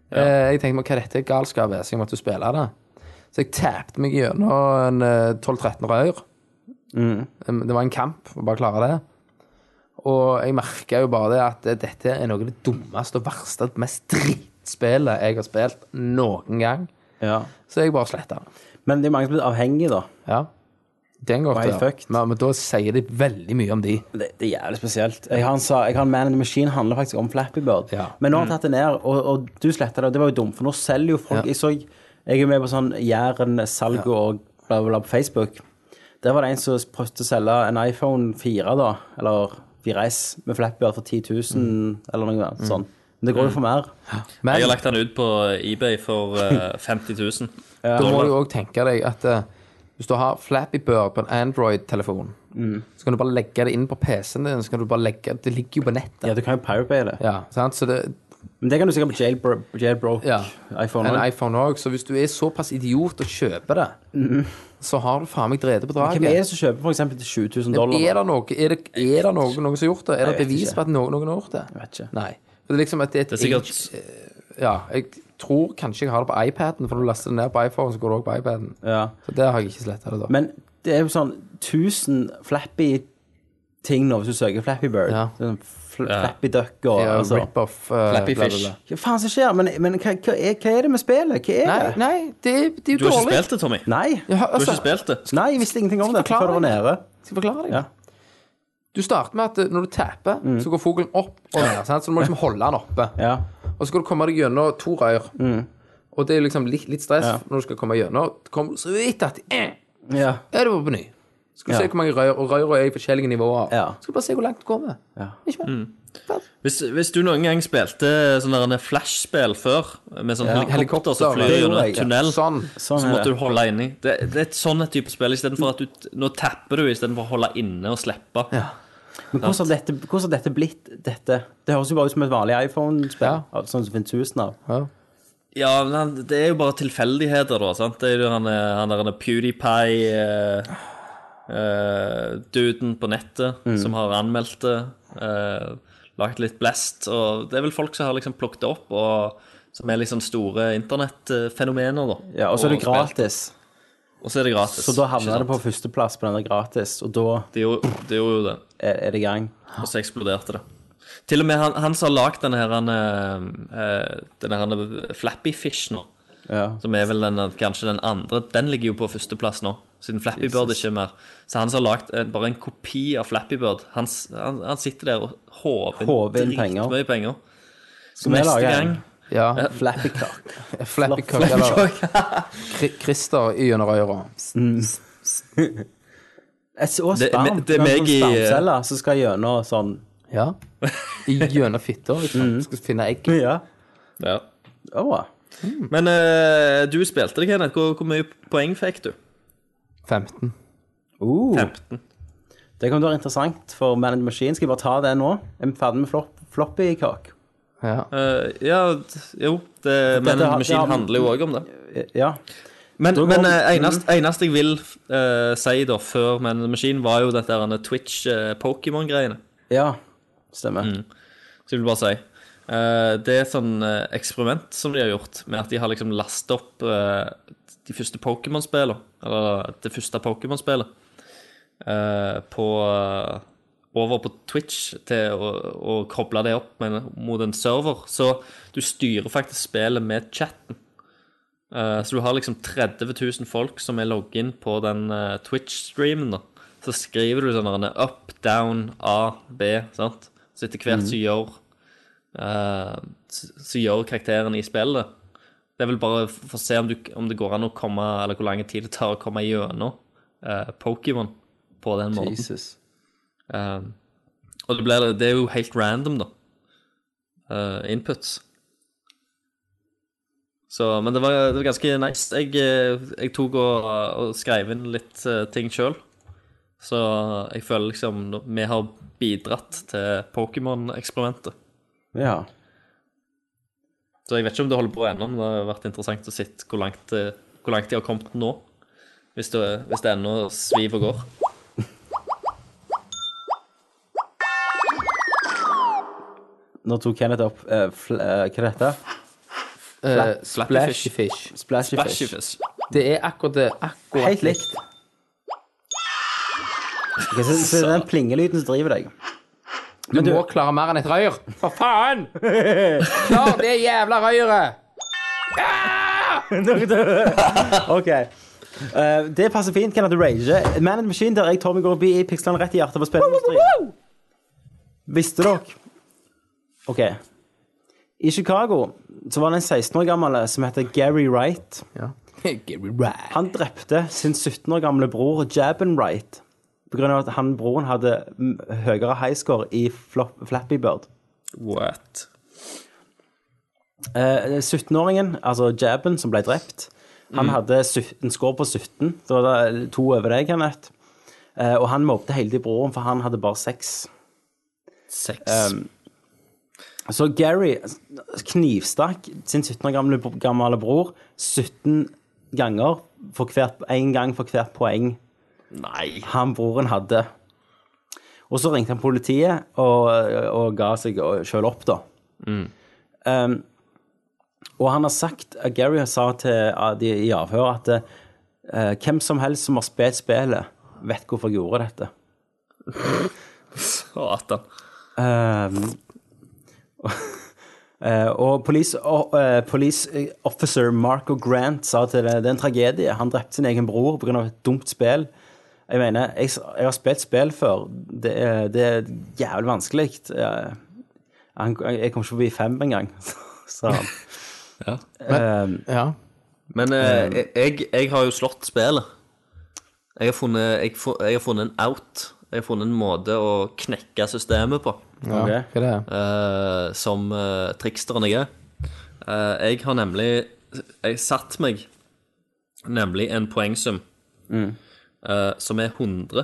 [SPEAKER 5] Eh, Jeg tenkte meg, hva dette er galskap er, så jeg måtte jo spille det. Så jeg tapte meg gjennom en eh, 12-13 rør.
[SPEAKER 4] Mm.
[SPEAKER 5] Em, Det var en kamp å bare klare det. Og jeg merka jo bare det at eh, dette er noe av det dummeste og verste og mest drittspillet jeg har spilt noen gang.
[SPEAKER 4] Ja.
[SPEAKER 5] Så jeg bare sletta den.
[SPEAKER 4] Men det er mange som blir avhengige, da.
[SPEAKER 5] Ja. Den går
[SPEAKER 4] Why
[SPEAKER 5] til. ja.
[SPEAKER 4] fucked?
[SPEAKER 5] Men, men da sier det veldig mye om de.
[SPEAKER 4] Det, det er jævlig spesielt. Jeg har en, sa, jeg har en Man in the Machine handler faktisk om Flappy Bird.
[SPEAKER 5] Ja.
[SPEAKER 4] Men nå har han tatt det ned, og, og du sletta det, og det var jo dumt, for nå selger jo folk
[SPEAKER 5] Ja.
[SPEAKER 4] Jeg så, jeg er med på sånn Jæren salg og bla, bla, bla på Facebook. Der var det en som prøvde å selge en iPhone 4, da, eller 4S, med Flappy Bird for 10 000,
[SPEAKER 5] Mm.
[SPEAKER 4] eller noe sånt. Men det går jo for mer.
[SPEAKER 5] Men
[SPEAKER 2] Jeg har lagt den ut på eBay for eh, 50 000.
[SPEAKER 5] da må
[SPEAKER 2] Dollar.
[SPEAKER 5] du òg tenke deg at eh, hvis du har Flappy Bird på en Android-telefon,
[SPEAKER 4] Mm.
[SPEAKER 5] så kan du bare legge det inn på PC-en din. Så kan du bare legge Det ligger jo på nettet.
[SPEAKER 4] Ja, du kan jo Pirate Bay det.
[SPEAKER 5] Ja, sant? Så det,
[SPEAKER 4] Men det kan du sikkert på jailbro jailbroke
[SPEAKER 5] ja.
[SPEAKER 4] iPhone.
[SPEAKER 5] En
[SPEAKER 4] også.
[SPEAKER 5] iPhone òg. Så hvis du er såpass idiot og kjøper det, så har du faen meg drevet på draget.
[SPEAKER 4] Mm. Hvem er det som kjøper for eksempel til 7000
[SPEAKER 5] Men
[SPEAKER 4] dollar?
[SPEAKER 5] Er det noe, er det, er det noen, noen som har gjort det? Er det
[SPEAKER 4] vet
[SPEAKER 5] bevis
[SPEAKER 4] ikke.
[SPEAKER 5] på at noen, noen har gjort det? Jeg
[SPEAKER 4] vet ikke.
[SPEAKER 5] Nei. For det er liksom at det er et
[SPEAKER 2] Det er sikkert-
[SPEAKER 5] age- eh, Ja, jeg tror kanskje jeg har det på iPaden, for du laster det ned på iPhone, så går det også på iPaden.
[SPEAKER 4] Ja.
[SPEAKER 5] Så der har jeg ikke sletta det, da.
[SPEAKER 4] Men det er jo sånn 1000 flappy ting nå hvis du søker Flappy Bird.
[SPEAKER 5] Ja.
[SPEAKER 4] Sånn fl Flappy Duck og
[SPEAKER 5] Ja,
[SPEAKER 4] altså.
[SPEAKER 5] Rip-off. eh,
[SPEAKER 2] Flappy
[SPEAKER 5] bla, bla,
[SPEAKER 2] Fish.
[SPEAKER 5] bla.
[SPEAKER 4] Hva faen som skjer? Men, men hva, hva, er, hva er det med spillet? Hva er
[SPEAKER 5] Nei,
[SPEAKER 4] det?
[SPEAKER 5] nei, det, er- det er
[SPEAKER 2] Du
[SPEAKER 5] jo
[SPEAKER 2] har ikke
[SPEAKER 5] dårlig.
[SPEAKER 2] spilt det, Tommy.
[SPEAKER 4] Nei.
[SPEAKER 5] Ja,
[SPEAKER 2] Du har
[SPEAKER 5] altså,
[SPEAKER 2] ikke spilt det.
[SPEAKER 4] Nei, jeg visste ingenting om
[SPEAKER 5] Skal
[SPEAKER 4] det før det var
[SPEAKER 5] forklare
[SPEAKER 4] nede.
[SPEAKER 5] Skal jeg forklare deg?
[SPEAKER 4] Ja.
[SPEAKER 5] Du starter med at eh, når du taper, så går fuglen opp og ned. Sant? Så du må liksom holde den oppe.
[SPEAKER 4] Ja.
[SPEAKER 5] Og så skal du komme deg gjennom to rør. Og det er liksom litt, litt stress når du skal komme gjennom. Kommer du så vidt at eh,
[SPEAKER 4] Ja.
[SPEAKER 5] er det bare på ny. Skal du
[SPEAKER 4] Ja.
[SPEAKER 5] se hvor mange rør, og rør er i forskjellige nivåer.
[SPEAKER 4] Ja.
[SPEAKER 5] Skal du bare se hvor langt du kommer. Ikke mer.
[SPEAKER 2] Mm. Hvis, hvis du noen gang spilte sånn der en flashspill før, med sånn helikopter som
[SPEAKER 5] Helikopter,
[SPEAKER 2] flyr
[SPEAKER 4] det gjorde
[SPEAKER 2] gjennom en
[SPEAKER 4] jeg, ja.
[SPEAKER 2] tunnel,
[SPEAKER 5] Sånn.
[SPEAKER 4] Sånn
[SPEAKER 2] så
[SPEAKER 4] er
[SPEAKER 2] måtte
[SPEAKER 4] det.
[SPEAKER 2] du holde inni. Det, det er et sånn et type spill. i stedet for at du, Nå tapper du istedenfor å holde inne og slippe.
[SPEAKER 4] Men hvordan har dette, hvordan har dette blitt dette? Det høres jo bare ut som et vanlig iPhone-spill. Sånn som det finnes 1000 av.
[SPEAKER 2] Ja, men han- Det er jo bare tilfeldigheter, da. sant? Det er jo han, eh, han der han er PewDiePie-duden eh, på nettet
[SPEAKER 4] Mm.
[SPEAKER 2] som har anmeldt det. eh, lagt litt blest. og Det er vel folk som har liksom plukket det opp, og som er liksom store internettfenomener. da.
[SPEAKER 4] Ja, og så er det
[SPEAKER 2] spilt.
[SPEAKER 4] gratis.
[SPEAKER 2] Og så er det gratis.
[SPEAKER 4] Så da
[SPEAKER 2] ikke
[SPEAKER 4] havner det
[SPEAKER 2] sant?
[SPEAKER 4] på førsteplass på denne gratis, og da
[SPEAKER 2] Det gjorde, det gjorde jo det.
[SPEAKER 4] er, er det i gang.
[SPEAKER 2] Og så eksploderte det. Til og med han, han som har lagd denne her han, eh, eh, denne her Flappy Fish nå, Som er vel den, kanskje den andre. Den ligger jo på førsteplass nå, siden Flappy Bird ikke er mer. Så han som har lagd en- bare en kopi av Flappy Bird, han, s- han, han sitter der og håver
[SPEAKER 4] Håver inn
[SPEAKER 2] inn
[SPEAKER 4] penger.
[SPEAKER 2] dritmye penger. Så
[SPEAKER 4] vi
[SPEAKER 2] neste
[SPEAKER 4] lage en?
[SPEAKER 2] gang
[SPEAKER 5] Ja.
[SPEAKER 4] Flappy Cock.
[SPEAKER 5] Flappy Cock eller Kri- Christer i gjennom øra.
[SPEAKER 4] Jeg så
[SPEAKER 2] Det-
[SPEAKER 4] sperm.
[SPEAKER 2] det er meg i-
[SPEAKER 4] Spermceller som skal gjennom sånn
[SPEAKER 5] Ja. I gjennom fitta. ikke sant? Skal finne egg.
[SPEAKER 4] Ja.
[SPEAKER 2] ja.
[SPEAKER 4] Det var bra.
[SPEAKER 2] Men eh, du spilte det, Kenneth. Hvor, hvor mye poeng fikk du?
[SPEAKER 5] 15.
[SPEAKER 4] Uh,
[SPEAKER 2] 15.
[SPEAKER 4] det kan være interessant for Man in the Machine. Skal jeg bare ta det nå? Er vi ferdig med flop, floppy kake?
[SPEAKER 5] Ja.
[SPEAKER 2] Eh, ja, d- jo. Det, men
[SPEAKER 4] har-
[SPEAKER 2] Maskin
[SPEAKER 4] ja, men-
[SPEAKER 2] handler jo òg om det.
[SPEAKER 4] Eh, Ja.
[SPEAKER 2] Men,
[SPEAKER 4] Da går-
[SPEAKER 2] men eh, eneste, eneste jeg vil eh, si da før Man in the Machine, var jo dette her eh, Twitch-Pokémon-greiene.
[SPEAKER 4] ja. Stemmer.
[SPEAKER 2] Mm. Så jeg vil bare si. eh, det er et sånn eh, eksperiment som de har gjort, med at de har liksom lastet opp eh, de første Pokémon-spillene, eller det første Pokémon-spillet, eh, på eh, over på Twitch til å, å koble det opp med, mot en server. Så du styrer faktisk spillet med chatten. Eh, så du har liksom 30 000 folk som er logget inn på den eh, Twitch-streamen. da. Så skriver du sånn der, up, down, A, B. sant? Så etter hvert så gjør eh, så, så gjør karakteren i spillet. Det er vel bare f- for å se om, du, om det går an å komme, eller hvor lang tid det tar å komme gjennom eh, Pokémon på den måten.
[SPEAKER 4] Jesus.
[SPEAKER 2] Um, og det, blir, det er jo helt random, da. Uh, inputs. Så, men det var, det var ganske nice. Jeg, eh, jeg tok og, og skrev inn litt eh, ting sjøl. Så jeg føler liksom nå- vi har bidratt til Pokémon-eksperimentet.
[SPEAKER 4] Ja.
[SPEAKER 2] Så jeg vet ikke om det holder på ennå, men det har vært interessant å se hvor langt, det- hvor langt de har kommet nå. Hvis det, hvis det ennå sviver og går.
[SPEAKER 4] Nå tok Kenneth opp eh, fl eh, Hva er dette?
[SPEAKER 5] Eh,
[SPEAKER 2] Flappyfish.
[SPEAKER 5] Splashy fish.
[SPEAKER 4] Splashy fish.
[SPEAKER 2] Bæsjefisk.
[SPEAKER 5] Det er akkurat det. Akkurat
[SPEAKER 4] Helt likt. Ok, så, så det er den plingelyden som driver deg.
[SPEAKER 5] Du, må klare mer enn et røyr. For faen! Klar det jævla røyret!
[SPEAKER 4] Ok. Eh, det passer fint. Kenneth du rager. Man in the Machine, der jeg, Tommy, går forbi, piksler han rett i hjertet på spillindustrien. Visste dere OK. I Chicago så var det en 16 år gammel som heter Gary Wright.
[SPEAKER 5] Ja. Get me right.
[SPEAKER 4] Han drepte sin 17 år gamle bror Jabin Wright på grunn av at han broren hadde mm, høyere highscore i flop, Flappy Bird.
[SPEAKER 2] What?
[SPEAKER 4] Eh, 17-åringen, altså Jabben, som ble drept, han hadde syv- en score på 17. Så var det to over deg, Kenneth. Eh, og han mobbet hele tiden broren, for han hadde bare seks.
[SPEAKER 2] Sex.
[SPEAKER 4] Så Gary knivstakk sin 17 år gamle, gamle bror 17 ganger, for hvert, en gang for hvert poeng
[SPEAKER 2] Nei.
[SPEAKER 4] han broren hadde. Og så ringte han politiet og, og ga seg sjøl opp, da. Um, og han har sagt, Gary sa til uh, de i avhør at uh, hvem som helst som har spilt spillet, vet hvorfor jeg gjorde dette.
[SPEAKER 2] Satan.
[SPEAKER 4] Um, eh, og police, og, eh, police officer Marco Grant sa til det, det er en tragedie. Han drepte sin egen bror pga. et dumt spill. Jeg mener, jeg, s- jeg har spilt spill før. Det er, det er jævlig vanskelig. Eh, han, jeg kom ikke forbi fem engang, sa han.
[SPEAKER 5] Ja.
[SPEAKER 2] Men eh, jeg, jeg har jo slått spillet. Jeg har, funnet, jeg, fu- jeg har funnet en out. Jeg har funnet en måte å knekke systemet på,
[SPEAKER 5] ja.
[SPEAKER 4] Ok.
[SPEAKER 5] Hva er det?
[SPEAKER 2] eh, som eh, triksteren jeg er. Eh, jeg har nemlig Jeg satt meg nemlig en poengsum eh, som er 100.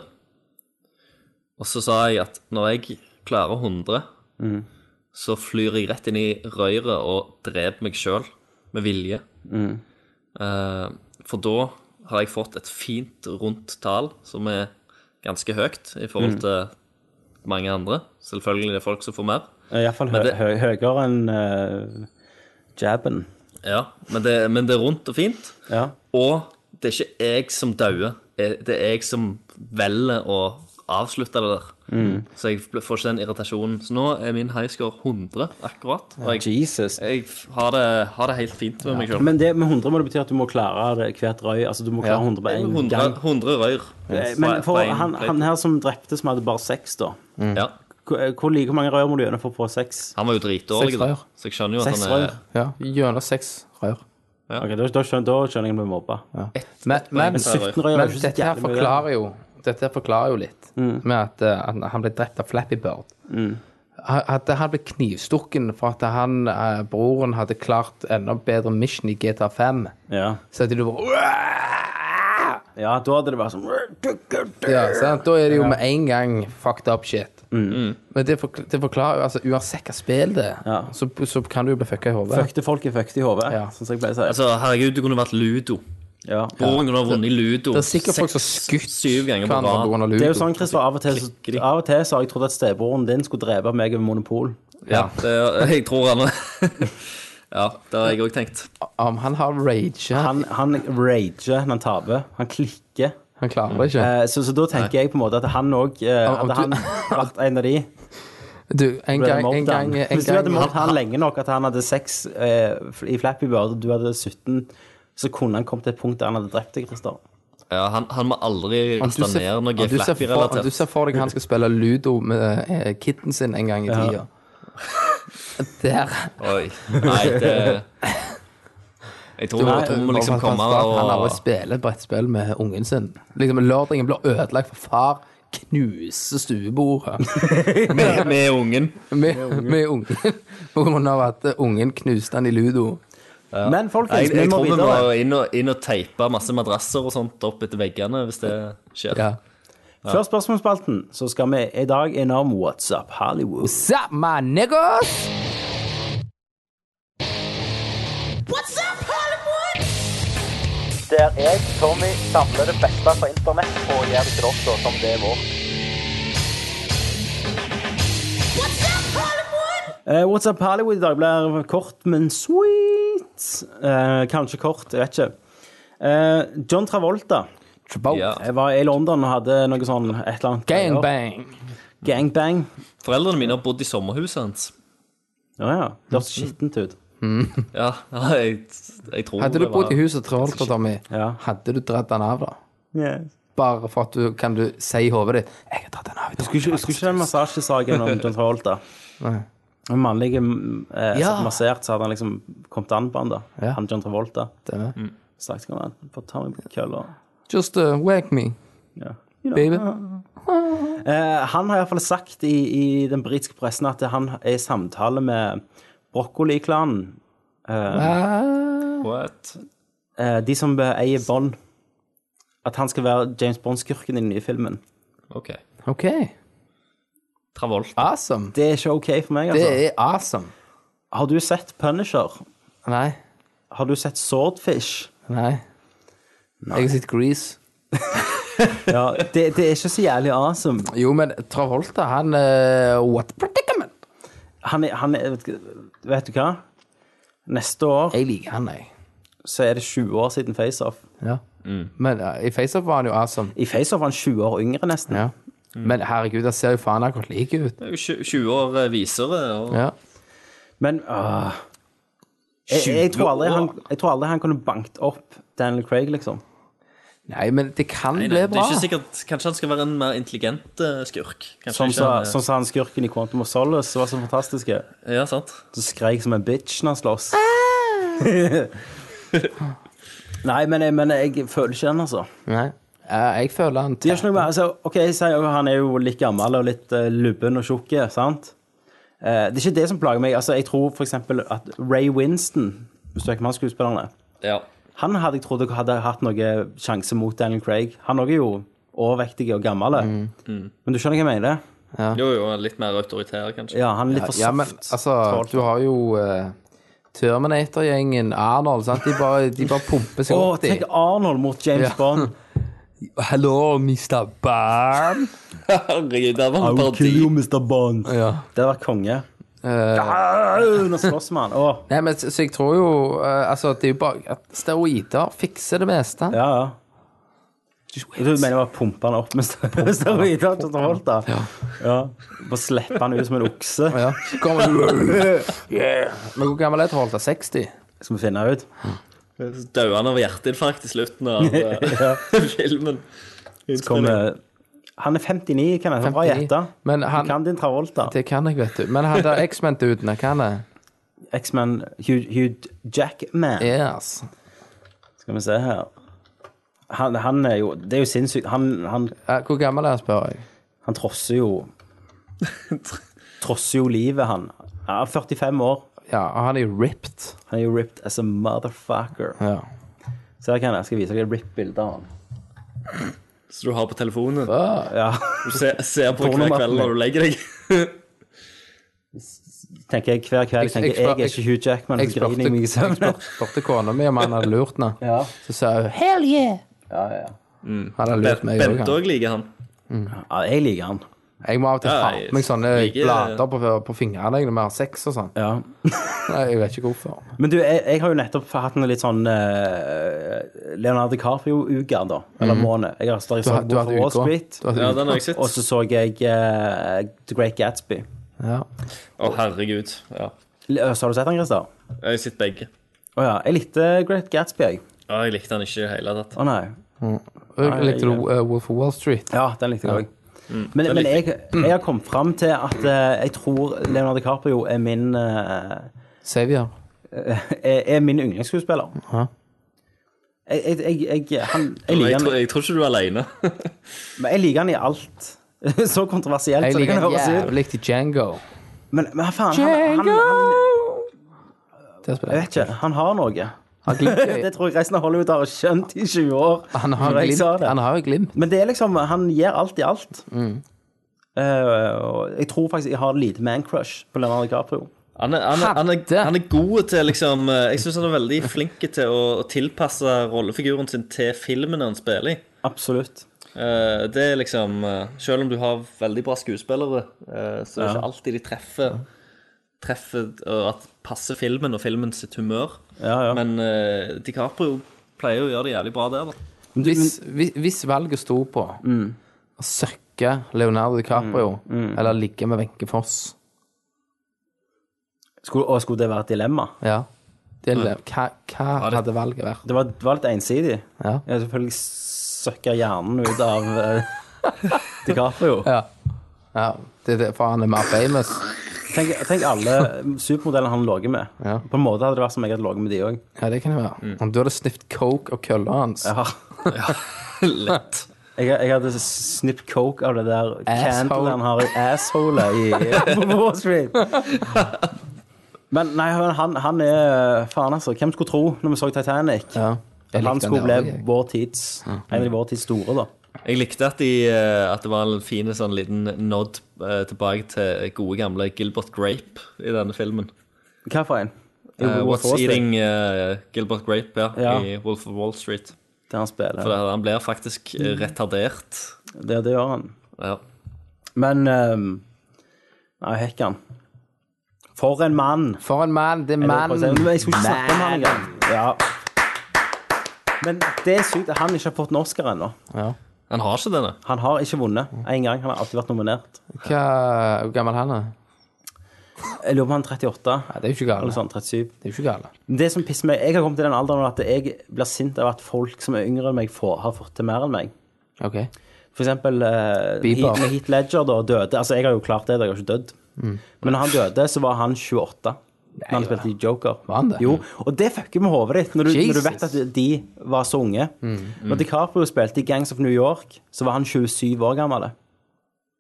[SPEAKER 2] Og så sa jeg at når jeg klarer 100, så flyr jeg rett inn i røret og dreper meg sjøl med vilje. Eh, for da har jeg fått et fint, rundt tall som er ganske høyt i forhold til mange andre. Selvfølgelig er det folk som får mer.
[SPEAKER 4] Iallfall hø,
[SPEAKER 2] det-
[SPEAKER 4] hø, høyere enn eh, jabben.
[SPEAKER 2] Ja, men det, men det er rundt og fint.
[SPEAKER 4] Ja.
[SPEAKER 2] Og det er ikke jeg som dauer. Det er jeg som velger å avslutta det der.
[SPEAKER 4] Mm.
[SPEAKER 2] Så jeg ble- får ikke den irritasjonen. Så nå er min highscore 100 akkurat. Og jeg,
[SPEAKER 4] Jesus.
[SPEAKER 2] jeg har, det, har det helt fint med meg sjøl.
[SPEAKER 4] Men det med 100 må det bety at du må klare det hvert røy. Altså, du må klare 100 på en
[SPEAKER 2] 100,
[SPEAKER 4] gang.
[SPEAKER 2] 100 røyr.
[SPEAKER 4] Eh, Men for
[SPEAKER 2] På en
[SPEAKER 4] han,
[SPEAKER 2] plate.
[SPEAKER 4] han her som drepte, som hadde bare seks, da
[SPEAKER 2] ja.
[SPEAKER 4] Hvor, eh, hvor like mange rør må du gjennom for å få seks?
[SPEAKER 2] Han var jo dritdårlig,
[SPEAKER 5] Seks
[SPEAKER 2] da.
[SPEAKER 5] rør.
[SPEAKER 2] Så jeg skjønner jo at
[SPEAKER 4] Seks
[SPEAKER 2] han er
[SPEAKER 4] rør.
[SPEAKER 5] Ja, Gjennom seks rør.
[SPEAKER 4] Ok, Da, da, skjønner, da skjønner jeg at vi blir mobba.
[SPEAKER 5] Men, men,
[SPEAKER 4] Men 17 rør er
[SPEAKER 5] men
[SPEAKER 4] jo ikke så
[SPEAKER 5] dette her
[SPEAKER 4] jævlig mye. Mm.
[SPEAKER 5] forklarer jo Dette her forklarer jo litt med at eh, han- han ble drept av Flappy Bird. Ha- At han ble knivstukken for at han, eh, broren hadde klart enda bedre mission i GTA5.
[SPEAKER 4] Ja.
[SPEAKER 5] Så at de bare "Uah!"
[SPEAKER 4] ja, da hadde det vært sånn
[SPEAKER 5] Ja, sant? Da er det jo med en gang fucked up shit.
[SPEAKER 4] Mm.
[SPEAKER 2] Mm.
[SPEAKER 5] Men det, forkl- det forklarer jo altså, Uansett hva spill det er,
[SPEAKER 4] Ja.
[SPEAKER 5] så, så kan du jo bli fucka i hodet.
[SPEAKER 4] Fuckte folk er fucked i hodet,
[SPEAKER 5] Ja.
[SPEAKER 4] sånn som jeg pleier å si.
[SPEAKER 2] Altså, herregud, du kunne vært ludo.
[SPEAKER 4] ja.
[SPEAKER 2] Broren kunne ha vunnet i ludo.
[SPEAKER 5] Det er sikkert folk som har
[SPEAKER 2] Seks-
[SPEAKER 5] skutt
[SPEAKER 2] syv ganger på
[SPEAKER 5] hverandre
[SPEAKER 2] rad.
[SPEAKER 5] pga. ludo.
[SPEAKER 4] Det er jo sånn, Christer, av og til, så- av og til så har jeg trodd at stebroren din skulle drepe meg over Monopol.
[SPEAKER 2] Ja, det, er- jeg tror han Ja, det har jeg òg tenkt.
[SPEAKER 5] Om han har rage. Han,
[SPEAKER 4] Han, han rager når han taper. Han klikker.
[SPEAKER 5] klarer ikke.
[SPEAKER 4] Eh, Så, så da tenker jeg på en måte at han òg eh,
[SPEAKER 5] Om- om
[SPEAKER 4] Hadde han
[SPEAKER 5] du-
[SPEAKER 4] vært en av de,
[SPEAKER 5] Du, en
[SPEAKER 4] ble det
[SPEAKER 5] gang, en
[SPEAKER 4] mobbet han.
[SPEAKER 5] gang, en
[SPEAKER 4] Hvis du hadde
[SPEAKER 5] gang
[SPEAKER 4] mobbet han lenge nok at han hadde sex eh, i Flappy Bird, og du hadde 17, så kunne han kommet til et punkt der han hadde drept deg, Christer.
[SPEAKER 2] Ja, han, han må aldri
[SPEAKER 5] Om
[SPEAKER 2] raste ned
[SPEAKER 5] om
[SPEAKER 2] noe
[SPEAKER 5] du ser for- om du
[SPEAKER 2] flappy-relatert.
[SPEAKER 5] ser for deg han skal spille ludo med eh, kitten sin en gang i
[SPEAKER 4] Ja.
[SPEAKER 5] tida. Der.
[SPEAKER 2] Oi. Nei, det Jeg tror jeg tror vi må liksom
[SPEAKER 5] Og han-
[SPEAKER 2] komme
[SPEAKER 5] Han aldri
[SPEAKER 2] og
[SPEAKER 5] spiller brettspill med ungen sin. Liksom Lørdagen blir ødelagt for far knuser stuebordet
[SPEAKER 2] med, med ungen.
[SPEAKER 5] med, med ungen på grunn av at eh, ungen knuste han i ludo.
[SPEAKER 4] Men
[SPEAKER 2] Jeg,
[SPEAKER 4] folkens,
[SPEAKER 2] jeg
[SPEAKER 4] vi må
[SPEAKER 2] tror vi må
[SPEAKER 4] videre.
[SPEAKER 2] inn og, inn og teipe masse madrasser og sånt opp etter veggene hvis det skjer.
[SPEAKER 5] Ja.
[SPEAKER 4] Før spørsmålsspalten så skal vi i dag innom What's Up Hollywood.
[SPEAKER 5] Sup, my niggas!
[SPEAKER 1] What's up, Hollywood?
[SPEAKER 4] Der jeg, Tommy, samler det beste på internett og gjør det til dere som det er vårt.
[SPEAKER 1] What's up, Hollywood?
[SPEAKER 4] Eh, What's Up Hollywood i dag blir kort, men sweet. Eh, kanskje kort, jeg vet ikke. Eh, John Travolta
[SPEAKER 5] Trabot.
[SPEAKER 2] Ja.
[SPEAKER 4] jeg var i London og hadde noe sånn et eller annet. greier.
[SPEAKER 5] Gangbang.
[SPEAKER 4] Gangbang.
[SPEAKER 2] Foreldrene mine har bodd i sommerhuset hans.
[SPEAKER 4] Ja, ja. Det hørtes skittent ut.
[SPEAKER 2] Ja, jeg, jeg tror
[SPEAKER 5] Hadde du
[SPEAKER 2] det var-
[SPEAKER 5] bodd i huset Travolta, Tommy,
[SPEAKER 4] Ja.
[SPEAKER 5] hadde du dratt den av, da? Bare for at du kan du si i hodet ditt 'Jeg har dratt den av'. i dag.
[SPEAKER 4] Skulle ikke, skulle ikke den massasjesaken om John Travolta En mannlig eh,
[SPEAKER 5] Ja.
[SPEAKER 4] som massert, så hadde han liksom kommet an på han, da.
[SPEAKER 5] Ja.
[SPEAKER 4] Han John Travolta.
[SPEAKER 5] Stemmer.
[SPEAKER 4] Snakket om han. Få ta meg på kølla.
[SPEAKER 5] Mm. Just uh, wake me,
[SPEAKER 4] Ja. You know.
[SPEAKER 5] baby.
[SPEAKER 4] Eh, han har iallfall sagt i, i den britiske pressen at han er i samtale med Brokkoli-klanen.
[SPEAKER 2] What?
[SPEAKER 4] Eh, de som eh, eier Bond. At han skal være James Bond-skurken i den nye filmen.
[SPEAKER 2] OK.
[SPEAKER 5] OK.
[SPEAKER 2] Travolta.
[SPEAKER 5] Awesome.
[SPEAKER 4] Det er ikke OK for meg,
[SPEAKER 5] Det
[SPEAKER 4] altså.
[SPEAKER 5] er awesome.
[SPEAKER 4] Har du sett Punisher?
[SPEAKER 5] Nei.
[SPEAKER 4] Har du sett Swordfish?
[SPEAKER 5] Nei. Jeg har sett Grease.
[SPEAKER 4] Ja, det, det er ikke så jævlig awesome.
[SPEAKER 5] Jo, men Travolta, han eh, What predicament?
[SPEAKER 4] Han er, han er Vet du hva? Neste år
[SPEAKER 5] Jeg liker han, jeg.
[SPEAKER 4] så er det 20 år siden FaceOff.
[SPEAKER 5] Ja.
[SPEAKER 2] Mm.
[SPEAKER 5] Men eh, i FaceUp var han jo awesome.
[SPEAKER 4] I FaceOff var han 20 år yngre, nesten.
[SPEAKER 5] Ja.
[SPEAKER 2] Mm.
[SPEAKER 5] Men herregud, han ser jo faen akkurat like ut.
[SPEAKER 2] Det er jo tjue- 20 år eh, visere. Og...
[SPEAKER 5] Ja.
[SPEAKER 4] Men åh. jeg, jeg, tror aldri han, jeg tror aldri han kunne banket opp Daniel Craig, liksom.
[SPEAKER 5] Nei, men det kan
[SPEAKER 2] Nei, nei,
[SPEAKER 5] bli
[SPEAKER 2] det
[SPEAKER 5] bra.
[SPEAKER 2] er ikke sikkert, Kanskje han skal være en mer intelligent eh, skurk. Kanskje
[SPEAKER 4] Som
[SPEAKER 2] ikke
[SPEAKER 4] sa,
[SPEAKER 2] han, eh,
[SPEAKER 4] som sa han skurken i Quantum of Solace, som var så fantastisk.
[SPEAKER 2] Ja, sant?
[SPEAKER 4] Så skreik som en bitch når han slåss.
[SPEAKER 5] Ah!
[SPEAKER 4] Nei, men jeg, men jeg føler ikke den, altså.
[SPEAKER 5] Nei. Eh, jeg føler han
[SPEAKER 4] Det gjør ikke noe med, altså, ok, jeg sier jo Han er jo litt gammel og litt eh, lubben og tjukk, sant? Eh, det er ikke det som plager meg. Altså, jeg tror for eksempel at Ray Winston, hvis du er ikke med skuespillerne,
[SPEAKER 2] Ja.
[SPEAKER 4] han hadde jeg trodd hadde hatt noe sjanse mot Daniel Craig. Han også er jo overvektig og gammel.
[SPEAKER 5] Mm.
[SPEAKER 4] Men du skjønner hva jeg mener?
[SPEAKER 2] Jo, jo, litt mer autoritær, kanskje.
[SPEAKER 4] Ja, han er litt for
[SPEAKER 5] Ja, men
[SPEAKER 4] soft.
[SPEAKER 5] altså,
[SPEAKER 4] Travolta.
[SPEAKER 5] du har jo eh, Terminator-gjengen, Arnold, sant? De bare, de bare pumper seg
[SPEAKER 4] Å,
[SPEAKER 5] opp, de.
[SPEAKER 4] tenk Arnold mot James
[SPEAKER 5] Ja.
[SPEAKER 4] Bond.
[SPEAKER 5] Hello, Mr. Barn.
[SPEAKER 2] Herregud, det var en parodi.
[SPEAKER 4] Mr. Bond.
[SPEAKER 5] Ja.
[SPEAKER 4] Det hadde vært konge. Au, Nå slåss vi han. Å,
[SPEAKER 5] Eh, Nei, men så, så jeg tror jo eh, Altså, det er jo bare at steroider fikser det meste.
[SPEAKER 4] ja, ja. Du mener bare pumpe han opp med stø- steroider? Dr. Holt, da? Ja. Bare slippe han ut som en okse,
[SPEAKER 5] Ja. Så kommer du Men hvor gammel er Holt? da? 60?
[SPEAKER 4] skal vi finne ut.
[SPEAKER 2] Døde han av hjerteinfarkt i slutten av eh, filmen.
[SPEAKER 4] Så kommer Han er 59, kan jeg få bra
[SPEAKER 5] 59.
[SPEAKER 4] gjette.
[SPEAKER 5] Men han-
[SPEAKER 4] Du kan din Travolta.
[SPEAKER 5] Det kan jeg, vet du. Men han der X-Men-duden, han kan det?
[SPEAKER 4] X-Man Hugh, Hugh Jackman.
[SPEAKER 5] Yes.
[SPEAKER 4] Skal vi se her. Han, han er jo Det er jo sinnssykt. Han, han,
[SPEAKER 5] Eh, Hvor gammel er han, spør jeg?
[SPEAKER 4] han trosser jo Trosser jo livet, han. Ja, 45 år.
[SPEAKER 5] Ja, og han er jo ripped.
[SPEAKER 4] Han er jo ripped as a motherfucker.
[SPEAKER 5] Ja.
[SPEAKER 4] Se her kan jeg, jeg skal vise dere rip-bilder av han.
[SPEAKER 2] Så du har på telefonen.
[SPEAKER 4] Ah, Ja,
[SPEAKER 2] Du ser, ser på hver
[SPEAKER 4] Pornomappen.
[SPEAKER 2] kveld når du legger deg.
[SPEAKER 4] tenker jeg hver kveld.
[SPEAKER 5] Jeg-
[SPEAKER 4] tenker
[SPEAKER 5] jeg
[SPEAKER 4] jeg, jeg er
[SPEAKER 5] spør-
[SPEAKER 4] ikke Hugh Jackman,
[SPEAKER 5] Jeg
[SPEAKER 4] så griner jeg meg i
[SPEAKER 5] spurte-
[SPEAKER 4] søvn.
[SPEAKER 5] jeg spurte kona mi om han hadde lurt henne.
[SPEAKER 4] Ja.
[SPEAKER 5] Så sa hun hell yeah.
[SPEAKER 4] Ja, ja, ja.
[SPEAKER 5] Han hadde lurt meg
[SPEAKER 2] Bente
[SPEAKER 5] òg.
[SPEAKER 2] òg liker han.
[SPEAKER 4] ja, jeg liker han.
[SPEAKER 5] Jeg må av og til
[SPEAKER 2] Ja,
[SPEAKER 5] ha
[SPEAKER 2] jeg-
[SPEAKER 5] på meg sånne
[SPEAKER 2] jeg-
[SPEAKER 5] blader på, på fingrene jeg, når vi har sex og sånn.
[SPEAKER 4] Ja.
[SPEAKER 5] Nei, Jeg vet ikke hvorfor.
[SPEAKER 4] Men du, jeg, jeg har jo nettopp hatt en litt sånn eh, Leonardo DiCaprio-uke, da. Eller måned. Jeg har
[SPEAKER 5] Mhm. Du, har-
[SPEAKER 4] startet
[SPEAKER 5] du hadde
[SPEAKER 4] på Wall
[SPEAKER 5] uka.
[SPEAKER 4] Street.
[SPEAKER 5] Du hadde
[SPEAKER 2] Ja,
[SPEAKER 5] uka.
[SPEAKER 2] den har jeg sett.
[SPEAKER 4] Og så
[SPEAKER 2] Å,
[SPEAKER 4] så jeg eh, The Great Gatsby.
[SPEAKER 5] Ja.
[SPEAKER 2] herregud. Ja.
[SPEAKER 4] L- øh, Så har du sett den, Christer? Å
[SPEAKER 2] Jeg har sett begge.
[SPEAKER 4] ja. Jeg likte Great Gatsby, jeg.
[SPEAKER 2] Ja, jeg likte han ikke i det hele tatt.
[SPEAKER 4] Å nei.
[SPEAKER 5] Og jeg Likte du
[SPEAKER 4] jeg-
[SPEAKER 5] eh, Wolf of Wall Street?
[SPEAKER 4] Ja, den likte jeg òg.
[SPEAKER 5] Mm.
[SPEAKER 4] Men, men jeg, jeg har kommet fram til at eh, jeg tror Leonardo DiCaprio er min eh,
[SPEAKER 5] Savior?
[SPEAKER 4] er, er min yndlingsskuespiller. Jeg, jeg, jeg, jeg, han, jeg,
[SPEAKER 2] Jeg,
[SPEAKER 4] liker
[SPEAKER 2] tror-
[SPEAKER 4] han,
[SPEAKER 2] jeg tror ikke du er aleine.
[SPEAKER 4] men jeg liker han i alt. Så kontroversielt
[SPEAKER 5] Jeg
[SPEAKER 4] som det
[SPEAKER 5] liker
[SPEAKER 4] kan
[SPEAKER 5] han
[SPEAKER 4] høres ut.
[SPEAKER 5] jævlig til Django.
[SPEAKER 4] Men, men faen, han, han, han
[SPEAKER 5] Det
[SPEAKER 4] Jeg
[SPEAKER 5] spiller
[SPEAKER 4] vet ikke. Han har noe.
[SPEAKER 5] Han glimter i-
[SPEAKER 4] Det tror jeg resten av Hollywood har skjønt i 20 år.
[SPEAKER 5] Han har
[SPEAKER 4] når jeg sa
[SPEAKER 5] glimt.
[SPEAKER 4] det.
[SPEAKER 5] Han har jo glimt.
[SPEAKER 4] Men det er liksom Han gir alt i alt.
[SPEAKER 5] Mm.
[SPEAKER 4] Eh, og jeg tror faktisk jeg har lite man-crush på Leonardo DiCaprio.
[SPEAKER 2] Han er, han, er, han, er,
[SPEAKER 5] Hadde.
[SPEAKER 2] han er god til liksom eh, Jeg syns han er veldig flink til å, å tilpasse rollefiguren sin til filmen han spiller i.
[SPEAKER 4] Absolutt.
[SPEAKER 2] Eh, det er liksom eh, Selv om du har veldig bra skuespillere, eh, så er det ikke alltid de treffer Treffer og at passer filmen og filmen sitt humør.
[SPEAKER 4] Ja, ja.
[SPEAKER 2] Men eh, DiCaprio pleier å gjøre det jævlig bra der, da.
[SPEAKER 5] Hvis, hvis, hvis valget sto på
[SPEAKER 4] Mm.
[SPEAKER 5] å søkke Leonardo DiCaprio eller ligge med Wenche Foss
[SPEAKER 4] Skulle, og skulle det være et dilemma?
[SPEAKER 5] ja. det, er- Hva, hva hadde valget vært?
[SPEAKER 4] Det var, det var litt ensidig.
[SPEAKER 5] Ja.
[SPEAKER 4] Jeg har selvfølgelig søkka hjernen ut av eh, DiCaprio.
[SPEAKER 5] Ja. ja. Det er det, for han er mer famous.
[SPEAKER 4] Tenk, tenk alle supermodellene han lå med.
[SPEAKER 5] Ja.
[SPEAKER 4] På en måte hadde det vært som jeg hadde ligget med de òg.
[SPEAKER 5] Ja, det kan det være. Om du hadde snipt coke og kølla hans
[SPEAKER 4] Ja.
[SPEAKER 2] Lett.
[SPEAKER 4] Jeg, jeg hadde snippet coke av det der
[SPEAKER 5] Asshole.
[SPEAKER 4] candle han har i assholet i, på Wall Street. Men nei, han, han er Faen, altså. Hvem skulle tro, når vi så Titanic,
[SPEAKER 5] ja. Jeg
[SPEAKER 4] at han
[SPEAKER 5] likte
[SPEAKER 4] skulle
[SPEAKER 5] der
[SPEAKER 4] bli
[SPEAKER 5] også, jeg.
[SPEAKER 4] vår tids, en av de vår tids store, da?
[SPEAKER 2] Jeg likte at, de, eh, at det var en fin sånn liten nod eh, tilbake til gode gamle Gilbert Grape i denne filmen.
[SPEAKER 4] Hva for en? I
[SPEAKER 2] Eh,
[SPEAKER 4] Wolf
[SPEAKER 2] What's
[SPEAKER 4] of Wall Street,
[SPEAKER 2] Eating eh, Gilbert Grape, ja,
[SPEAKER 4] Ja.
[SPEAKER 2] i Wolf of Wall Street.
[SPEAKER 4] Der han spiller.
[SPEAKER 2] For det- han blir faktisk
[SPEAKER 4] Mm.
[SPEAKER 2] eh, retardert.
[SPEAKER 4] Det, det gjør han.
[SPEAKER 2] Ja.
[SPEAKER 4] Men ehm, Nei, hekk han. For en mann!
[SPEAKER 5] For en mann! Det er
[SPEAKER 4] Jeg vil prøve å si-
[SPEAKER 5] mann!
[SPEAKER 4] Men Jeg skulle ikke snakke om han engang. Ja. Men det er sykt at han ikke har fått en Oscar ennå.
[SPEAKER 5] Ja.
[SPEAKER 2] Han har ikke denne.
[SPEAKER 4] Han har ikke vunnet én gang. Han har alltid vært nominert.
[SPEAKER 5] Hva, hvor gammel han er?
[SPEAKER 4] Jeg lurer på om han er 38.
[SPEAKER 5] Nei, det er jo ikke
[SPEAKER 4] Eller
[SPEAKER 5] gale.
[SPEAKER 4] sånn
[SPEAKER 5] Det
[SPEAKER 4] 37.
[SPEAKER 5] er jo ikke gale.
[SPEAKER 4] Men Det som pisser meg, Jeg har kommet til den alderen at jeg blir sint av at folk som er yngre enn meg, får, har fått til mer enn meg.
[SPEAKER 5] Ok.
[SPEAKER 4] For eksempel eh,
[SPEAKER 5] Bieber. Mm.
[SPEAKER 4] Heath, Heath Ledger da døde. Altså, jeg har jo klart det, jeg har jo ikke dødd. Men når han døde, så var han 28. Når han spilte i Joker.
[SPEAKER 5] Var han det?
[SPEAKER 4] Jo, og det fucker med hodet ditt, når du, når
[SPEAKER 5] Jesus. Mm.
[SPEAKER 4] du vet at de var så unge. Når DiCaprio spilte i Gangs of New York, så var han 27 år gammel.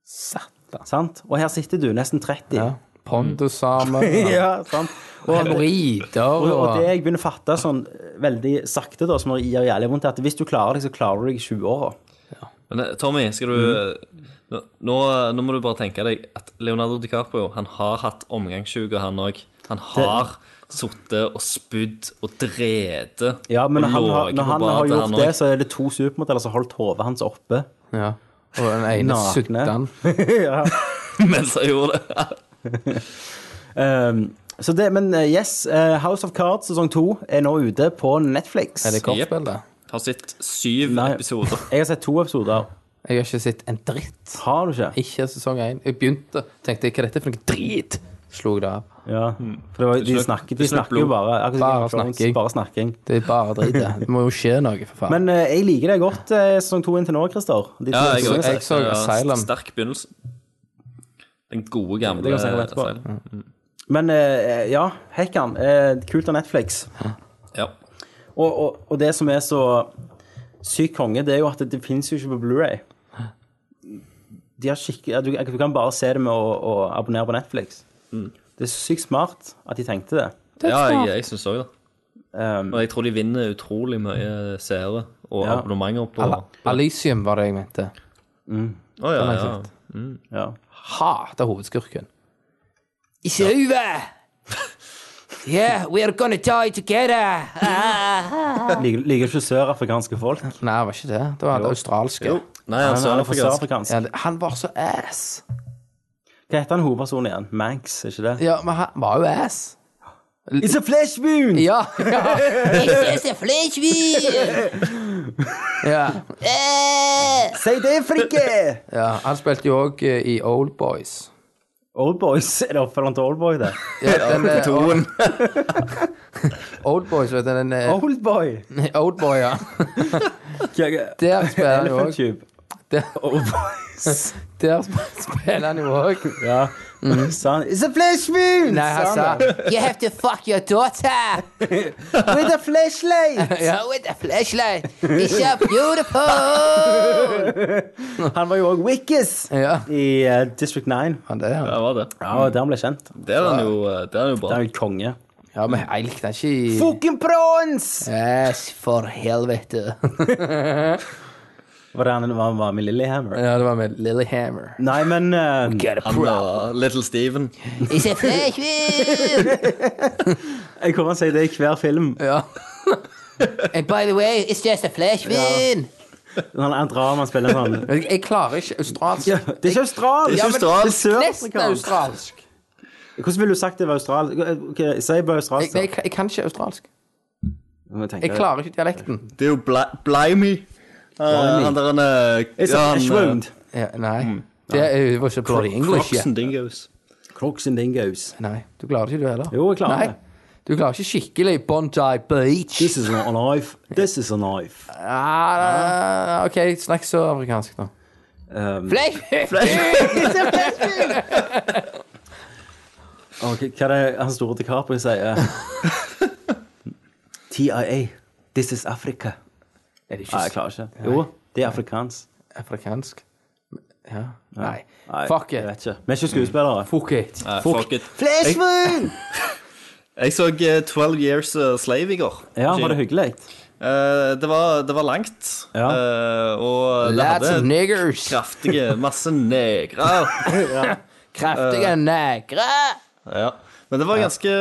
[SPEAKER 5] Satan.
[SPEAKER 4] Sant? Og her sitter du, nesten 30.
[SPEAKER 5] Ja. Pondus sammen.
[SPEAKER 4] ja sant?
[SPEAKER 5] Og hemoroider
[SPEAKER 4] Og,
[SPEAKER 5] og
[SPEAKER 4] og det jeg begynner å fatte sånn veldig sakte, da, som gjør jævlig vondt, er at hvis du klarer det, så klarer du deg i 20-åra.
[SPEAKER 2] Men eh, Tommy, skal du
[SPEAKER 4] Mm.
[SPEAKER 2] eh, nå, nå, nå må du bare tenke deg at Leonardo DiCaprio han har hatt omgangsuke, han òg. Han har sittet og spydd og drete
[SPEAKER 4] Ja, men
[SPEAKER 2] og
[SPEAKER 4] når han, har,
[SPEAKER 2] ligget
[SPEAKER 4] når
[SPEAKER 2] på
[SPEAKER 4] han har
[SPEAKER 2] badet,
[SPEAKER 4] gjort
[SPEAKER 2] han
[SPEAKER 4] det,
[SPEAKER 2] også.
[SPEAKER 4] så er det to supermodeller som har holdt hodet hans oppe.
[SPEAKER 5] Ja. Og den ene
[SPEAKER 4] Nakne.
[SPEAKER 5] suttan.
[SPEAKER 4] ja.
[SPEAKER 2] mens han gjorde det.
[SPEAKER 4] um, så det, men eh, yes, eh, House of Cards sesong to er nå ute på Netflix.
[SPEAKER 5] Er det kortspill, det?
[SPEAKER 2] Har sett syv
[SPEAKER 4] Nei.
[SPEAKER 2] episoder.
[SPEAKER 4] Jeg har sett to episoder.
[SPEAKER 5] Jeg har ikke sett en dritt.
[SPEAKER 4] Har du ikke?
[SPEAKER 5] Ikke sesong én. Jeg begynte, tenkte jeg, hva er dette for noe drit? Slo jeg det av.
[SPEAKER 4] Ja. For det var, de
[SPEAKER 2] slukk-
[SPEAKER 4] snakker,
[SPEAKER 2] du
[SPEAKER 4] de
[SPEAKER 2] slukk
[SPEAKER 4] snakker jo
[SPEAKER 2] blod.
[SPEAKER 4] bare. akkurat som
[SPEAKER 5] Bare
[SPEAKER 4] Game of Thrones,
[SPEAKER 5] snakking.
[SPEAKER 4] Bare snakking.
[SPEAKER 5] Det er bare drit, det. Det må jo skje noe, for faen.
[SPEAKER 4] Men eh, jeg liker det godt, eh, sesong to inntil nå, Christer. De to
[SPEAKER 2] Ja, jeg,
[SPEAKER 4] sesongene.
[SPEAKER 2] også.
[SPEAKER 5] jeg så
[SPEAKER 2] Ja,
[SPEAKER 5] Asylum.
[SPEAKER 2] Sterk begynnelse. Den gode, gamle
[SPEAKER 4] Det kan jeg snakke om etterpå.
[SPEAKER 2] Asylum.
[SPEAKER 4] Men eh, ja, hekkan. eh, kult av Netflix.
[SPEAKER 2] Ja.
[SPEAKER 4] Og, og, og det som er så sykt konge, det er jo at det, det finnes jo ikke på Blu-ray. De har skikk- ja, du, du kan bare se det med å, å abonnere på Netflix. Det er sykt smart at de tenkte det.
[SPEAKER 2] ja, jeg, jeg syns òg det.
[SPEAKER 4] Um,
[SPEAKER 2] Og jeg tror de vinner utrolig mye seere og
[SPEAKER 4] Ja.
[SPEAKER 2] abonnementer på
[SPEAKER 5] Al- Alicium var det jeg mente.
[SPEAKER 2] Å, ja,
[SPEAKER 5] har jeg
[SPEAKER 2] ja.
[SPEAKER 5] sett.
[SPEAKER 4] ja.
[SPEAKER 5] Hater hovedskurken.
[SPEAKER 1] It's over. yeah, we are gonna die together.
[SPEAKER 4] Liker liker ikke sørafrikanske folk.
[SPEAKER 5] Nei, det var ikke det. Det var det australske.
[SPEAKER 2] Nei, han
[SPEAKER 4] Han er
[SPEAKER 2] sørner
[SPEAKER 4] fra
[SPEAKER 2] for ganske
[SPEAKER 4] sørafrikansk.
[SPEAKER 5] Ja, det- han var så ass.
[SPEAKER 4] Hva heter han hovedpersonen igjen? Manx, er ikke det?
[SPEAKER 5] Ja, men han var jo ass.
[SPEAKER 4] It's a flesh wound!
[SPEAKER 5] Ja. ja. ja.
[SPEAKER 1] Eh,
[SPEAKER 4] Si det, frikke!
[SPEAKER 5] ja. Han spilte jo òg i Old Boys.
[SPEAKER 4] Old Boys, er det oppfølgeren til Old Boy, det?
[SPEAKER 5] Ja, den, eh, Old Boys, vet du. Den, eh,
[SPEAKER 4] Old Boy!
[SPEAKER 5] Old Boy, ja. Der spiller han jo
[SPEAKER 4] Elephant
[SPEAKER 5] òg.
[SPEAKER 4] Tube.
[SPEAKER 5] Der,
[SPEAKER 4] Old Boys.
[SPEAKER 5] der sp- spiller han jo òg.
[SPEAKER 4] Ja. Sa han It's a flesh wound!
[SPEAKER 5] Mm. Nei, han sa
[SPEAKER 1] you have to fuck your daughter.
[SPEAKER 4] With a flashlight!
[SPEAKER 1] So with a flashlight. It's so beautiful.
[SPEAKER 4] Han var jo òg Wickes
[SPEAKER 5] Ja,
[SPEAKER 4] i eh, District 9.
[SPEAKER 5] han det, ja.
[SPEAKER 2] Det var det.
[SPEAKER 4] Ja, og der han ble kjent.
[SPEAKER 2] Det er den jo, eh, det er den jo
[SPEAKER 4] Det
[SPEAKER 2] bra.
[SPEAKER 4] er jo konge.
[SPEAKER 5] ja men jeg likte han ikke i
[SPEAKER 4] Fucking prawns!
[SPEAKER 5] Yes, for helvete.
[SPEAKER 4] Var det han var, var med Lillehammer?
[SPEAKER 5] Ja, det var med Lillehammer.
[SPEAKER 4] Nei, men eh,
[SPEAKER 2] Han var Little Steven.
[SPEAKER 1] It's a flash wound.
[SPEAKER 4] jeg kommer til å si det i hver film.
[SPEAKER 5] Ja.
[SPEAKER 1] And by the way, it's just a flash wound.
[SPEAKER 4] Han, han drar man spiller en sånn
[SPEAKER 5] Jeg, jeg klarer ikke australsk.
[SPEAKER 4] ja, Det er ikke australsk!
[SPEAKER 2] Det er ikke
[SPEAKER 4] Det er
[SPEAKER 2] australsk.
[SPEAKER 5] Nesten
[SPEAKER 4] sørafrikansk.
[SPEAKER 5] australsk.
[SPEAKER 4] Hvordan ville du sagt det var australsk? Okay, si bare
[SPEAKER 5] Jeg,
[SPEAKER 4] australsk.
[SPEAKER 5] nei, jeg, jeg kan ikke australsk. Jeg klarer ikke dialekten.
[SPEAKER 2] Det er jo Bli- Blimey. Eh, han der han eh,
[SPEAKER 4] It's
[SPEAKER 2] ja,
[SPEAKER 4] a flesh
[SPEAKER 2] han,
[SPEAKER 4] wound.
[SPEAKER 2] eh,
[SPEAKER 5] Ja, Mm. nei. Det er jo ikke bloody English. Ja.
[SPEAKER 2] Crocsen Dingoes.
[SPEAKER 4] Crocs and dingoes.
[SPEAKER 5] Nei, du klarer ikke du heller.
[SPEAKER 4] Jo, jeg klarer
[SPEAKER 5] nei.
[SPEAKER 4] det.
[SPEAKER 5] Du klarer ikke skikkelig Bondi Beach.
[SPEAKER 4] This is a knife. This is a knife.
[SPEAKER 5] Ah, OK, snakk så afrikansk nå.
[SPEAKER 4] Um,
[SPEAKER 1] Flash wound.
[SPEAKER 4] Og hva- hva er det han store DiCaprio sier? TIA. This is Africa.
[SPEAKER 5] Er det ikke
[SPEAKER 4] Nei, jeg klarer ikke. Jo, det er afrikansk.
[SPEAKER 5] afrikansk? Ja. Nei.
[SPEAKER 4] Nei,
[SPEAKER 5] Fuck
[SPEAKER 4] jeg
[SPEAKER 5] it.
[SPEAKER 4] vet ikke. Vi er ikke skuespillere.
[SPEAKER 5] Fuck it.
[SPEAKER 2] Nei, Eh, fuck it.
[SPEAKER 4] Flashmoon!
[SPEAKER 2] Jeg så eh, 12 Years eh, Slave i går.
[SPEAKER 4] Ja, var det hyggelig?
[SPEAKER 2] Eh, det, var, det var langt.
[SPEAKER 4] Ja.
[SPEAKER 2] Eh, og det
[SPEAKER 5] Lots of
[SPEAKER 2] hadde
[SPEAKER 5] niggers.
[SPEAKER 2] kraftige Masse negre.
[SPEAKER 5] Kraftige negre.
[SPEAKER 1] Ah.
[SPEAKER 2] Ja. Men det var ganske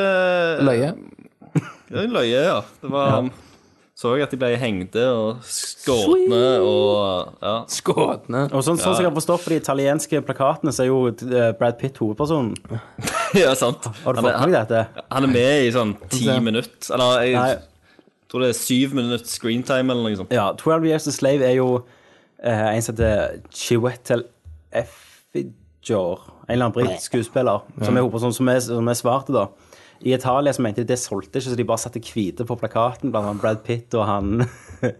[SPEAKER 5] Løye.
[SPEAKER 2] Det var en løye, ja. Det var Så jeg at de ble hengte og skårne og ja.
[SPEAKER 5] Skåtne.
[SPEAKER 4] Og sånn, sånn som jeg har forstått på de italienske plakatene, så er jo eh, Brad Pitt hovedpersonen.
[SPEAKER 2] ja, sant.
[SPEAKER 4] Har du
[SPEAKER 2] Han er-
[SPEAKER 4] fått med deg dette?
[SPEAKER 2] Han er med i sånn ti minutter. Eller jeg
[SPEAKER 4] Nei.
[SPEAKER 2] tror det er syv minutter screentime eller noe sånt.
[SPEAKER 4] Ja, 12 Years a Slave er jo eh, en som heter Chiwetel Ejiofor, en eller annen britisk skuespiller, som er, hovedpersonen som er, som er svarte, da. I Italia så mente de det solgte ikke, så de bare satte hvite på plakaten, blant annet Brad Pitt og han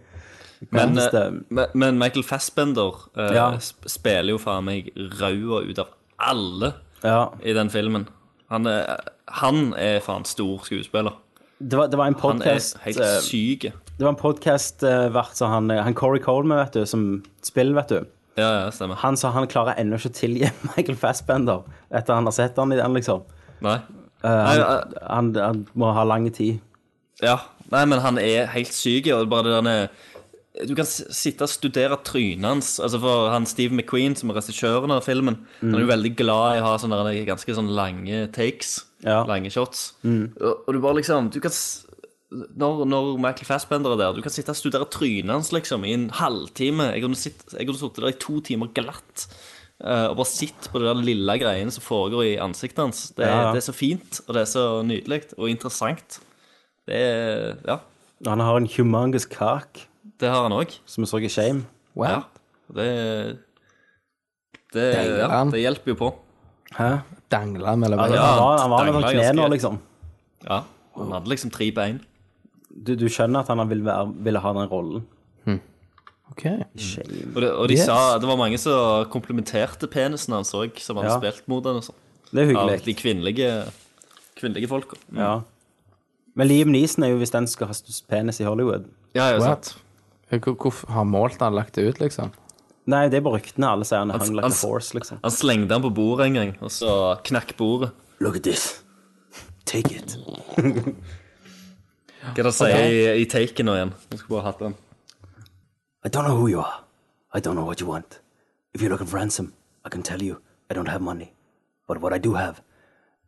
[SPEAKER 2] Men,
[SPEAKER 4] Mens
[SPEAKER 2] eh,
[SPEAKER 4] det-
[SPEAKER 2] men- men Michael Fassbender eh,
[SPEAKER 4] Ja.
[SPEAKER 2] sp- spiller jo faen meg raua ut av alle
[SPEAKER 4] Ja.
[SPEAKER 2] i den filmen. Han er, han er faen stor skuespiller.
[SPEAKER 4] Det var, det var en
[SPEAKER 2] Han er
[SPEAKER 4] podcast
[SPEAKER 2] helt
[SPEAKER 4] eh,
[SPEAKER 2] syk.
[SPEAKER 4] Det var en podcast eh, vært så han, han Corey Coleman, vet du, som spiller, vet du.
[SPEAKER 2] Ja, ja, stemmer.
[SPEAKER 4] Han sa han klarer ennå ikke å tilgi Michael Fassbender etter han har sett han i den, liksom.
[SPEAKER 2] Nei.
[SPEAKER 4] han-
[SPEAKER 2] Nei, eh,
[SPEAKER 4] Han, han må ha lang tid.
[SPEAKER 2] Ja, nei, men han er helt syk, og bare det derne Du kan s- sitte og studere trynet hans. Altså For han Steve McQueen, som er regissøren av filmen, han er jo veldig glad i å ha sånne derne ganske sånn lange takes.
[SPEAKER 4] Ja.
[SPEAKER 2] Lange shots. Og, og du bare liksom Du kan s- når, når Michael Fassbender er der, du kan sitte og studere trynet hans liksom i en halvtime. Jeg kunne sitt- jeg kunne sittet der i to timer glatt. eh, og bare sitt på det der lille greiene som foregår i ansiktet hans. Det, er-
[SPEAKER 4] Ja, ja.
[SPEAKER 2] det er så fint, og det er så nydelig og interessant. Det er Ja.
[SPEAKER 4] Han har en humongous kak.
[SPEAKER 2] Det har han òg.
[SPEAKER 4] som vi så i Shame.
[SPEAKER 5] Wow.
[SPEAKER 2] Ja. Det, det, ja, det hjelper jo på.
[SPEAKER 4] Hæ?
[SPEAKER 5] Dangla mellom
[SPEAKER 4] Ja,
[SPEAKER 5] beina.
[SPEAKER 4] han var, han var med
[SPEAKER 2] dangla
[SPEAKER 4] sånn kne nå,
[SPEAKER 2] ganske-
[SPEAKER 4] liksom.
[SPEAKER 2] Ja. Han hadde liksom tre bein.
[SPEAKER 4] Du, du skjønner at han vil være, ville ha den rollen.
[SPEAKER 5] Ok.
[SPEAKER 2] Og, det, og de
[SPEAKER 5] Yes.
[SPEAKER 2] sa, det var mange som komplimenterte penisen hans òg, som hadde
[SPEAKER 4] Ja.
[SPEAKER 2] spilt mot den og sånn.
[SPEAKER 4] Det er
[SPEAKER 2] Av
[SPEAKER 4] hyggelig.
[SPEAKER 2] de kvinnelige, kvinnelige folka. Mm.
[SPEAKER 4] Ja. Men Liam Neeson er jo hvis den skal ha størst penis i Hollywood.
[SPEAKER 2] Ja, ja, sant.
[SPEAKER 5] What? Hvor- Hvorfor har målt han lagt det ut, liksom?
[SPEAKER 4] Nei, det er bare ryktene. Alle sier han er
[SPEAKER 2] Han-
[SPEAKER 4] hung like
[SPEAKER 2] han-
[SPEAKER 4] a horse, liksom.
[SPEAKER 2] Han slengte han på bordet en gang, og så knakk bordet.
[SPEAKER 4] Look at this. Take it.
[SPEAKER 2] Hva er det sier i, i taken nå igjen? Jeg skulle bare hatt den.
[SPEAKER 4] I don't know who you are. I don't know what you want. If you're looking for ransom, I can tell you I don't have money. But what I do have,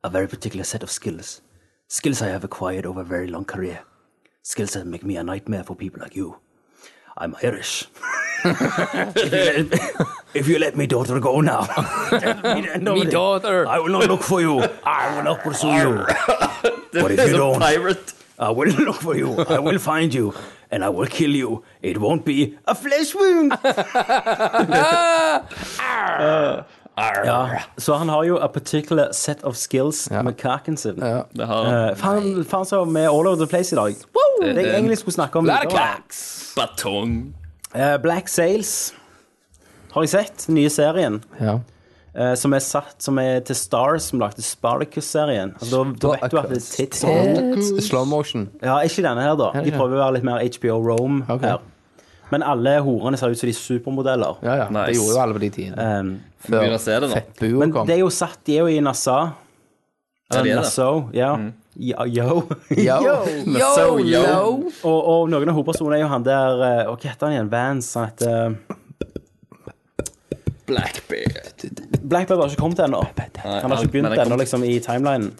[SPEAKER 4] a very particular set of skills. Skills I have acquired over a very long career. Skills that make me a nightmare for people like you. I'm Irish. if, you let me, if you let me daughter go now,
[SPEAKER 5] Me
[SPEAKER 4] me
[SPEAKER 5] daughter!
[SPEAKER 4] I will not look for you. I will not pursue you. But if you don't,
[SPEAKER 2] Pirate.
[SPEAKER 4] I will look for you. I will find you, and I will kill you. It won't be a flesh wound. Ja, så han har jo a particular set of skills med kaken sin.
[SPEAKER 5] Ja.
[SPEAKER 2] Det har han.
[SPEAKER 4] Eh, Faen, faen så vi er all over the place i dag. Det jeg egentlig skulle snakke om.
[SPEAKER 5] Lot of
[SPEAKER 4] videre.
[SPEAKER 5] cocks!
[SPEAKER 2] Batong.
[SPEAKER 4] Eh, Black Sails har jeg sett, den nye serien.
[SPEAKER 5] Ja.
[SPEAKER 4] eh, som er satt som er til Stars, som lagde Spartacus-serien. Altså, da, da vet du at det er tits og rump.
[SPEAKER 5] Tits. Slow motion.
[SPEAKER 4] Ja, ikke denne her, da. De
[SPEAKER 5] ikke?
[SPEAKER 4] prøver å være litt mer HBO Rome
[SPEAKER 5] Ok.
[SPEAKER 4] her. Men alle horene ser ut som de er supermodeller.
[SPEAKER 5] Ja, ja.
[SPEAKER 2] Nice.
[SPEAKER 5] Det gjorde jo alle på de tidene.
[SPEAKER 4] Um,
[SPEAKER 5] Før
[SPEAKER 2] Begynner å se det nå.
[SPEAKER 5] fettbua
[SPEAKER 4] men
[SPEAKER 5] kom.
[SPEAKER 4] det er jo satt De er jo i NASA.
[SPEAKER 2] Ja, det Mm. er det.
[SPEAKER 4] Nassau, ja. ja yo.
[SPEAKER 5] Yo,
[SPEAKER 2] So, yo.
[SPEAKER 5] low.
[SPEAKER 4] og, og noen av hovedpersonene er jo han der eh, og Hva heter han igjen? Vans? Han heter
[SPEAKER 2] Blackbeard.
[SPEAKER 4] Blackbird har ikke kommet ennå. Han har ikke
[SPEAKER 2] men
[SPEAKER 4] begynt
[SPEAKER 2] det kom-
[SPEAKER 4] ennå, liksom, i timelinen.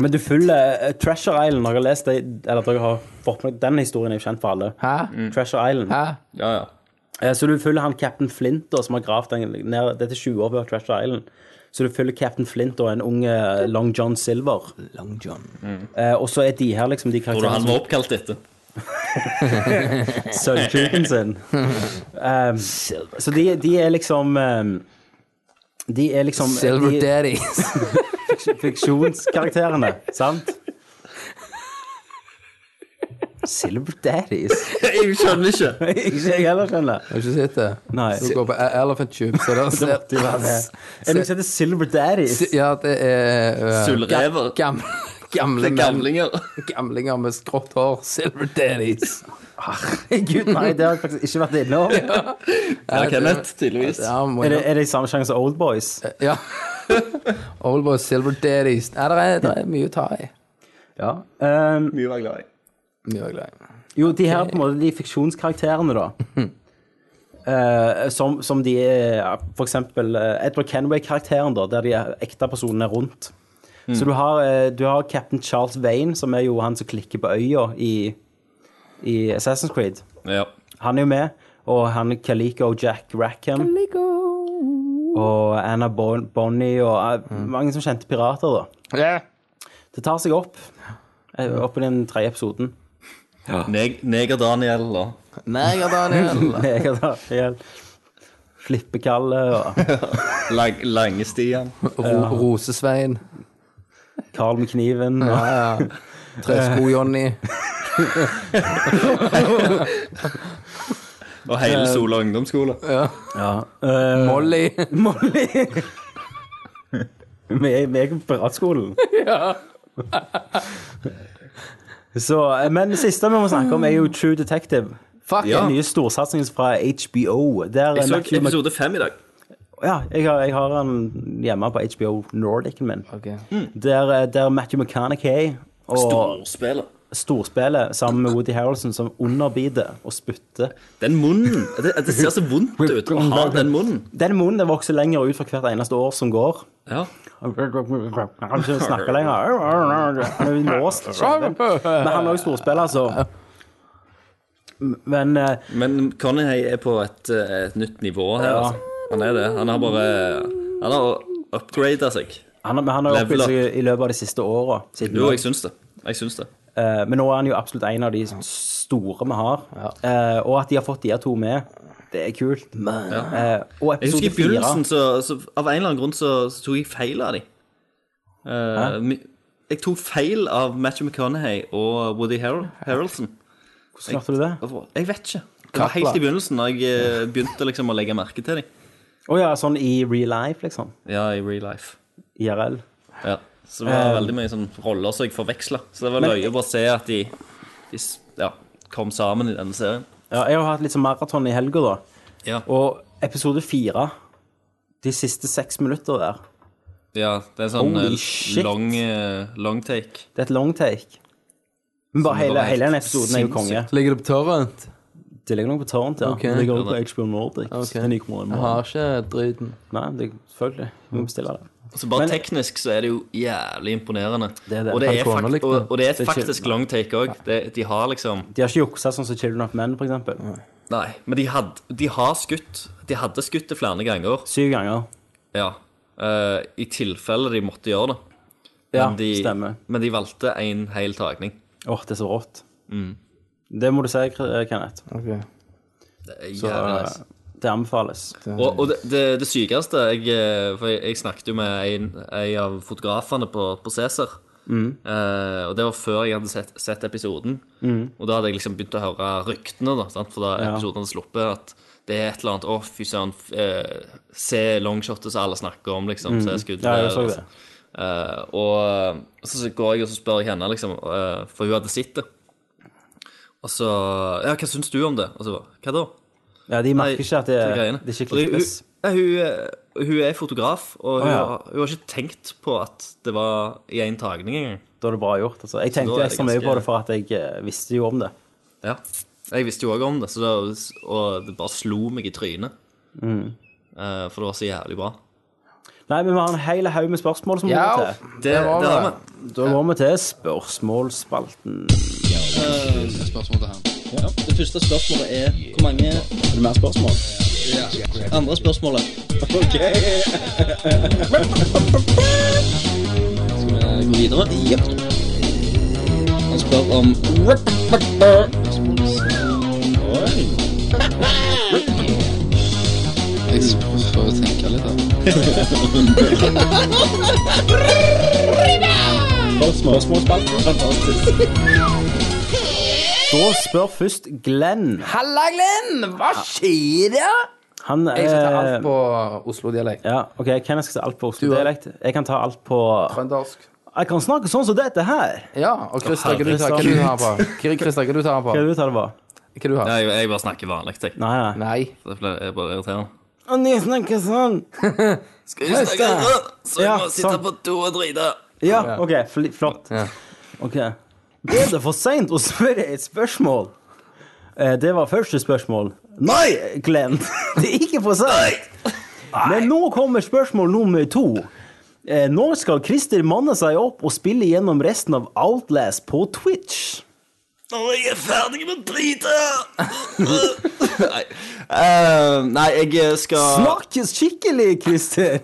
[SPEAKER 4] Men du følger eh, Treasure Island. Dere har lest det, eller dere har fått med Den historien er jo kjent for alle.
[SPEAKER 5] Hæ?
[SPEAKER 2] Mm.
[SPEAKER 4] Treasure Island.
[SPEAKER 5] Hæ?
[SPEAKER 2] Ja, ja.
[SPEAKER 4] Eh, Så du følger han Captain Flint, da, som har gravd den ned Dette er 20 år før Treasure Island. Så du følger Captain Flint og en ung eh, Long John Silver.
[SPEAKER 5] Long John.
[SPEAKER 4] Eh, og så er de her liksom de
[SPEAKER 2] Mm. Tror du han
[SPEAKER 4] karakterene
[SPEAKER 2] var oppkalt etter?
[SPEAKER 4] som sølvkuken sin. Um, så de, de er liksom um, De er liksom
[SPEAKER 5] Silver
[SPEAKER 4] de,
[SPEAKER 5] Daddies.
[SPEAKER 4] Fiksjonskarakterene, sant? Silver Daddies.
[SPEAKER 2] Jeg skjønner ikke.
[SPEAKER 4] Ikke jeg heller, skjønner
[SPEAKER 5] Har du ikke sett det?
[SPEAKER 4] Nei.
[SPEAKER 5] Som går på E- Elephant Tube. Så det
[SPEAKER 4] Det måtte jo være det. Er det noe som heter Silver Daddies?
[SPEAKER 5] Ja, det er øh,
[SPEAKER 2] Sølvrever.
[SPEAKER 5] ga- Gamle, gamle
[SPEAKER 2] Det er
[SPEAKER 5] menn.
[SPEAKER 2] gamlinger.
[SPEAKER 5] Gamlinger med skrått hår. Silver Daddies.
[SPEAKER 4] Gud, nei, det har jeg faktisk ikke vært innom.
[SPEAKER 2] Ja, Kenneth, tydeligvis.
[SPEAKER 5] Ja, må
[SPEAKER 4] Er
[SPEAKER 5] jeg-
[SPEAKER 4] det, er det i samme sjanger som Old Boys?
[SPEAKER 5] Ja. Oldboy, Silver Daddies. Nei, det er, det er mye å ta i.
[SPEAKER 4] Ja. Ehm,
[SPEAKER 2] Mye å være glad i.
[SPEAKER 5] Mye å glede i.
[SPEAKER 4] jo, de her på en måte, de fiksjonskarakterene, da. Eh, som, som de er ja, For eksempel eh, Edward Kenway-karakteren, da, der de er- ekte personene er rundt. Så du har, eh, du har Captain Charles Vane, som er jo han som klikker på øya i, i Assassin's Creed.
[SPEAKER 2] Ja.
[SPEAKER 4] Han er jo med. Og han Calico Jack Rackham. Og Anna bon Bonnie og eh, mange som kjente pirater, da. Det tar seg opp. eh, Opp i den tredje episoden.
[SPEAKER 2] Neg Neger-Daniel og
[SPEAKER 5] Neger, Daniel.
[SPEAKER 4] Jeg har tatt igjen Flippekalle og
[SPEAKER 2] Lang Langestian.
[SPEAKER 5] Ro Rosesvein.
[SPEAKER 4] Karl med kniven. Og,
[SPEAKER 5] Ja, ja. Tresko-Johnny.
[SPEAKER 2] Og hele Sola ungdomsskole.
[SPEAKER 4] ja. Eh,
[SPEAKER 5] Molly.
[SPEAKER 4] Molly! Vi er vi er på piratskolen. Så, eh, men det siste vi må snakke om, er jo True Detective.
[SPEAKER 5] Fuck
[SPEAKER 2] Ja.
[SPEAKER 4] Den nye storsatsingen fra HBO. Der eh,
[SPEAKER 2] Jeg så
[SPEAKER 4] Matthew Mc-
[SPEAKER 2] episode fem i dag.
[SPEAKER 4] ja, jeg, har, jeg har den hjemme på HBO Nordicen min.
[SPEAKER 5] Ok.
[SPEAKER 4] Der, eh, der Matthew McConaughey og
[SPEAKER 2] Storspiller.
[SPEAKER 4] storspillet sammen med Woody Harrelson som underbider og spytter.
[SPEAKER 2] Den munnen. Det, det ser så vondt ut å ha den munnen.
[SPEAKER 4] Den munnen den vokser lenger ut for hvert eneste år som går.
[SPEAKER 2] Ja.
[SPEAKER 4] Han kan ikke snakke lenger. Han er låst. kjempen. Men han er også storspiller, så Men eh,
[SPEAKER 2] Men Connie er på et, eh, et nytt nivå her,
[SPEAKER 4] Ja.
[SPEAKER 2] altså. Han er det. Han har bare Han har upgrada seg.
[SPEAKER 4] han, men han har jo
[SPEAKER 2] Level
[SPEAKER 4] oppgitt seg i løpet av de siste åra.
[SPEAKER 2] Jo, jeg syns det. Jeg syns det.
[SPEAKER 4] Eh, men nå er han jo absolutt en av de sånn store vi har. Eh, og at de har fått de her to med, det er kult. Eh, og
[SPEAKER 2] Jeg husker
[SPEAKER 4] episode
[SPEAKER 2] i
[SPEAKER 4] fire
[SPEAKER 2] begynnelsen, så, så av en eller annen grunn så, så tok jeg feil av dem. Eh, jeg tok feil av Matthew McConaughey og Woody Harrel Harrelson.
[SPEAKER 4] Hvordan klarte du det?
[SPEAKER 2] Jeg vet ikke. Det var helt i begynnelsen, da jeg eh, begynte liksom å legge merke til dem.
[SPEAKER 4] Å ja, sånn i real life, liksom.
[SPEAKER 2] Ja, i real life.
[SPEAKER 4] IRL.
[SPEAKER 2] Ja. Så det var veldig mye sånn roller som jeg forveksla. Så det var
[SPEAKER 4] Eh, Men-
[SPEAKER 2] løye å bare se at de, de s- ja, kom sammen i denne serien.
[SPEAKER 4] Ja, jeg har hatt litt sånn maraton i helga, da.
[SPEAKER 2] Ja.
[SPEAKER 4] Og episode fire, de siste seks minutter der,
[SPEAKER 2] ja det er sånn
[SPEAKER 4] Holy
[SPEAKER 2] eh,
[SPEAKER 4] shit.
[SPEAKER 2] long, eh, long take.
[SPEAKER 4] det er et long take. Men bare
[SPEAKER 2] det var
[SPEAKER 4] hele,
[SPEAKER 2] helt
[SPEAKER 4] hele den episoden er jo konge.
[SPEAKER 5] Ligger det på torrent?
[SPEAKER 4] Det ligger nok på Torrent, ja.
[SPEAKER 5] Ok.
[SPEAKER 4] Det ligger også på HBO Nordic.
[SPEAKER 5] Ok.
[SPEAKER 4] Det er 9 kroner i
[SPEAKER 5] Jeg
[SPEAKER 4] måneden.
[SPEAKER 5] har ikke driten.
[SPEAKER 4] Nei, det, selvfølgelig. Vi må bestille det.
[SPEAKER 2] Så Altså, bare
[SPEAKER 4] Men-
[SPEAKER 2] teknisk så er det jo jævlig imponerende.
[SPEAKER 4] Det er det.
[SPEAKER 2] Og, det er
[SPEAKER 5] Falcone
[SPEAKER 2] fakt
[SPEAKER 5] likte
[SPEAKER 2] og,
[SPEAKER 5] det.
[SPEAKER 2] og det er
[SPEAKER 4] Det er
[SPEAKER 2] faktisk long take òg. De har liksom
[SPEAKER 4] De har ikke juksa sånn som Children of Men, for eksempel.
[SPEAKER 2] Nei, men de, had, de har skutt. De hadde skutt det flere ganger.
[SPEAKER 4] Syv ganger.
[SPEAKER 2] Ja. Eh, I tilfelle de måtte gjøre det.
[SPEAKER 4] Ja,
[SPEAKER 2] men, de,
[SPEAKER 4] stemmer.
[SPEAKER 2] men de valgte én hel tagning.
[SPEAKER 4] Åh, det er så rått.
[SPEAKER 2] Mm.
[SPEAKER 4] Det må du si, eh, Kenneth.
[SPEAKER 2] Det er
[SPEAKER 4] Så, eh,
[SPEAKER 2] jævlig nice.
[SPEAKER 4] det anbefales.
[SPEAKER 2] Og, og det, det, det sykeste jeg, eh, For jeg, jeg snakket jo med en, en av fotografene på, på Cæsar.
[SPEAKER 4] Mm.
[SPEAKER 2] Eh, og det var før jeg hadde sett, sett episoden.
[SPEAKER 4] Mm.
[SPEAKER 2] Og da hadde jeg liksom begynt å høre ryktene, da, sant? for da episoden hadde sluppet, at det er et eller annet Å, fy søren. f- Eh, se longshotet som alle snakker om, liksom. Se skuddet
[SPEAKER 4] Mm. Ja, jeg
[SPEAKER 2] der,
[SPEAKER 4] så
[SPEAKER 2] altså.
[SPEAKER 4] det.
[SPEAKER 2] Eh, og så går jeg og så spør jeg henne, liksom, eh, for hun hadde sett det. Og så Ja, hva syns du om det? Og så bare, Hva da?
[SPEAKER 4] Ja, de merker
[SPEAKER 2] Nei,
[SPEAKER 4] ikke at det,
[SPEAKER 2] til greiene.
[SPEAKER 4] det er ikke
[SPEAKER 2] Og hun-
[SPEAKER 4] klippes.
[SPEAKER 2] Hun, eh, hun, hun er fotograf, og hun,
[SPEAKER 4] Å, ja.
[SPEAKER 2] har, hun har ikke tenkt på at det var i én tagning engang.
[SPEAKER 4] Da er det bra gjort. Altså. Jeg tenkte
[SPEAKER 2] da er
[SPEAKER 4] jo
[SPEAKER 2] det
[SPEAKER 4] ekstra mye på
[SPEAKER 2] ganske-
[SPEAKER 4] det for at jeg eh, visste jo om det.
[SPEAKER 2] Ja. Jeg visste jo òg om det, så det, og det bare slo meg i trynet.
[SPEAKER 4] Mm.
[SPEAKER 2] Eh, for det var så jævlig bra.
[SPEAKER 4] Nei, men vi har en hel haug med spørsmål som må
[SPEAKER 5] Ja,
[SPEAKER 4] til.
[SPEAKER 2] Det, det
[SPEAKER 5] var
[SPEAKER 2] har
[SPEAKER 5] det.
[SPEAKER 2] vi.
[SPEAKER 4] Da går vi til spørsmålsspalten.
[SPEAKER 8] Det første spørsmålet er hvor mange Er det mer spørsmål? Ja. Andre spørsmålet. OK. Skal vi gå videre? Jepp. Han spør om Oi. Jeg prøver å tenke litt her. Spørsmålsspalten. Fantastisk.
[SPEAKER 4] Da spør først Glenn.
[SPEAKER 5] Halla, Glenn! Hva skjer da?
[SPEAKER 4] Han
[SPEAKER 5] Jeg skal ta
[SPEAKER 4] eh,
[SPEAKER 5] alt på Oslo-dialekt.
[SPEAKER 4] Ja, ok, Kenneth skal ta alt på Oslo-dialekt. Jeg kan ta alt på
[SPEAKER 5] Trøndersk.
[SPEAKER 4] Jeg kan snakke sånn som dette her.
[SPEAKER 5] Ja, og Christer, hva du tar hva du tar på? Kri- Christer, hva du tar på?
[SPEAKER 4] Hva er det du tar det på?
[SPEAKER 5] Hva du har?
[SPEAKER 2] Nei, jeg, jeg bare snakker vanlig. Jeg.
[SPEAKER 4] Nei, nei.
[SPEAKER 5] Nei.
[SPEAKER 2] Det ble jeg bare irriterende.
[SPEAKER 4] Og de snakker sånn.
[SPEAKER 2] Skal vi snakke
[SPEAKER 4] Høsta!
[SPEAKER 2] sånn, så jeg
[SPEAKER 4] Ja,
[SPEAKER 2] må sitte
[SPEAKER 4] sant.
[SPEAKER 2] på do og drite?
[SPEAKER 4] Ja, OK. fl- Flott. OK. Er det for seint å spørre et spørsmål? Eh, Det var første spørsmål. Nei, Glenn! Det er ikke for seint. Men nå kommer spørsmål nummer to. Eh, Når skal Christer manne seg opp og spille gjennom resten av Outlast på Twitch?
[SPEAKER 2] Når jeg er ferdig med å drite! nei. Eh, nei, jeg skal
[SPEAKER 4] Snakkes skikkelig, Christer!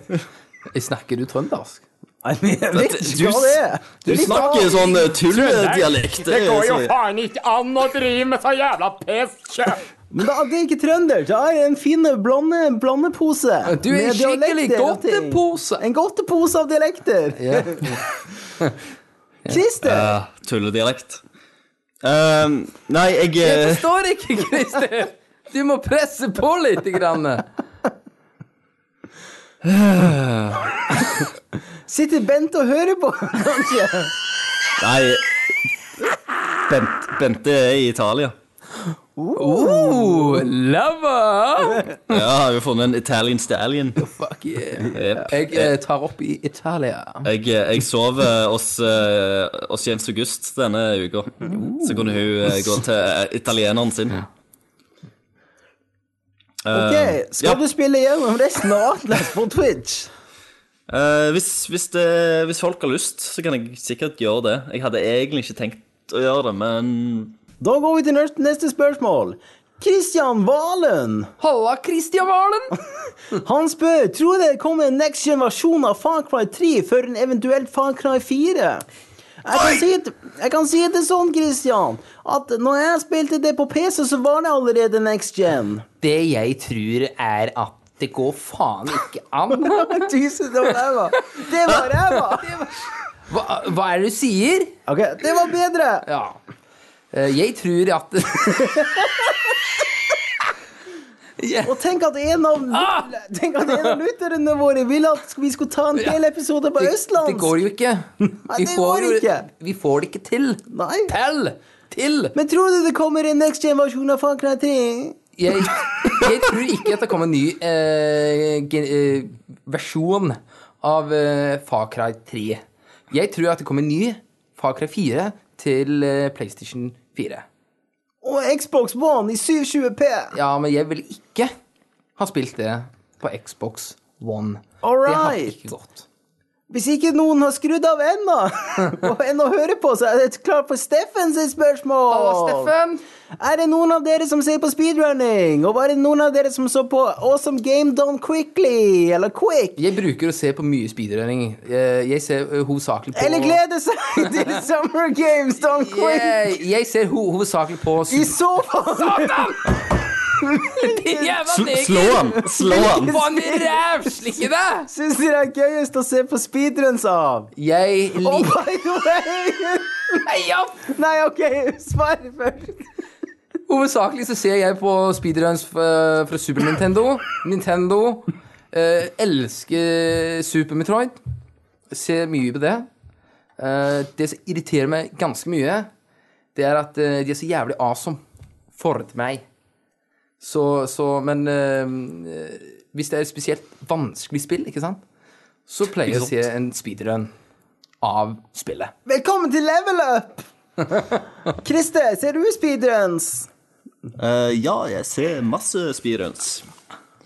[SPEAKER 5] Jeg snakker du trøndersk?
[SPEAKER 4] Nei, men jeg vet
[SPEAKER 2] Det-
[SPEAKER 4] ikke
[SPEAKER 2] du
[SPEAKER 4] hva
[SPEAKER 2] s-
[SPEAKER 4] det er.
[SPEAKER 2] Du snakker jo sånn eh, tulledialekt. Det går jo faen
[SPEAKER 4] Men da, det er ikke trønder. Det er en fin blonde, blandepose.
[SPEAKER 5] Du er
[SPEAKER 4] med
[SPEAKER 5] en skikkelig
[SPEAKER 4] dialekter og ting.
[SPEAKER 5] godtepose!
[SPEAKER 4] En godtepose av dialekter.
[SPEAKER 5] Ja.
[SPEAKER 4] Christer!
[SPEAKER 2] Tulledialekt. Ehm, nei, jeg
[SPEAKER 5] Jeg
[SPEAKER 2] eh,
[SPEAKER 5] forstår ikke, Christer! Du må presse på litt. Grann.
[SPEAKER 4] Sitter Bent og hører på, kanskje?
[SPEAKER 2] Nei. Bent, Bente er i Italia.
[SPEAKER 5] Oh, lava!
[SPEAKER 2] Ja, har jo funnet en Italian stallion.
[SPEAKER 5] Fuck yeah.
[SPEAKER 2] Jep.
[SPEAKER 5] Jeg eh, tar opp i Italia.
[SPEAKER 2] Jeg, jeg sov eh, hos, eh, hos Jens August denne uka. Så kunne hun eh, gå til eh, italieneren sin. Ehm,
[SPEAKER 4] Ok, Skal
[SPEAKER 2] ja.
[SPEAKER 4] du spille gjennom resten av Atlas på Twitch?
[SPEAKER 2] Eh, hvis, hvis, det, hvis folk har lyst, så kan jeg sikkert gjøre det. Jeg hadde egentlig ikke tenkt å gjøre det, men
[SPEAKER 4] Da går vi til neste- neste spørsmål. Christian Valen.
[SPEAKER 5] Halla, Christian Valen!
[SPEAKER 4] Han spør tror det kommer en next generasjon av Far Cry 3 før en eventuelt Far Cry 4. Jeg kan, si det, jeg kan si det sånn, Christian, at når jeg spilte det på PC, så var det allerede next gen.
[SPEAKER 5] Det jeg tror, er at det går faen ikke an.
[SPEAKER 4] Jesus, det var ræva. Det var ræva.
[SPEAKER 5] Hva, hva er det du sier?
[SPEAKER 4] Ok, det var bedre.
[SPEAKER 5] Ja. Eh, Jeg tror at Ja.
[SPEAKER 4] Og tenk at en av,
[SPEAKER 5] Ah!
[SPEAKER 4] tenk at en av lytterne våre ville at vi skulle ta en hel episode på østlandsk.
[SPEAKER 5] Det går jo ikke. Vi
[SPEAKER 4] det
[SPEAKER 5] får,
[SPEAKER 4] går
[SPEAKER 5] jo-
[SPEAKER 4] ikke.
[SPEAKER 5] vi får det ikke til.
[SPEAKER 4] Nei.
[SPEAKER 5] Til! Til!
[SPEAKER 4] Men tror du det kommer en next gen-versjon av Far Cry 3?
[SPEAKER 5] Jeg, jeg tror ikke at det kommer en ny eh, gen, eh, versjon av eh, Far Cry 3. Jeg tror at det kommer en ny Far Cry 4 til eh, PlayStation 4.
[SPEAKER 4] Og Xbox One i 720P?
[SPEAKER 5] Ja, men jeg vil ikke ha spilt det på Xbox One.
[SPEAKER 4] All
[SPEAKER 5] Det har
[SPEAKER 4] right.
[SPEAKER 5] ikke gått.
[SPEAKER 4] Hvis ikke noen har skrudd av ennå, og ennå hører på, så er det klart for Steffen sitt spørsmål.
[SPEAKER 5] Hallo, Steffen.
[SPEAKER 4] Er det noen av dere som ser på speedrunning? Og var det noen av dere som så på Awesome Game Done Quickly? Eller Quick?
[SPEAKER 5] Jeg bruker å se på mye speedrunning. Eh, Jeg ser eh, hovedsakelig på
[SPEAKER 4] Eller glede seg til Summer Games Done Quick?
[SPEAKER 5] Jeg, jeg ser ho hovedsakelig på
[SPEAKER 4] I så fall
[SPEAKER 2] Sl slå han! Slå han!
[SPEAKER 5] Vann i ræv! Slikke deg!
[SPEAKER 4] syns dere det er gøyest å se på speedruns av.
[SPEAKER 5] Jeg
[SPEAKER 4] Oh
[SPEAKER 5] liker
[SPEAKER 4] by the way!
[SPEAKER 5] Nei, ja.
[SPEAKER 4] Nei, OK, svar først.
[SPEAKER 5] Hovedsakelig så ser jeg på speedruns fra, fra Super Nintendo. Nintendo. Eh, elsker Super Metroid. Ser mye på det. Eh, det som irriterer meg ganske mye, det er at eh, de er så jævlig awesome for meg. Så, så Men eh, hvis det er et spesielt vanskelig spill, ikke sant, så pleier jeg å se en speedrun av spillet.
[SPEAKER 4] Velkommen til Level Up! Christer, ser du speedruns?
[SPEAKER 2] Eh, ja, jeg ser masse speedruns.
[SPEAKER 5] Nei,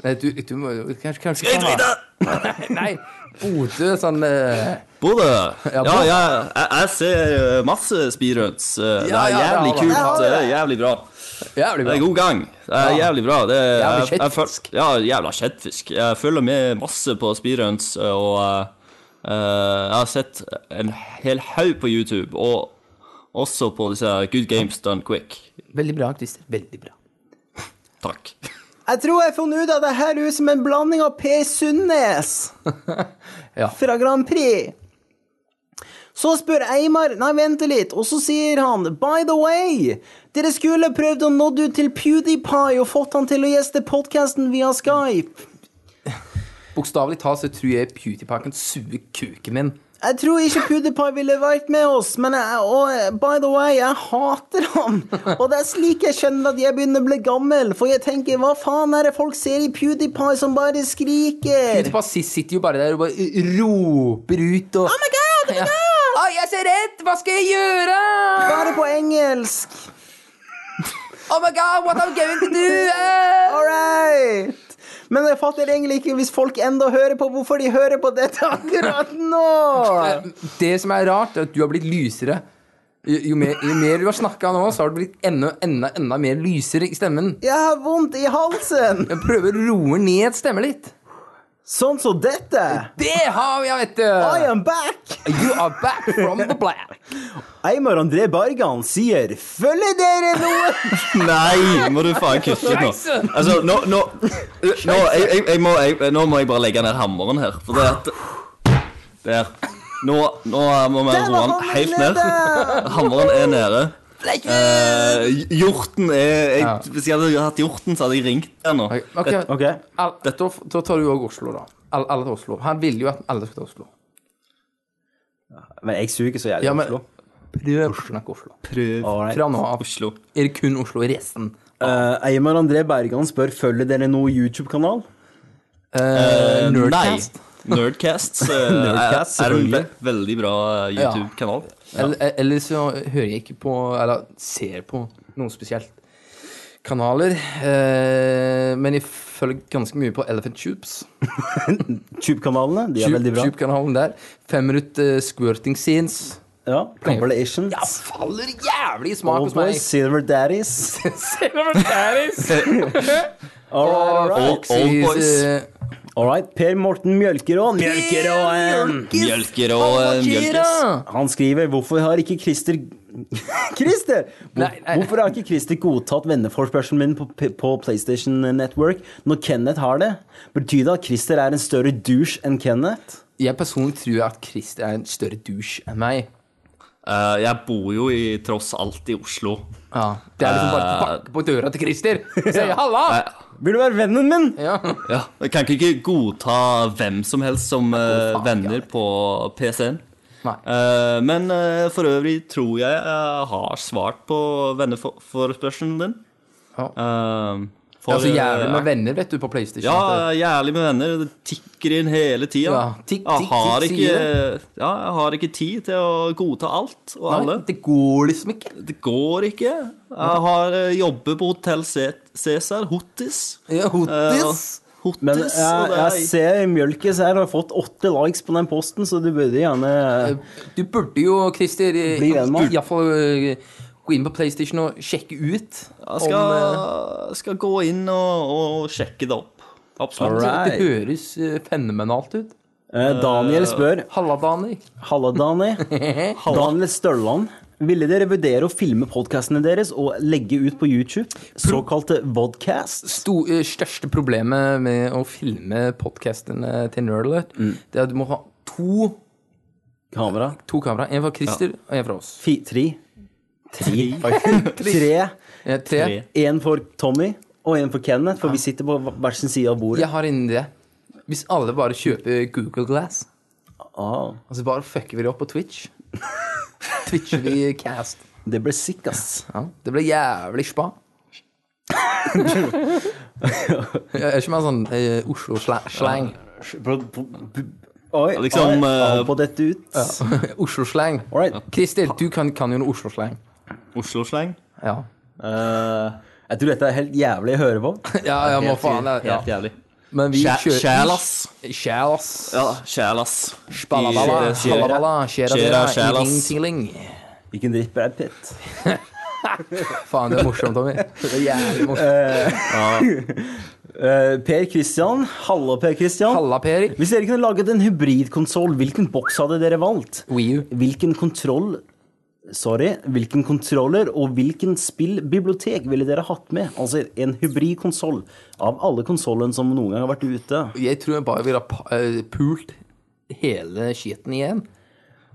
[SPEAKER 5] Eh, du, du må jo kanskje, kanskje Nei, Bodø sånn eh,
[SPEAKER 2] Bodø! Ja,
[SPEAKER 5] Ja, Bodø.
[SPEAKER 2] ja, jeg, jeg ser eh, masse speedruns. Eh, det
[SPEAKER 5] Ja,
[SPEAKER 2] er
[SPEAKER 5] ja, det har
[SPEAKER 2] jævlig
[SPEAKER 5] det.
[SPEAKER 2] kult.
[SPEAKER 4] Ja, det er
[SPEAKER 2] Det er
[SPEAKER 4] det.
[SPEAKER 2] jævlig bra.
[SPEAKER 5] Jævlig
[SPEAKER 2] Det
[SPEAKER 5] bra.
[SPEAKER 2] er god gang. Det er jævlig bra. Det er,
[SPEAKER 5] Jævlig
[SPEAKER 2] jeg- jeg føl-
[SPEAKER 5] kjettfisk.
[SPEAKER 2] Ja, jævla kjettfisk. Jeg følger med masse på speedruns, og eh, eh, jeg har sett en hel haug på YouTube, og også på disse her Good Games Done Quick.
[SPEAKER 5] Veldig bra, Christer. Veldig bra.
[SPEAKER 2] Takk.
[SPEAKER 4] Jeg tror jeg har funnet ut at det her ut som en blanding av Per Sundnes
[SPEAKER 5] Ja.
[SPEAKER 4] fra Grand Prix. Så spør Eimar Nei, vent litt. Og så sier han By the way, dere skulle prøvd å nådd ut til PewDiePie og fått han til å gjeste podkasten via Skype.
[SPEAKER 5] Bokstavelig talt så tror jeg PewDiePie suger kuken min.
[SPEAKER 4] Jeg tror ikke PewDiePie ville vært med oss, men jeg, og, by the way, jeg hater han. Og det er slik jeg skjønner at jeg begynner å bli gammel, for jeg tenker hva faen er det folk ser i PewDiePie som bare skriker?
[SPEAKER 5] PewDiePie si- sitter jo bare der og bare roper ut og
[SPEAKER 4] Oh my god, oh my
[SPEAKER 5] Ja.
[SPEAKER 4] god!
[SPEAKER 5] Å, jeg er så redd! Hva skal jeg gjøre?
[SPEAKER 4] Bare på engelsk.
[SPEAKER 5] Oh my god, what I'm going to do? Eh.
[SPEAKER 4] All right. Men jeg fatter egentlig ikke hvis folk enda hører på hvorfor de hører på dette akkurat nå.
[SPEAKER 5] Det som er rart, er at du har blitt lysere. Jo, jo, mer, jo mer du har snakka nå, så har du blitt enda, enda, enda mer lysere i stemmen.
[SPEAKER 4] Jeg har vondt i halsen.
[SPEAKER 5] Jeg prøver å roe ned stemmen litt.
[SPEAKER 4] Sånn som dette.
[SPEAKER 5] Det har vi, vet du!
[SPEAKER 4] I am back.
[SPEAKER 5] You are back from the black.
[SPEAKER 4] Eimar André Bergan sier 'følger dere noe'?
[SPEAKER 2] Nei, må du faen kutte ut nå.
[SPEAKER 5] Scheisse!
[SPEAKER 2] Altså, nå, nå, nå, jeg, jeg, jeg må, jeg, nå må jeg bare legge ned hammeren her, for det at Der. Nå, nå må vi
[SPEAKER 4] Der
[SPEAKER 2] roe
[SPEAKER 4] var
[SPEAKER 2] den
[SPEAKER 4] hammeren
[SPEAKER 2] helt ned.
[SPEAKER 4] nede!
[SPEAKER 2] Hammeren er nede. Eh, hjorten er jeg,
[SPEAKER 5] Ja.
[SPEAKER 2] Hvis jeg hadde hatt hjorten, så hadde jeg ringt deg nå.
[SPEAKER 5] Ok,
[SPEAKER 4] Ok,
[SPEAKER 5] Al, da, da tar du òg Oslo, da. Alle, alle til Oslo. Han ville jo at alle skal til Oslo.
[SPEAKER 4] Men jeg suger så jævlig i
[SPEAKER 5] Ja, men-
[SPEAKER 4] Oslo.
[SPEAKER 5] Prøv å snakke Oslo.
[SPEAKER 4] Alright.
[SPEAKER 5] Fra nå av
[SPEAKER 2] Oslo.
[SPEAKER 5] er det kun Oslo i resten.
[SPEAKER 4] Eh, Eimar André Bergan spør følger dere noe YouTube-kanal.
[SPEAKER 5] Eh, Nerdcast.
[SPEAKER 2] Nei. Nerdcast, eh,
[SPEAKER 4] Nerdcast,
[SPEAKER 2] er, er en ve
[SPEAKER 4] selvfølgelig.
[SPEAKER 2] veldig bra eh,
[SPEAKER 5] Ja.
[SPEAKER 2] YouTube-kanal.
[SPEAKER 5] Eller, eh, eller så hører jeg ikke på Eller ser på noen spesielt kanaler. Eh, men jeg følger ganske mye på Elephant Tubes.
[SPEAKER 4] Tube-kanalene, de er veldig bra.
[SPEAKER 5] Tube-kanalen der. Fem minutter eh, squirting scenes.
[SPEAKER 4] Ja, Compilations.
[SPEAKER 5] Ja, faller jævlig i smak
[SPEAKER 4] Old
[SPEAKER 5] hos meg.
[SPEAKER 4] Boys, Silver Daddies.
[SPEAKER 5] Silver Daddies.
[SPEAKER 4] All right, all right.
[SPEAKER 5] Oxys,
[SPEAKER 2] Old Boys.
[SPEAKER 5] eh,
[SPEAKER 4] All right. Per Morten Mjølkeråen. Mjølkeråen!
[SPEAKER 2] Mjølker og eh, mjølkes.
[SPEAKER 4] Han skriver hvorfor har ikke Christer Christer! Hvor,
[SPEAKER 5] Nei, nei.
[SPEAKER 4] Hvorfor har ikke Christer godtatt venneforspørselen min på, på PlayStation Network når Kenneth har det? Betyr det at Christer er en større douche enn Kenneth?
[SPEAKER 5] Jeg personlig tror at Christer er en større douche enn meg.
[SPEAKER 2] Eh, jeg bor jo i, tross alt i Oslo.
[SPEAKER 5] Ja, Det er liksom
[SPEAKER 2] Eh,
[SPEAKER 5] bare banke på døra til Christer og si 'halla'!
[SPEAKER 4] Vil du være vennen min?
[SPEAKER 5] Ja.
[SPEAKER 2] Ja, Jeg kan ikke godta hvem som helst som eh,
[SPEAKER 5] faen,
[SPEAKER 2] venner
[SPEAKER 5] ja.
[SPEAKER 2] på PC-en.
[SPEAKER 5] Nei.
[SPEAKER 2] Eh, men eh, for øvrig tror jeg jeg har svart på venneforespørselen din.
[SPEAKER 5] Ja.
[SPEAKER 2] Eh, for,
[SPEAKER 5] Det er så jævlig
[SPEAKER 2] eh,
[SPEAKER 5] med venner, vet du, på PlayStation.
[SPEAKER 2] Ja,
[SPEAKER 5] Sånn at det-
[SPEAKER 2] jeg er jævlig med venner. Det tikker inn hele tida.
[SPEAKER 5] Ja, tikk, tikk,
[SPEAKER 2] jeg, har
[SPEAKER 5] tikk,
[SPEAKER 2] ikke-
[SPEAKER 5] sier
[SPEAKER 2] ja, jeg har ikke tid til å godta alt og
[SPEAKER 5] Nei,
[SPEAKER 2] eh, alle.
[SPEAKER 5] det går liksom ikke.
[SPEAKER 2] Det går ikke. Jeg har eh, jobber på Hotell Cæsar, Hottis.
[SPEAKER 5] Ja, Hotis.
[SPEAKER 2] Eh, Hottis
[SPEAKER 4] Men
[SPEAKER 2] og
[SPEAKER 4] jeg,
[SPEAKER 2] det
[SPEAKER 4] jeg
[SPEAKER 2] er...
[SPEAKER 4] ser i Mjølkes her har fått åtte likes på den posten, så du burde gjerne
[SPEAKER 5] Du burde jo, Christer, eh,
[SPEAKER 4] Bli venn med han.
[SPEAKER 5] iallfall eh, gå inn på PlayStation og sjekke ut. eh,
[SPEAKER 2] Jeg skal, skal gå inn og, og sjekke det opp. Absolutt.
[SPEAKER 4] Alright.
[SPEAKER 5] Det høres eh, fenomenalt ut.
[SPEAKER 4] Eh, Daniel spør
[SPEAKER 5] Halla, Dani.
[SPEAKER 4] Halla, Dani. Daniel Størland. Ville dere vurdere å filme podkastene deres og legge ut på YouTube? Såkalte vodcast?
[SPEAKER 5] Sto, eh, største problemet med å filme podkastene til Nerdlet, det er at du må ha to,
[SPEAKER 4] Kamera.
[SPEAKER 5] to kamera. En fra Christer og en fra oss.
[SPEAKER 4] Fi, tre. Tre. tre.
[SPEAKER 5] Eh, tre.
[SPEAKER 2] Tre.
[SPEAKER 4] En for Tommy og en for Kenneth, for vi sitter på hver sin side av bordet.
[SPEAKER 5] Jeg har innen det. Hvis alle bare kjøper Google Glass,
[SPEAKER 4] Ah,
[SPEAKER 5] og så bare fucker vi det opp på Twitch Twitcher vi Cast.
[SPEAKER 4] det ble sick, ass.
[SPEAKER 5] Ja, det ble jævlig spa. jeg er ikke mer sånn eh, Oslo-slang.
[SPEAKER 4] Oi,
[SPEAKER 2] liksom,
[SPEAKER 4] oi,
[SPEAKER 2] eh,
[SPEAKER 4] av på dette ut.
[SPEAKER 5] Oslo-slang.
[SPEAKER 4] All right.
[SPEAKER 5] Christer, du kan, kan jo noe Oslo-slang.
[SPEAKER 2] Oslo-sleng.
[SPEAKER 5] Ja.
[SPEAKER 4] Eh, jeg tror dette er helt jævlig å høre på.
[SPEAKER 5] ja, ja, må faen det. Ja.
[SPEAKER 2] Helt jævlig.
[SPEAKER 5] Men vi
[SPEAKER 2] Kjæ-
[SPEAKER 5] kjører
[SPEAKER 2] Kjælas.
[SPEAKER 5] Kjæl, ass.
[SPEAKER 2] Ja, kjælas.
[SPEAKER 5] Balabala,
[SPEAKER 2] I- det skjer.
[SPEAKER 5] halabala, kjæra
[SPEAKER 2] Kjæra,
[SPEAKER 5] dera,
[SPEAKER 2] kjælas.
[SPEAKER 5] iling, tingling.
[SPEAKER 4] Ikke en dritt Brad Pitt.
[SPEAKER 5] Faen, det er morsomt, Tommy. Det er jævlig morsomt.
[SPEAKER 4] Eh, per Christian. Hallo, Per Christian.
[SPEAKER 5] Halla, Per.
[SPEAKER 4] Hvis dere kunne laget en hybridkonsoll, hvilken boks hadde dere valgt?
[SPEAKER 5] Wii U.
[SPEAKER 4] Hvilken kontroll Sorry. Hvilken kontroller og hvilken spillbibliotek ville dere hatt med? Altså en hybridkonsoll av alle konsollene som noen gang har vært ute.
[SPEAKER 5] Jeg tror jeg bare ville ha pa- eh, pult hele skiten igjen.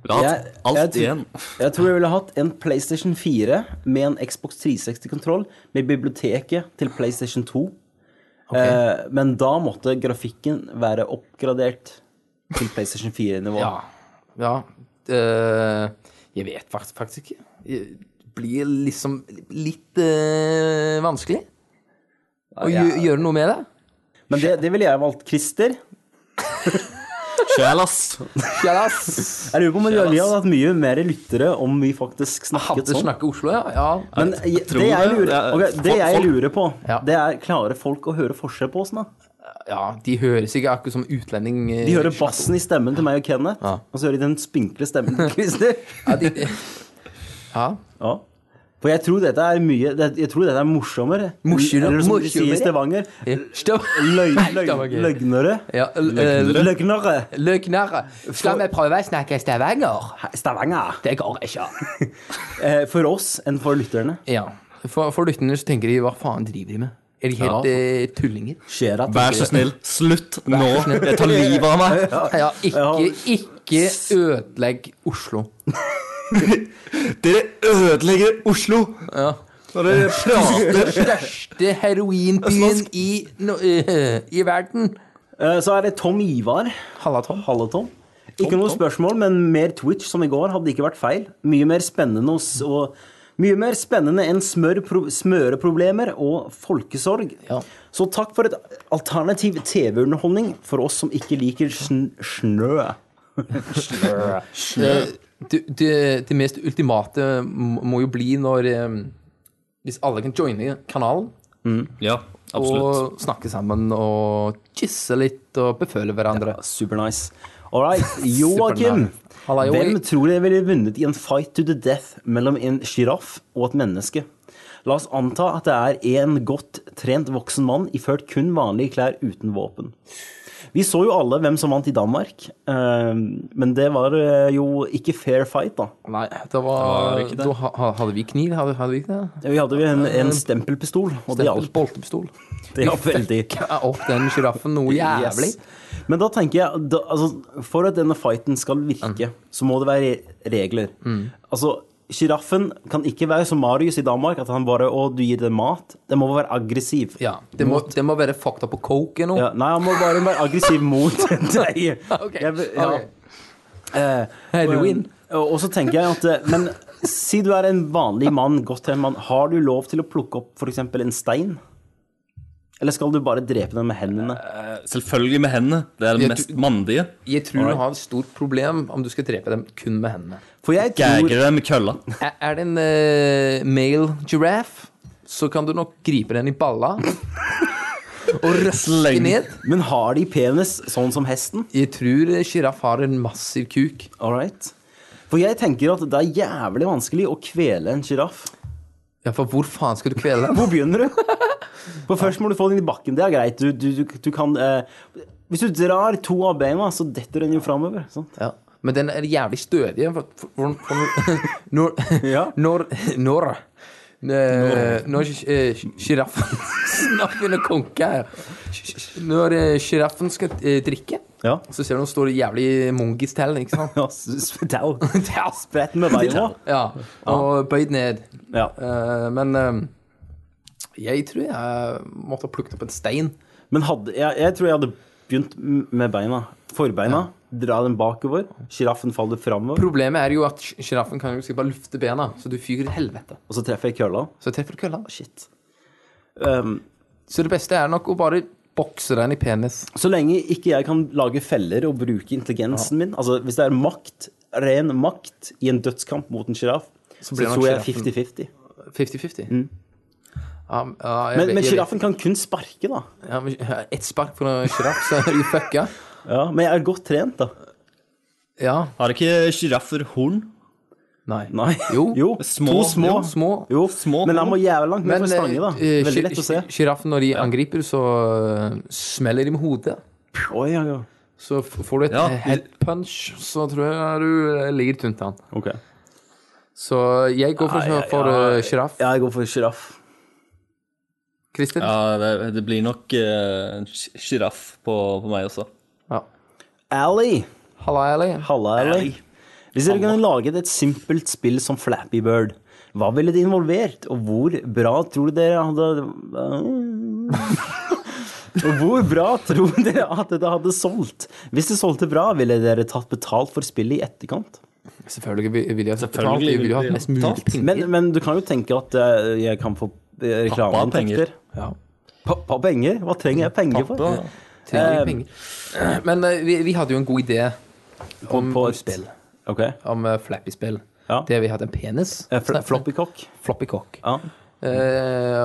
[SPEAKER 2] Vil ha
[SPEAKER 4] Jeg- jeg
[SPEAKER 2] alt
[SPEAKER 4] tror-
[SPEAKER 2] igjen.
[SPEAKER 4] Jeg tror jeg ville hatt en PlayStation 4 med en Xbox 360-kontroll med biblioteket til PlayStation 2. Eh, men da måtte grafikken være oppgradert til PlayStation 4-nivå.
[SPEAKER 5] Ja. ja. eh, jeg vet fakt- faktisk ikke. Det blir liksom litt eh, vanskelig å gjø- gjøre noe med det.
[SPEAKER 4] Men det, det ville jeg valgt. Christer.
[SPEAKER 2] Kjælas.
[SPEAKER 5] Kjellas.
[SPEAKER 4] Jeg lurer på om vi hadde hatt mye mer lyttere om vi faktisk snakket
[SPEAKER 5] Hadde
[SPEAKER 4] sånn.
[SPEAKER 5] snakket Oslo, ja. ja.
[SPEAKER 4] Men jeg,
[SPEAKER 2] tror
[SPEAKER 4] det jeg
[SPEAKER 2] det.
[SPEAKER 4] lurer,
[SPEAKER 2] Det er-
[SPEAKER 4] ok, det jeg
[SPEAKER 2] folk-
[SPEAKER 4] lurer på,
[SPEAKER 5] Ja.
[SPEAKER 4] det er klarer folk å høre forskjell på oss nå?
[SPEAKER 5] Ja, de høres ikke akkurat som utlending. eh,
[SPEAKER 4] De hører bassen i stemmen til meg og Kenneth,
[SPEAKER 5] Ja.
[SPEAKER 4] og så hører de den spinkle stemmen til Christer.
[SPEAKER 5] Ja, de, ja.
[SPEAKER 4] Ja. For jeg tror dette er mye det, Jeg tror dette er morsommere.
[SPEAKER 5] Morsommere?
[SPEAKER 4] Eller som de sier i
[SPEAKER 5] Morsommere?
[SPEAKER 4] Stavanger.
[SPEAKER 5] Stopp.
[SPEAKER 4] Løg, løg,
[SPEAKER 5] det var gøy.
[SPEAKER 4] løgnere.
[SPEAKER 5] Ja, l- eh,
[SPEAKER 4] Løgnere.
[SPEAKER 5] Løgnere. Skal vi prøve å snakke stavanger?
[SPEAKER 4] Stavanger.
[SPEAKER 5] Det går ikke.
[SPEAKER 4] Eh, For oss enn for lytterne.
[SPEAKER 5] Ja. For, for lytterne så tenker de hva faen driver de med? Er de helt
[SPEAKER 4] Ja.
[SPEAKER 5] eh, tullinger?
[SPEAKER 4] Skjer at
[SPEAKER 2] Vær så snill, slutt nå. Jeg tar livet av meg.
[SPEAKER 5] Ja, ikke,
[SPEAKER 4] Ja.
[SPEAKER 5] ikke ødelegg Oslo.
[SPEAKER 2] Dere ødelegger Oslo!
[SPEAKER 5] Ja.
[SPEAKER 2] Når dere prater
[SPEAKER 5] Største heroinbyen i, no, eh, i verden.
[SPEAKER 4] Eh, Så er det Tom Ivar.
[SPEAKER 5] Halla, Tom.
[SPEAKER 4] Halve Tom. Ikke noe spørsmål, men mer Twitch som i går hadde ikke vært feil. Mye mer spennende og, s- og mye mer spennende enn smørpro smøreproblemer og folkesorg.
[SPEAKER 5] Ja.
[SPEAKER 4] Så takk for et alternativ TV-underholdning for oss som ikke liker sn snø.
[SPEAKER 5] Det, det, Eh, det- det mest ultimate må må jo bli når eh, Hvis alle kan joine kanalen
[SPEAKER 2] Ja, absolutt.
[SPEAKER 5] og snakke sammen og kysse litt og beføle hverandre.
[SPEAKER 4] Supernice. All right, Joakim.
[SPEAKER 5] Supernice. Halla, Joakim.
[SPEAKER 4] Hvem tror dere ville vunnet i en fight to the death mellom en sjiraff og et menneske? La oss anta at det er en godt trent voksen mann iført kun vanlige klær uten våpen. Vi så jo alle hvem som vant i Danmark, eh, men det var eh, jo ikke fair fight, da.
[SPEAKER 5] Nei, det var,
[SPEAKER 2] var ikke det.
[SPEAKER 5] Da ha- ha- hadde vi kniv, hadde, hadde vi ikke det?
[SPEAKER 4] Vi hadde jo en,
[SPEAKER 5] Eh,
[SPEAKER 4] en stempelpistol, og det
[SPEAKER 5] Stempel,
[SPEAKER 4] hjalp.
[SPEAKER 5] boltepistol.
[SPEAKER 4] Det hjalp veldig.
[SPEAKER 5] Ja, Opp den sjiraffen noe jævlig.
[SPEAKER 4] Yes. Men da tenker jeg da, altså, For at denne fighten skal
[SPEAKER 5] Mm.
[SPEAKER 4] virke, så må det være re- regler. Altså, Sjiraffen kan ikke være som Marius i Danmark, at han bare Å, du gir det mat. Den må være aggressiv.
[SPEAKER 5] Ja, det må, det må være fucked up på coke nå.
[SPEAKER 4] Ja, nei, han må bare være aggressiv mot deg.
[SPEAKER 5] Ok,
[SPEAKER 4] Jeg vil- ja. Eh,
[SPEAKER 5] ok. Heroin.
[SPEAKER 4] Og og så tenker jeg at eh, Men si du er en vanlig mann, godt til en mann, har du lov til å plukke opp f.eks. en stein? Eller skal du bare drepe den med hendene?
[SPEAKER 2] Selvfølgelig med hendene. Det er det
[SPEAKER 5] Jeg
[SPEAKER 2] mest mandige.
[SPEAKER 5] Jeg tror du har et stort problem om du skal drepe dem kun med hendene.
[SPEAKER 4] For jeg tror
[SPEAKER 2] Gagger det med kølla.
[SPEAKER 5] Er, er det en eh, male giraffe, så kan du nok gripe den i balla. Og røske
[SPEAKER 2] Sleng.
[SPEAKER 5] ned.
[SPEAKER 4] Men har de penis sånn som hesten?
[SPEAKER 5] Jeg tror sjiraff har en massiv kuk.
[SPEAKER 4] All right. For jeg tenker at det er jævlig vanskelig å kvele en sjiraff.
[SPEAKER 5] Ja, for hvor faen skal du kvele den?
[SPEAKER 4] Hvor begynner du? For først må du få den i bakken. Det er greit. Du, du, du, du kan eh, Hvis du drar to av beina, så detter den jo framover. sant?
[SPEAKER 5] Ja. Men den er jævlig stødig. For, for, for, for, når
[SPEAKER 4] Ja.
[SPEAKER 5] Når Når eh, Når sjiraffen Snart begynner å konke her. Når sjiraffen skal eh, drikke,
[SPEAKER 4] Ja.
[SPEAKER 5] så ser du han står jævlig mongis til, ikke sant?
[SPEAKER 4] Ja, s- s- tau.
[SPEAKER 5] Tau.
[SPEAKER 4] Spredt med beina.
[SPEAKER 5] Ja, og bøyd ned.
[SPEAKER 4] Ja.
[SPEAKER 5] Eh, men eh, jeg tror jeg måtte ha plukket opp en stein.
[SPEAKER 4] Men hadde, jeg, jeg tror jeg hadde begynt m- med beina. Forbeina. Dra den bakover. Sjiraffen faller framover.
[SPEAKER 5] Problemet er jo at sjiraffen kan jo sikkert bare lufte bena, så du fyker til helvete.
[SPEAKER 4] Og så treffer jeg kølla.
[SPEAKER 5] Så treffer du kølla.
[SPEAKER 4] Shit. Um,
[SPEAKER 5] Så det beste er nok å bare bokse den i penis.
[SPEAKER 4] Så lenge ikke jeg kan lage feller og bruke intelligensen min Altså hvis det er makt, ren makt i en dødskamp mot en sjiraff, så,
[SPEAKER 5] blir nok
[SPEAKER 4] tror jeg
[SPEAKER 5] sjiraffen-
[SPEAKER 4] 50-50.
[SPEAKER 5] 50-50. Ja, ja, jeg vet-
[SPEAKER 4] Mm. Men, men
[SPEAKER 5] jeg vet-
[SPEAKER 4] sjiraffen kan kun sparke, da.
[SPEAKER 5] Ja, men Ett spark fra en sjiraff, så er du fucka.
[SPEAKER 4] Ja, men jeg er godt trent, da.
[SPEAKER 5] Ja.
[SPEAKER 2] Har ikke sjiraffer horn?
[SPEAKER 5] Nei.
[SPEAKER 4] Nei.
[SPEAKER 5] Jo.
[SPEAKER 2] Små.
[SPEAKER 4] to små.
[SPEAKER 5] Jo, små.
[SPEAKER 4] Jo,
[SPEAKER 2] Små.
[SPEAKER 4] Men han må jævlig langt ned for
[SPEAKER 5] eh,
[SPEAKER 4] stange, da.
[SPEAKER 5] eh,
[SPEAKER 4] Veldig
[SPEAKER 5] sjir-
[SPEAKER 4] lett å se.
[SPEAKER 5] sjir- Sjiraffen, når de angriper, så eh, smeller de med hodet.
[SPEAKER 4] Oi, ja, ja.
[SPEAKER 5] Så f- får du et
[SPEAKER 2] Ja.
[SPEAKER 5] eh, head punch, så tror jeg du eh, ligger tynt an.
[SPEAKER 4] Ok.
[SPEAKER 5] Så jeg går for
[SPEAKER 4] Ja, ja,
[SPEAKER 5] sjiraff. For, eh, sjiraff.
[SPEAKER 4] Ja, jeg går for sjiraff.
[SPEAKER 5] Christer? Ja.
[SPEAKER 2] Ja, det, det blir nok eh, sjiraff på, på meg også.
[SPEAKER 4] Ally.
[SPEAKER 5] Halla, Ali.
[SPEAKER 4] Halla, Ally. Hvis dere kunne laget et simpelt spill som Flappy Bird, hva ville det involvert, og hvor bra tror du dere hadde Og hvor bra tror dere at det hadde solgt? Hvis det solgte bra, ville dere tatt betalt for spillet i etterkant?
[SPEAKER 5] Selvfølgelig vil vil jeg ha betalt.
[SPEAKER 2] Selvfølgelig
[SPEAKER 5] Jeg vil jo ha
[SPEAKER 2] vil vi ha
[SPEAKER 5] mest mulig
[SPEAKER 2] betalt.
[SPEAKER 5] penger.
[SPEAKER 4] Men, men du kan jo tenke at eh, jeg kan få eh, reklameinntekter.
[SPEAKER 5] Ja.
[SPEAKER 4] Pappa penger? Hva trenger jeg penger for?
[SPEAKER 2] Pappa.
[SPEAKER 5] Trenger
[SPEAKER 4] Eh,
[SPEAKER 5] penger. Men eh, vi, vi hadde jo en god idé om,
[SPEAKER 4] på
[SPEAKER 5] om
[SPEAKER 4] et-
[SPEAKER 5] spill.
[SPEAKER 4] Ok.
[SPEAKER 5] Om eh, Flappy-spill.
[SPEAKER 4] Ja.
[SPEAKER 5] Der vi hadde en penis. Sånn
[SPEAKER 4] Eh, fl floppy cock.
[SPEAKER 5] Floppy cock.
[SPEAKER 4] Ja.
[SPEAKER 5] Eh,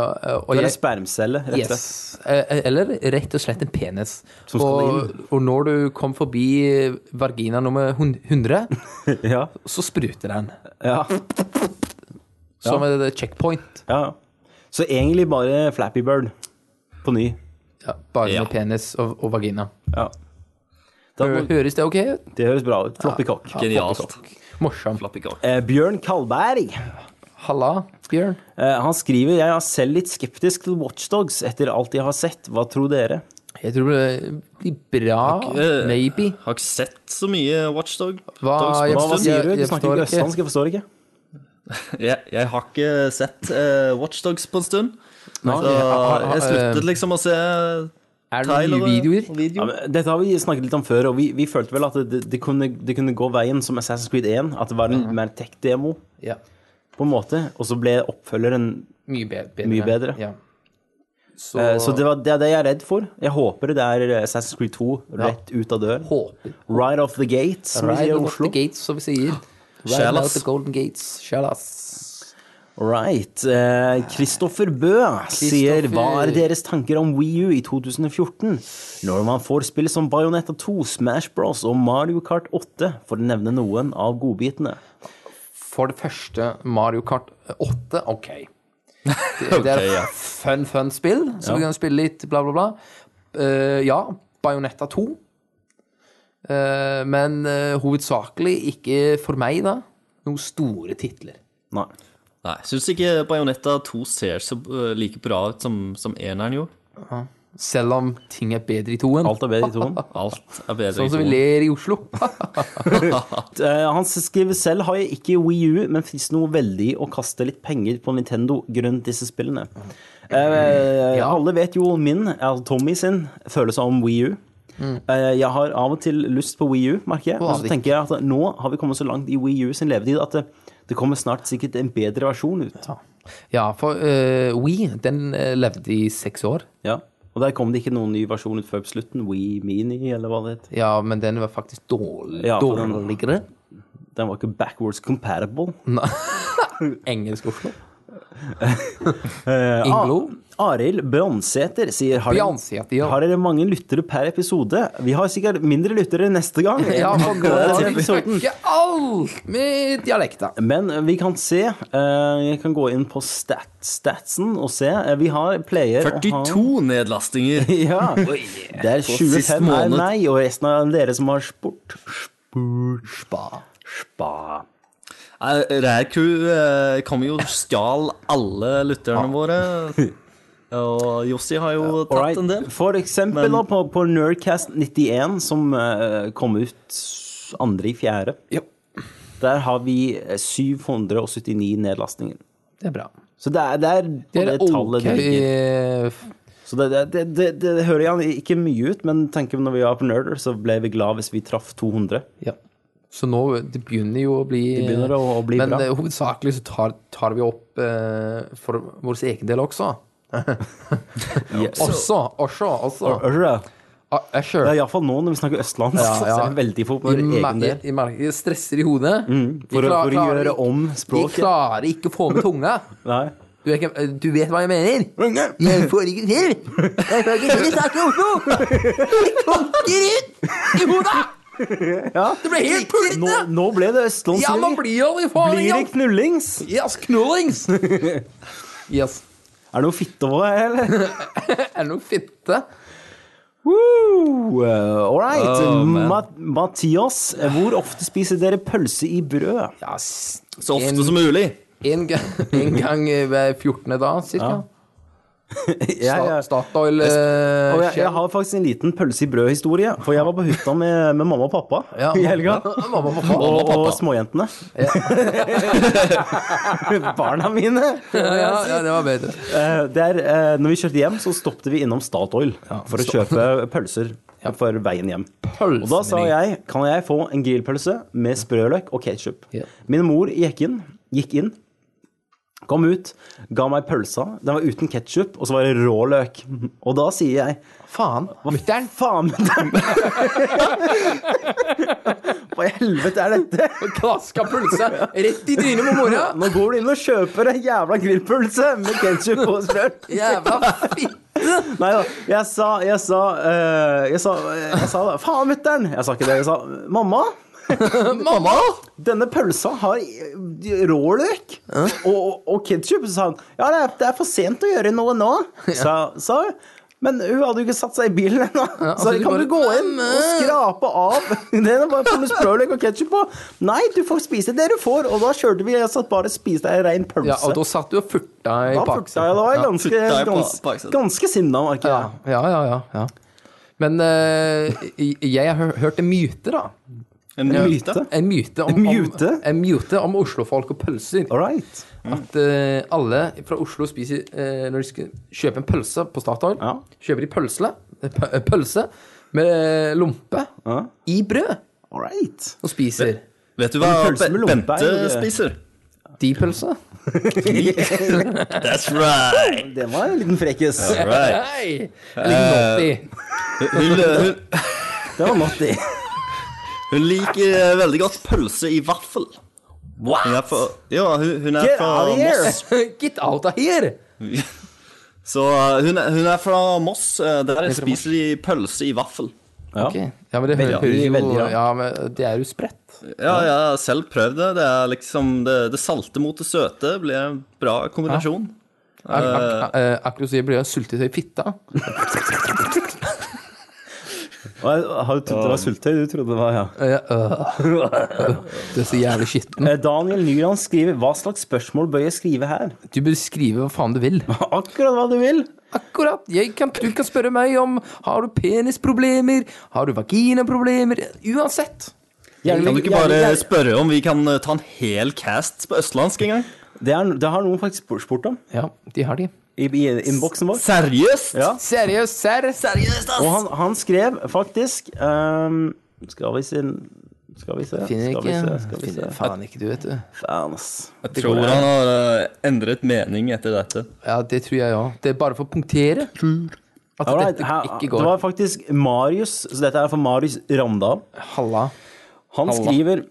[SPEAKER 5] og
[SPEAKER 4] Eller
[SPEAKER 5] jeg,
[SPEAKER 4] spermcelle, rett og slett.
[SPEAKER 5] yes. Eh, Eller rett og slett en penis.
[SPEAKER 4] Som skal
[SPEAKER 5] Og, og når du kom forbi vagina nummer hun- 100,
[SPEAKER 4] Ja.
[SPEAKER 5] så spruter den.
[SPEAKER 4] ja.
[SPEAKER 5] Som et checkpoint.
[SPEAKER 4] ja. Så egentlig bare Flappy Bird på ny.
[SPEAKER 5] Ja, bare
[SPEAKER 2] Ja.
[SPEAKER 5] med penis og, og vagina.
[SPEAKER 4] Ja. Da,
[SPEAKER 5] Hø- Høres det ok ut?
[SPEAKER 4] det høres bra ut. Floppy cock.
[SPEAKER 2] Genialt.
[SPEAKER 5] Morsomt.
[SPEAKER 4] Eh, Bjørn Kalberg
[SPEAKER 5] Halla, Bjørn.
[SPEAKER 4] eh, han skriver Jeg er selv litt skeptisk til Watchdogs etter alt jeg har sett. Hva tror dere?
[SPEAKER 5] Jeg tror det blir bra,
[SPEAKER 2] eh,
[SPEAKER 5] maybe.
[SPEAKER 2] Har ikke sett så mye Watchdog.
[SPEAKER 5] Hva,
[SPEAKER 2] Dogs-
[SPEAKER 4] Hva, hva sier du?
[SPEAKER 5] jeg
[SPEAKER 4] Du snakker
[SPEAKER 5] forstår
[SPEAKER 4] ikke
[SPEAKER 5] ikke.
[SPEAKER 4] østlandsk, jeg forstår ikke.
[SPEAKER 2] Jeg, jeg har ikke sett eh, Watchdogs på en stund. Så
[SPEAKER 5] har-
[SPEAKER 2] jeg sluttet liksom å se
[SPEAKER 5] eh, Er det
[SPEAKER 2] trailere
[SPEAKER 5] nye videoer?
[SPEAKER 2] og
[SPEAKER 4] Ja,
[SPEAKER 2] videoer.
[SPEAKER 4] men, dette har vi snakket litt om før, og vi, vi følte vel at det, det, kunne, det kunne gå veien som Assassin's Creed 1. At det var en mer tech-demo,
[SPEAKER 5] Ja.
[SPEAKER 4] på en måte, og så ble oppfølgeren
[SPEAKER 5] Mye be- bedre.
[SPEAKER 4] Mye bedre.
[SPEAKER 5] Ja. Så,
[SPEAKER 4] eh, Så det, var, det er det jeg er redd for. Jeg håper det er Assassin's Creed 2 rett ut av døren.
[SPEAKER 5] håper
[SPEAKER 4] Right off the gate, som vi
[SPEAKER 5] Right
[SPEAKER 4] sier i
[SPEAKER 5] out
[SPEAKER 4] Oslo.
[SPEAKER 5] the gates, som vi sier. Right
[SPEAKER 2] Shall
[SPEAKER 5] out
[SPEAKER 2] us.
[SPEAKER 5] the golden gates. Shall us.
[SPEAKER 4] Right. Eh, Kristoffer Bø sier Hva er deres tanker om Wii U i 2014? Når man får spill som Bayonetta 2, Smash Bros og Mario Kart 8, for å nevne noen av godbitene.
[SPEAKER 5] For det første, Mario Kart 8, OK. Det, det er
[SPEAKER 2] Ok, ja.
[SPEAKER 5] fun, fun spill, som vi kan spille litt, bla, bla, bla. Eh, ja, Bajonetta 2. Eh, men eh, hovedsakelig ikke for meg, da. Noen store titler.
[SPEAKER 4] Nei.
[SPEAKER 2] Nei, syns ikke Bajonetta 2 ser så eh, like bra ut som, som eneren gjorde.
[SPEAKER 5] Selv om ting er bedre i toen.
[SPEAKER 4] Alt er bedre i toen.
[SPEAKER 2] Alt er bedre
[SPEAKER 5] Sånn som vi
[SPEAKER 2] i to.
[SPEAKER 5] ler i Oslo.
[SPEAKER 4] Eh, han skriver selv har jeg ikke Wii U, men fins noe veldig å kaste litt penger på Nintendo grunnet disse spillene. Eh,
[SPEAKER 5] Ja.
[SPEAKER 4] Alle vet jo min, altså Tommy sin, følelse om Wii U. Eh, jeg har av og til lyst på Wii U, merker jeg. Men så
[SPEAKER 5] Avvik.
[SPEAKER 4] tenker jeg at nå har vi kommet så langt i Wii U sin levetid at det, det kommer snart sikkert en bedre versjon ut.
[SPEAKER 5] ja, for uh, We, den eh, levde i seks år.
[SPEAKER 4] Ja. Og der kom det ikke noen ny versjon ut før på slutten. Wii Mini, eller hva det het.
[SPEAKER 5] Ja, men den var faktisk dårlig,
[SPEAKER 4] Ja, for den-
[SPEAKER 5] dårligere.
[SPEAKER 4] Den var ikke backwards compatible.
[SPEAKER 5] Engelsk Oslo. Inglo.
[SPEAKER 4] Arild Bjørnsæter sier har
[SPEAKER 5] Bjørnsæter, ja.
[SPEAKER 4] har dere mange lyttere per episode? Vi har sikkert mindre lyttere neste gang.
[SPEAKER 5] Ja, for nå
[SPEAKER 4] Dette
[SPEAKER 5] har vi
[SPEAKER 4] episoden.
[SPEAKER 5] ikke alt med dialekter.
[SPEAKER 4] Men vi kan se. eh, Jeg kan gå inn på stat, statsen og se. Eh, Vi har player å ha-
[SPEAKER 2] 42 nedlastinger!
[SPEAKER 4] Ja. Det er
[SPEAKER 2] På sist
[SPEAKER 4] 25 er
[SPEAKER 2] måned.
[SPEAKER 4] meg, og resten av dere som har sport. Spurt. Spa. Spa.
[SPEAKER 2] Nei, Rare Crew eh, kom jo og stjal alle lytterne våre. Og Jossi har jo tatt
[SPEAKER 4] Alright.
[SPEAKER 2] en del.
[SPEAKER 4] For eksempel
[SPEAKER 2] Men-
[SPEAKER 4] da, på, på Nerdcast 91, som eh, kom ut andre i fjerde.
[SPEAKER 5] Ja.
[SPEAKER 4] Der har vi eh, 779 nedlastninger.
[SPEAKER 5] Det er bra.
[SPEAKER 4] Så det er, det er på
[SPEAKER 5] Det
[SPEAKER 4] det,
[SPEAKER 5] er
[SPEAKER 4] tallet
[SPEAKER 5] ok.
[SPEAKER 4] det ligger.
[SPEAKER 5] eh,
[SPEAKER 4] Så det, det, det, det, det hører gjerne ikke mye ut, men tenker vi når vi var på Nerder, så ble vi glad hvis vi traff 200.
[SPEAKER 5] Ja. Så nå det begynner jo å bli
[SPEAKER 4] Det begynner å, å bli
[SPEAKER 5] Men
[SPEAKER 4] bra.
[SPEAKER 5] eh, hovedsakelig så tar, tar vi opp eh, for vår egen del også. Også, også, også.
[SPEAKER 4] Ørre.
[SPEAKER 5] Ah, Usher.
[SPEAKER 4] Ja, iallfall nå når vi snakker østlandsk,
[SPEAKER 5] Ja, ja.
[SPEAKER 4] så er det veldig fort
[SPEAKER 5] I
[SPEAKER 4] på vår
[SPEAKER 5] mer-
[SPEAKER 4] egen del. Mm,
[SPEAKER 5] I mer- de stresser i hodet.
[SPEAKER 4] for å-
[SPEAKER 5] klar-
[SPEAKER 4] for å
[SPEAKER 5] klarer
[SPEAKER 4] gjøre
[SPEAKER 5] ikke-
[SPEAKER 4] om språket.
[SPEAKER 5] De klarer ikke å få med tunga.
[SPEAKER 4] Nei.
[SPEAKER 5] Du, er ikke, du vet hva jeg mener? Jeg får ikke til! Jeg får ikke til å snakke Oslo! Jeg tolker ut i hodet! Det ble helt
[SPEAKER 4] Nå,
[SPEAKER 5] pultete!
[SPEAKER 4] nå ble det østlandsk.
[SPEAKER 5] Ja, man
[SPEAKER 4] Erik.
[SPEAKER 5] blir jo i faen
[SPEAKER 4] blir det
[SPEAKER 5] ikke
[SPEAKER 4] knullings?
[SPEAKER 5] Yes, knullings! Yes.
[SPEAKER 4] Er det noe fittehår her, eller?
[SPEAKER 5] Er det noe fitte?
[SPEAKER 4] Woo! All right.
[SPEAKER 2] Oh, man.
[SPEAKER 4] Ma Mathias, hvor ofte spiser dere pølse i brød?
[SPEAKER 5] Ja, s-
[SPEAKER 2] Så ofte
[SPEAKER 5] en-
[SPEAKER 2] som mulig.
[SPEAKER 5] En gang, en gang hver 14. dag, cirka.
[SPEAKER 4] Ja, ja.
[SPEAKER 5] Sta- Statoil
[SPEAKER 4] Og
[SPEAKER 5] eh,
[SPEAKER 4] jeg, jeg har faktisk en liten pølse i brød-historie. For jeg var på hytta med, med mamma og pappa
[SPEAKER 5] Ja,
[SPEAKER 4] i helga.
[SPEAKER 5] Mamma og pappa.
[SPEAKER 4] Og, og småjentene. Barna mine.
[SPEAKER 5] Ja, ja, ja, det var bedre.
[SPEAKER 4] Eh, der, eh, når vi kjørte hjem, så stoppet vi innom Statoil for å kjøpe pølser for veien hjem. Og da sa jeg kan jeg få en grillpølse med sprøløk og ketsjup.
[SPEAKER 5] Ja.
[SPEAKER 4] Min mor gikk inn, gikk inn, kom ut, ga meg pølsa. Den var uten ketsjup, og så var det rå løk. Og da sier jeg
[SPEAKER 5] Faen. Mutter'n.
[SPEAKER 4] faen mutter'n! Hva i helvete er dette?
[SPEAKER 5] Klaska pølse rett i trynet på mora.
[SPEAKER 4] Nå går du inn og kjøper en jævla grillpølse med ketsjup og sprøløk.
[SPEAKER 5] Jævla fitte.
[SPEAKER 4] Nei da. Jeg sa Jeg sa, eh, jeg sa, jeg sa da, Faen, mutter'n! Jeg sa ikke det. Jeg sa mamma.
[SPEAKER 5] Mamma!
[SPEAKER 4] Denne pølsa har eh, rå-løk og, og ketsjup. Så sa han ja, det er, det er for sent å gjøre noe nå. Sa, sa hun. Men hun hadde jo ikke satt seg i bilen ennå.
[SPEAKER 5] altså,
[SPEAKER 4] så
[SPEAKER 5] du
[SPEAKER 4] kan du
[SPEAKER 5] bare,
[SPEAKER 4] gå inn og skrape av Det er bare for sprøløk og ketsjup på. Nei, du får spise det du får. Og da kjørte vi og satt bare og spiste ei rein pølse.
[SPEAKER 5] Ja, og da satt du og furta i
[SPEAKER 4] da
[SPEAKER 5] bak.
[SPEAKER 4] fukta jeg. Da var jeg ganske,
[SPEAKER 2] Fukta i pa-
[SPEAKER 4] ganske,
[SPEAKER 2] baksetet.
[SPEAKER 4] ganske sinna, merker
[SPEAKER 5] Ja,
[SPEAKER 4] jeg.
[SPEAKER 5] ja, ja. ja, ja. Men eh, jeg har hø- hørt en myte, da.
[SPEAKER 2] En myte.
[SPEAKER 5] En myte om,
[SPEAKER 4] En myte?
[SPEAKER 5] Om, en myte om oslofolk og pølser.
[SPEAKER 4] All right.
[SPEAKER 5] At eh, alle fra Oslo spiser eh, Når de skal kjøpe en pølse på Statoil,
[SPEAKER 4] Ja.
[SPEAKER 5] kjøper de pølse, p- eh, pølse med eh, lompe
[SPEAKER 4] Ja.
[SPEAKER 5] i brød
[SPEAKER 4] All right.
[SPEAKER 5] og spiser.
[SPEAKER 2] Vet du hva
[SPEAKER 4] En pølse
[SPEAKER 2] Be-
[SPEAKER 4] med lompe er
[SPEAKER 2] Bente
[SPEAKER 4] jo det.
[SPEAKER 2] spiser?
[SPEAKER 5] De pølser.
[SPEAKER 2] That's right.
[SPEAKER 4] Det var en liten frekkis.
[SPEAKER 2] right.
[SPEAKER 5] Hei! Eller uh,
[SPEAKER 2] Hun, hun,
[SPEAKER 4] Det var Matti.
[SPEAKER 2] hun liker eh, veldig godt pølse i vaffel. Hun er fra, ja, hun, hun er
[SPEAKER 4] Get
[SPEAKER 2] fra
[SPEAKER 4] out of here!
[SPEAKER 2] Moss.
[SPEAKER 5] Get out of here!
[SPEAKER 2] Så eh, hun, er- hun er fra Moss. eh, Der spiser de pølse i vaffel.
[SPEAKER 4] Ja.
[SPEAKER 5] Ok. Ja, men det hø-
[SPEAKER 4] Veldig,
[SPEAKER 5] høres jo
[SPEAKER 4] veldig, ja.
[SPEAKER 5] Ja, men det er jo spredt.
[SPEAKER 2] Ja, jeg har selv prøvd det. Det er liksom det, det salte mot det søte blir en bra kombinasjon. Eh,
[SPEAKER 5] Ak- eh, ak- eh, Akkurat som jeg blir sultet i fitta.
[SPEAKER 4] Og jeg- Har du trodd det var syltetøy? Du trodde det var, ja.
[SPEAKER 5] Ja, øh. Du Eh, er så jævlig skitten.
[SPEAKER 4] Eh, Daniel Nyland skriver Hva slags spørsmål bør jeg skrive her?
[SPEAKER 5] Du bør skrive hva faen du vil.
[SPEAKER 4] Akkurat hva du vil.
[SPEAKER 5] Akkurat. Jeg kan, du kan spørre meg om Har du penisproblemer. Har du vaginaproblemer? Uansett.
[SPEAKER 4] Gjerne-
[SPEAKER 2] Kan du ikke
[SPEAKER 4] gjerne-
[SPEAKER 2] bare
[SPEAKER 4] gjerne-
[SPEAKER 2] spørre om vi kan eh, ta en hel cast på østlandsk en gang?
[SPEAKER 4] det, er, det har noen faktisk spurt- spurt om
[SPEAKER 5] Ja, de har de.
[SPEAKER 4] i, i innboksen vår.
[SPEAKER 2] Seriøst?
[SPEAKER 4] Ja.
[SPEAKER 5] Seriøst, serr. Seriøst,
[SPEAKER 4] Og han, han skrev faktisk ehm, Skal vi se Skal vi se
[SPEAKER 5] Finner
[SPEAKER 4] Skal vi
[SPEAKER 5] ikke.
[SPEAKER 4] se, skal vi se.
[SPEAKER 5] Finner faen ikke, du, vet du.
[SPEAKER 4] Faen, ass.
[SPEAKER 2] Jeg tror han har eh, endret mening etter dette.
[SPEAKER 5] Ja, det tror jeg òg. Det er bare for å punktere at
[SPEAKER 4] Alright,
[SPEAKER 5] dette
[SPEAKER 4] her,
[SPEAKER 5] ikke
[SPEAKER 4] det
[SPEAKER 5] går.
[SPEAKER 4] var faktisk Marius Så dette er for Marius Ramdal.
[SPEAKER 5] Halla.
[SPEAKER 4] Han skriver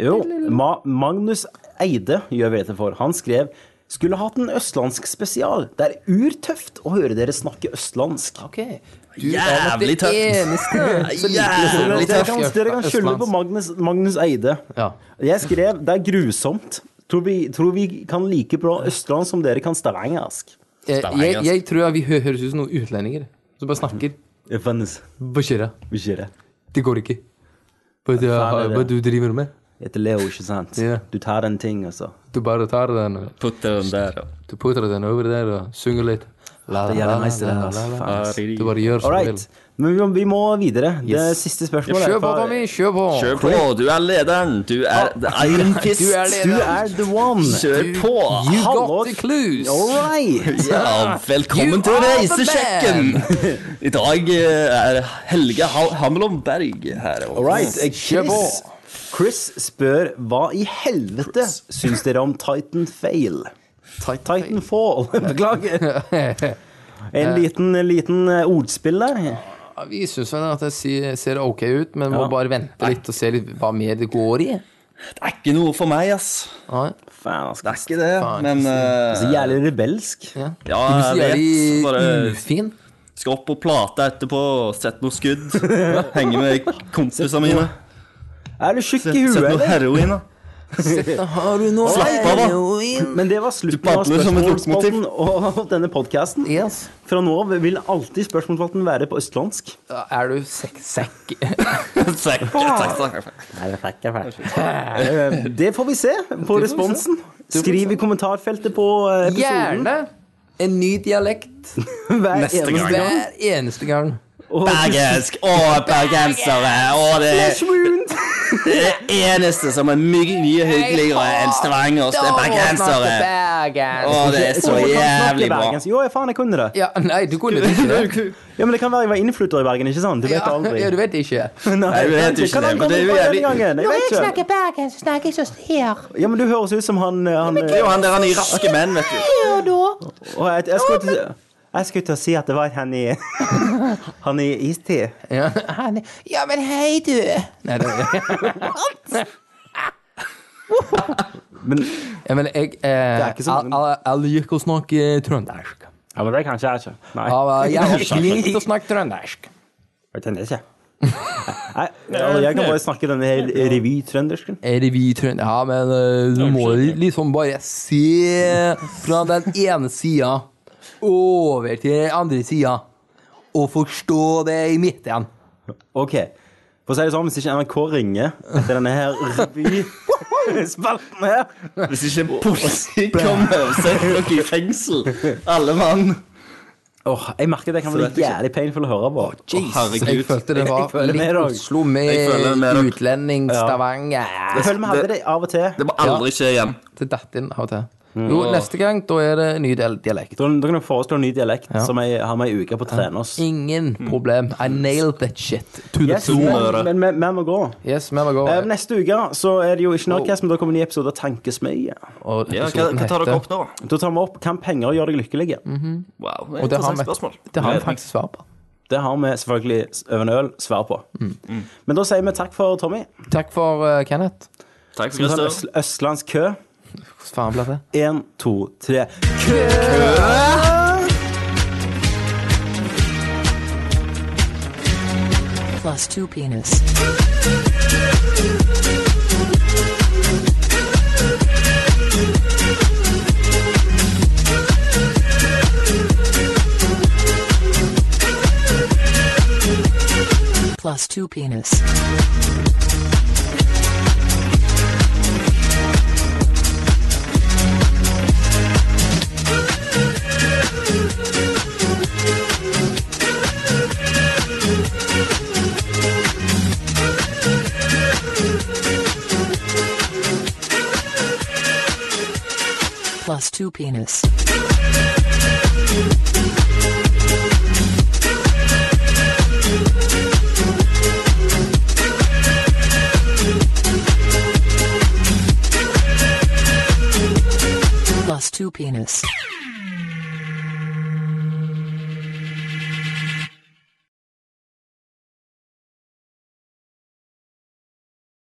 [SPEAKER 4] Jo, Ma Magnus Eide gjør vi dette for. Han skrev skulle hatt en østlandsk spesial. Det er urtøft å høre dere snakke østlandsk.
[SPEAKER 5] OK. Du
[SPEAKER 2] Jævlig tøft.
[SPEAKER 5] eneste som liker å
[SPEAKER 4] Dere, dere kan, dere kan skylde på
[SPEAKER 5] Østlands.
[SPEAKER 4] Magnus, Magnus Eide.
[SPEAKER 5] Ja.
[SPEAKER 4] Jeg skrev det er grusomt. Tror vi, tror vi kan like bra østland som dere kan stavangersk.
[SPEAKER 5] Eh, Jeg,
[SPEAKER 2] Stavanger.
[SPEAKER 4] altså.
[SPEAKER 5] jeg tror vi hø- høres ut som noen utlendinger som bare snakker.
[SPEAKER 4] Fannes,
[SPEAKER 5] Hva skjer'a?
[SPEAKER 4] vi ser det.
[SPEAKER 5] Det går ikke. Hva, du-
[SPEAKER 4] faen er det?
[SPEAKER 5] hva du driver med?
[SPEAKER 4] Jeg heter Leo, ikke sant?
[SPEAKER 5] Ja.
[SPEAKER 4] Du tar en ting, altså.
[SPEAKER 5] Du bare tar den og
[SPEAKER 2] Putter den der. og-
[SPEAKER 5] Du putter den over der og synger litt. La,
[SPEAKER 4] Det er jævlig nice, det der, altså. Faen, ass.
[SPEAKER 5] Du bare gjør som du vil.
[SPEAKER 4] Alright, men vi, vi må videre. Det
[SPEAKER 5] Yes.
[SPEAKER 4] siste spørsmålet
[SPEAKER 5] Kjør
[SPEAKER 4] er
[SPEAKER 5] på,
[SPEAKER 4] fra-
[SPEAKER 5] Tommy. Kjør på.
[SPEAKER 2] Kjør på, du er lederen. Ah, Du er the Iron Fist.
[SPEAKER 5] Du er
[SPEAKER 4] Du
[SPEAKER 5] lederen.
[SPEAKER 4] er the one.
[SPEAKER 2] Kjør på.
[SPEAKER 5] You
[SPEAKER 4] Hallo.
[SPEAKER 5] got the clues.
[SPEAKER 4] All right.
[SPEAKER 2] Ja,
[SPEAKER 5] You
[SPEAKER 2] velkommen til
[SPEAKER 5] are the
[SPEAKER 2] Reisesjekken. I dag eh, er Helge Ha- Hamelon Berg her.
[SPEAKER 4] All right. eh,
[SPEAKER 5] Kjør
[SPEAKER 4] Chris, Chris spør hva i helvete syns dere om Titan Fail? Titanfall. Beklager. En liten, en liten eh, ordspill der.
[SPEAKER 5] Ja, Vi syns vel at det si- ser ok ut, men må
[SPEAKER 4] Ja.
[SPEAKER 5] bare vente litt og se litt hva mer det går i.
[SPEAKER 2] Det er ikke noe for meg, ass.
[SPEAKER 5] Ja.
[SPEAKER 4] Faen, ass.
[SPEAKER 2] Det er ikke det, men
[SPEAKER 4] Så
[SPEAKER 2] eh,
[SPEAKER 4] jævlig rebelsk.
[SPEAKER 5] ja.
[SPEAKER 2] Ja,
[SPEAKER 5] Du blir så
[SPEAKER 2] jeg vet.
[SPEAKER 5] jævlig
[SPEAKER 2] Bare
[SPEAKER 5] ufin.
[SPEAKER 2] skal opp på plata etterpå, sette noe skudd. Henge med kompisene mine.
[SPEAKER 4] Er du tjukk i huet,
[SPEAKER 2] Sette noe
[SPEAKER 4] eller?
[SPEAKER 2] heroin, da.
[SPEAKER 5] Har du noe
[SPEAKER 2] Slapp av, da.
[SPEAKER 4] Men det var slutten av
[SPEAKER 2] babler som et
[SPEAKER 4] spørsmålsspalten og denne podkasten.
[SPEAKER 5] Yes.
[SPEAKER 4] Fra nå av vil alltid spørsmålsspalten være på østlandsk.
[SPEAKER 5] Er du sekk... sekk.
[SPEAKER 2] Takk, takk, takk.
[SPEAKER 4] Eh, Det får vi se på responsen. Skriv i kommentarfeltet på eh, episoden.
[SPEAKER 5] Gjerne en ny dialekt
[SPEAKER 4] Hver
[SPEAKER 2] Neste
[SPEAKER 4] eneste
[SPEAKER 2] gang.
[SPEAKER 4] gang.
[SPEAKER 5] hver eneste gang.
[SPEAKER 4] Og
[SPEAKER 2] Bergensk og bergensere og Eh, det
[SPEAKER 4] Flesh wound.
[SPEAKER 2] Det eneste som er mye, mye hyggeligere enn Stavangers, det er bergensere. Å, det er så
[SPEAKER 4] Jeg kan snakke
[SPEAKER 2] jævlig bra.
[SPEAKER 4] bergensk. Jo, jeg faen, jeg kunne det.
[SPEAKER 5] Ja, nei, du kunne det ikke. det.
[SPEAKER 4] Ja, Men det kan være jeg var innflytter i Bergen, ikke sant? Du vet
[SPEAKER 5] Ja,
[SPEAKER 4] aldri.
[SPEAKER 5] ja, du vet ikke.
[SPEAKER 2] Nei, du vet ikke det,
[SPEAKER 4] Hvordan
[SPEAKER 2] men
[SPEAKER 4] kom
[SPEAKER 2] det er
[SPEAKER 4] du
[SPEAKER 2] jo
[SPEAKER 4] på den
[SPEAKER 2] jævlig-
[SPEAKER 4] gangen? Jeg
[SPEAKER 1] Når jeg
[SPEAKER 4] vet ikke.
[SPEAKER 1] snakker bergen, så snakker jeg sånn her.
[SPEAKER 4] Ja, men du høres ut som han, eh, han
[SPEAKER 2] Det er jo han der han i Raske menn, vet du.
[SPEAKER 1] Her da.
[SPEAKER 4] Og jeg, jeg, skulle til, jeg skulle til å si at det var han i Han i Istid.
[SPEAKER 5] Ja, han, ja men hei, du. Nei, det
[SPEAKER 4] Men
[SPEAKER 5] Ja, men jeg eh,
[SPEAKER 4] er ikke så mange.
[SPEAKER 5] jeg- jeg- Jeg liker å snakke eh, trøndersk.
[SPEAKER 4] Ja, men det kanskje jeg ikke. Nei,
[SPEAKER 5] Ja, men Jeg er flink til å snakke trøndersk.
[SPEAKER 4] jeg tenner ikke. Nei, altså, jeg kan bare snakke denne her revytrøndersken.
[SPEAKER 5] Er det vi trønder? Ja, men eh, du må liksom bare se fra den ene sida over til den andre sida. Og forstå det i midten.
[SPEAKER 4] OK. For å si det sånn, hvis ikke NRK ringer etter denne her revyspalten her
[SPEAKER 2] Hvis ikke politiet kommer og setter dere i fengsel, alle mann.
[SPEAKER 4] Åh, Jeg merker at jeg kan bli jævlig painful å høre på.
[SPEAKER 5] Jeg
[SPEAKER 2] herregud.
[SPEAKER 5] følte det var
[SPEAKER 4] Jeg føler med
[SPEAKER 5] litt
[SPEAKER 4] dere.
[SPEAKER 5] Oslo
[SPEAKER 2] Jeg føler med
[SPEAKER 5] med
[SPEAKER 2] dere.
[SPEAKER 5] utlending, Stavanger
[SPEAKER 4] Jeg føler vi hadde det av og til.
[SPEAKER 2] Det må aldri skje igjen.
[SPEAKER 5] Det datt inn av og til.
[SPEAKER 4] Mm.
[SPEAKER 5] Jo, neste gang da er det ny del- dialekt.
[SPEAKER 4] Da, da kan du foreslå en ny dialekt
[SPEAKER 5] Ja.
[SPEAKER 4] som jeg har med ei uke på å trene oss.
[SPEAKER 5] Ingen
[SPEAKER 2] Mm.
[SPEAKER 5] problem. I nailed that shit. To the
[SPEAKER 4] Yes,
[SPEAKER 5] floor.
[SPEAKER 4] men men- vi må gå.
[SPEAKER 5] Yes, vi må gå.
[SPEAKER 2] Ehm,
[SPEAKER 4] Eh, Neste uke så er det jo ikke Nerdcast, men da kommer en ny episode av Tankesmie.
[SPEAKER 5] Og
[SPEAKER 2] Ja, hva,
[SPEAKER 5] episoden
[SPEAKER 2] hva tar dere
[SPEAKER 5] heter-
[SPEAKER 2] opp nå?
[SPEAKER 4] Da tar vi opp kan penger gjøre deg lykkelig.
[SPEAKER 2] Wow, det er et
[SPEAKER 5] Og det har
[SPEAKER 2] interessant
[SPEAKER 5] vi,
[SPEAKER 2] spørsmål.
[SPEAKER 5] det har vi faktisk svar på.
[SPEAKER 4] Det har vi selvfølgelig over en øl svar på.
[SPEAKER 2] Mm.
[SPEAKER 4] Men da sier vi takk for Tommy.
[SPEAKER 5] Takk for eh, Kenneth.
[SPEAKER 2] Takk,
[SPEAKER 4] Vi tar en
[SPEAKER 2] Christer.
[SPEAKER 4] øst, østlandsk kø.
[SPEAKER 5] Hvordan faen ble det?
[SPEAKER 4] Én, to, tre.
[SPEAKER 9] plus two penis.
[SPEAKER 1] plus 2 penis. Plus 2 penis. Plus 2 penis.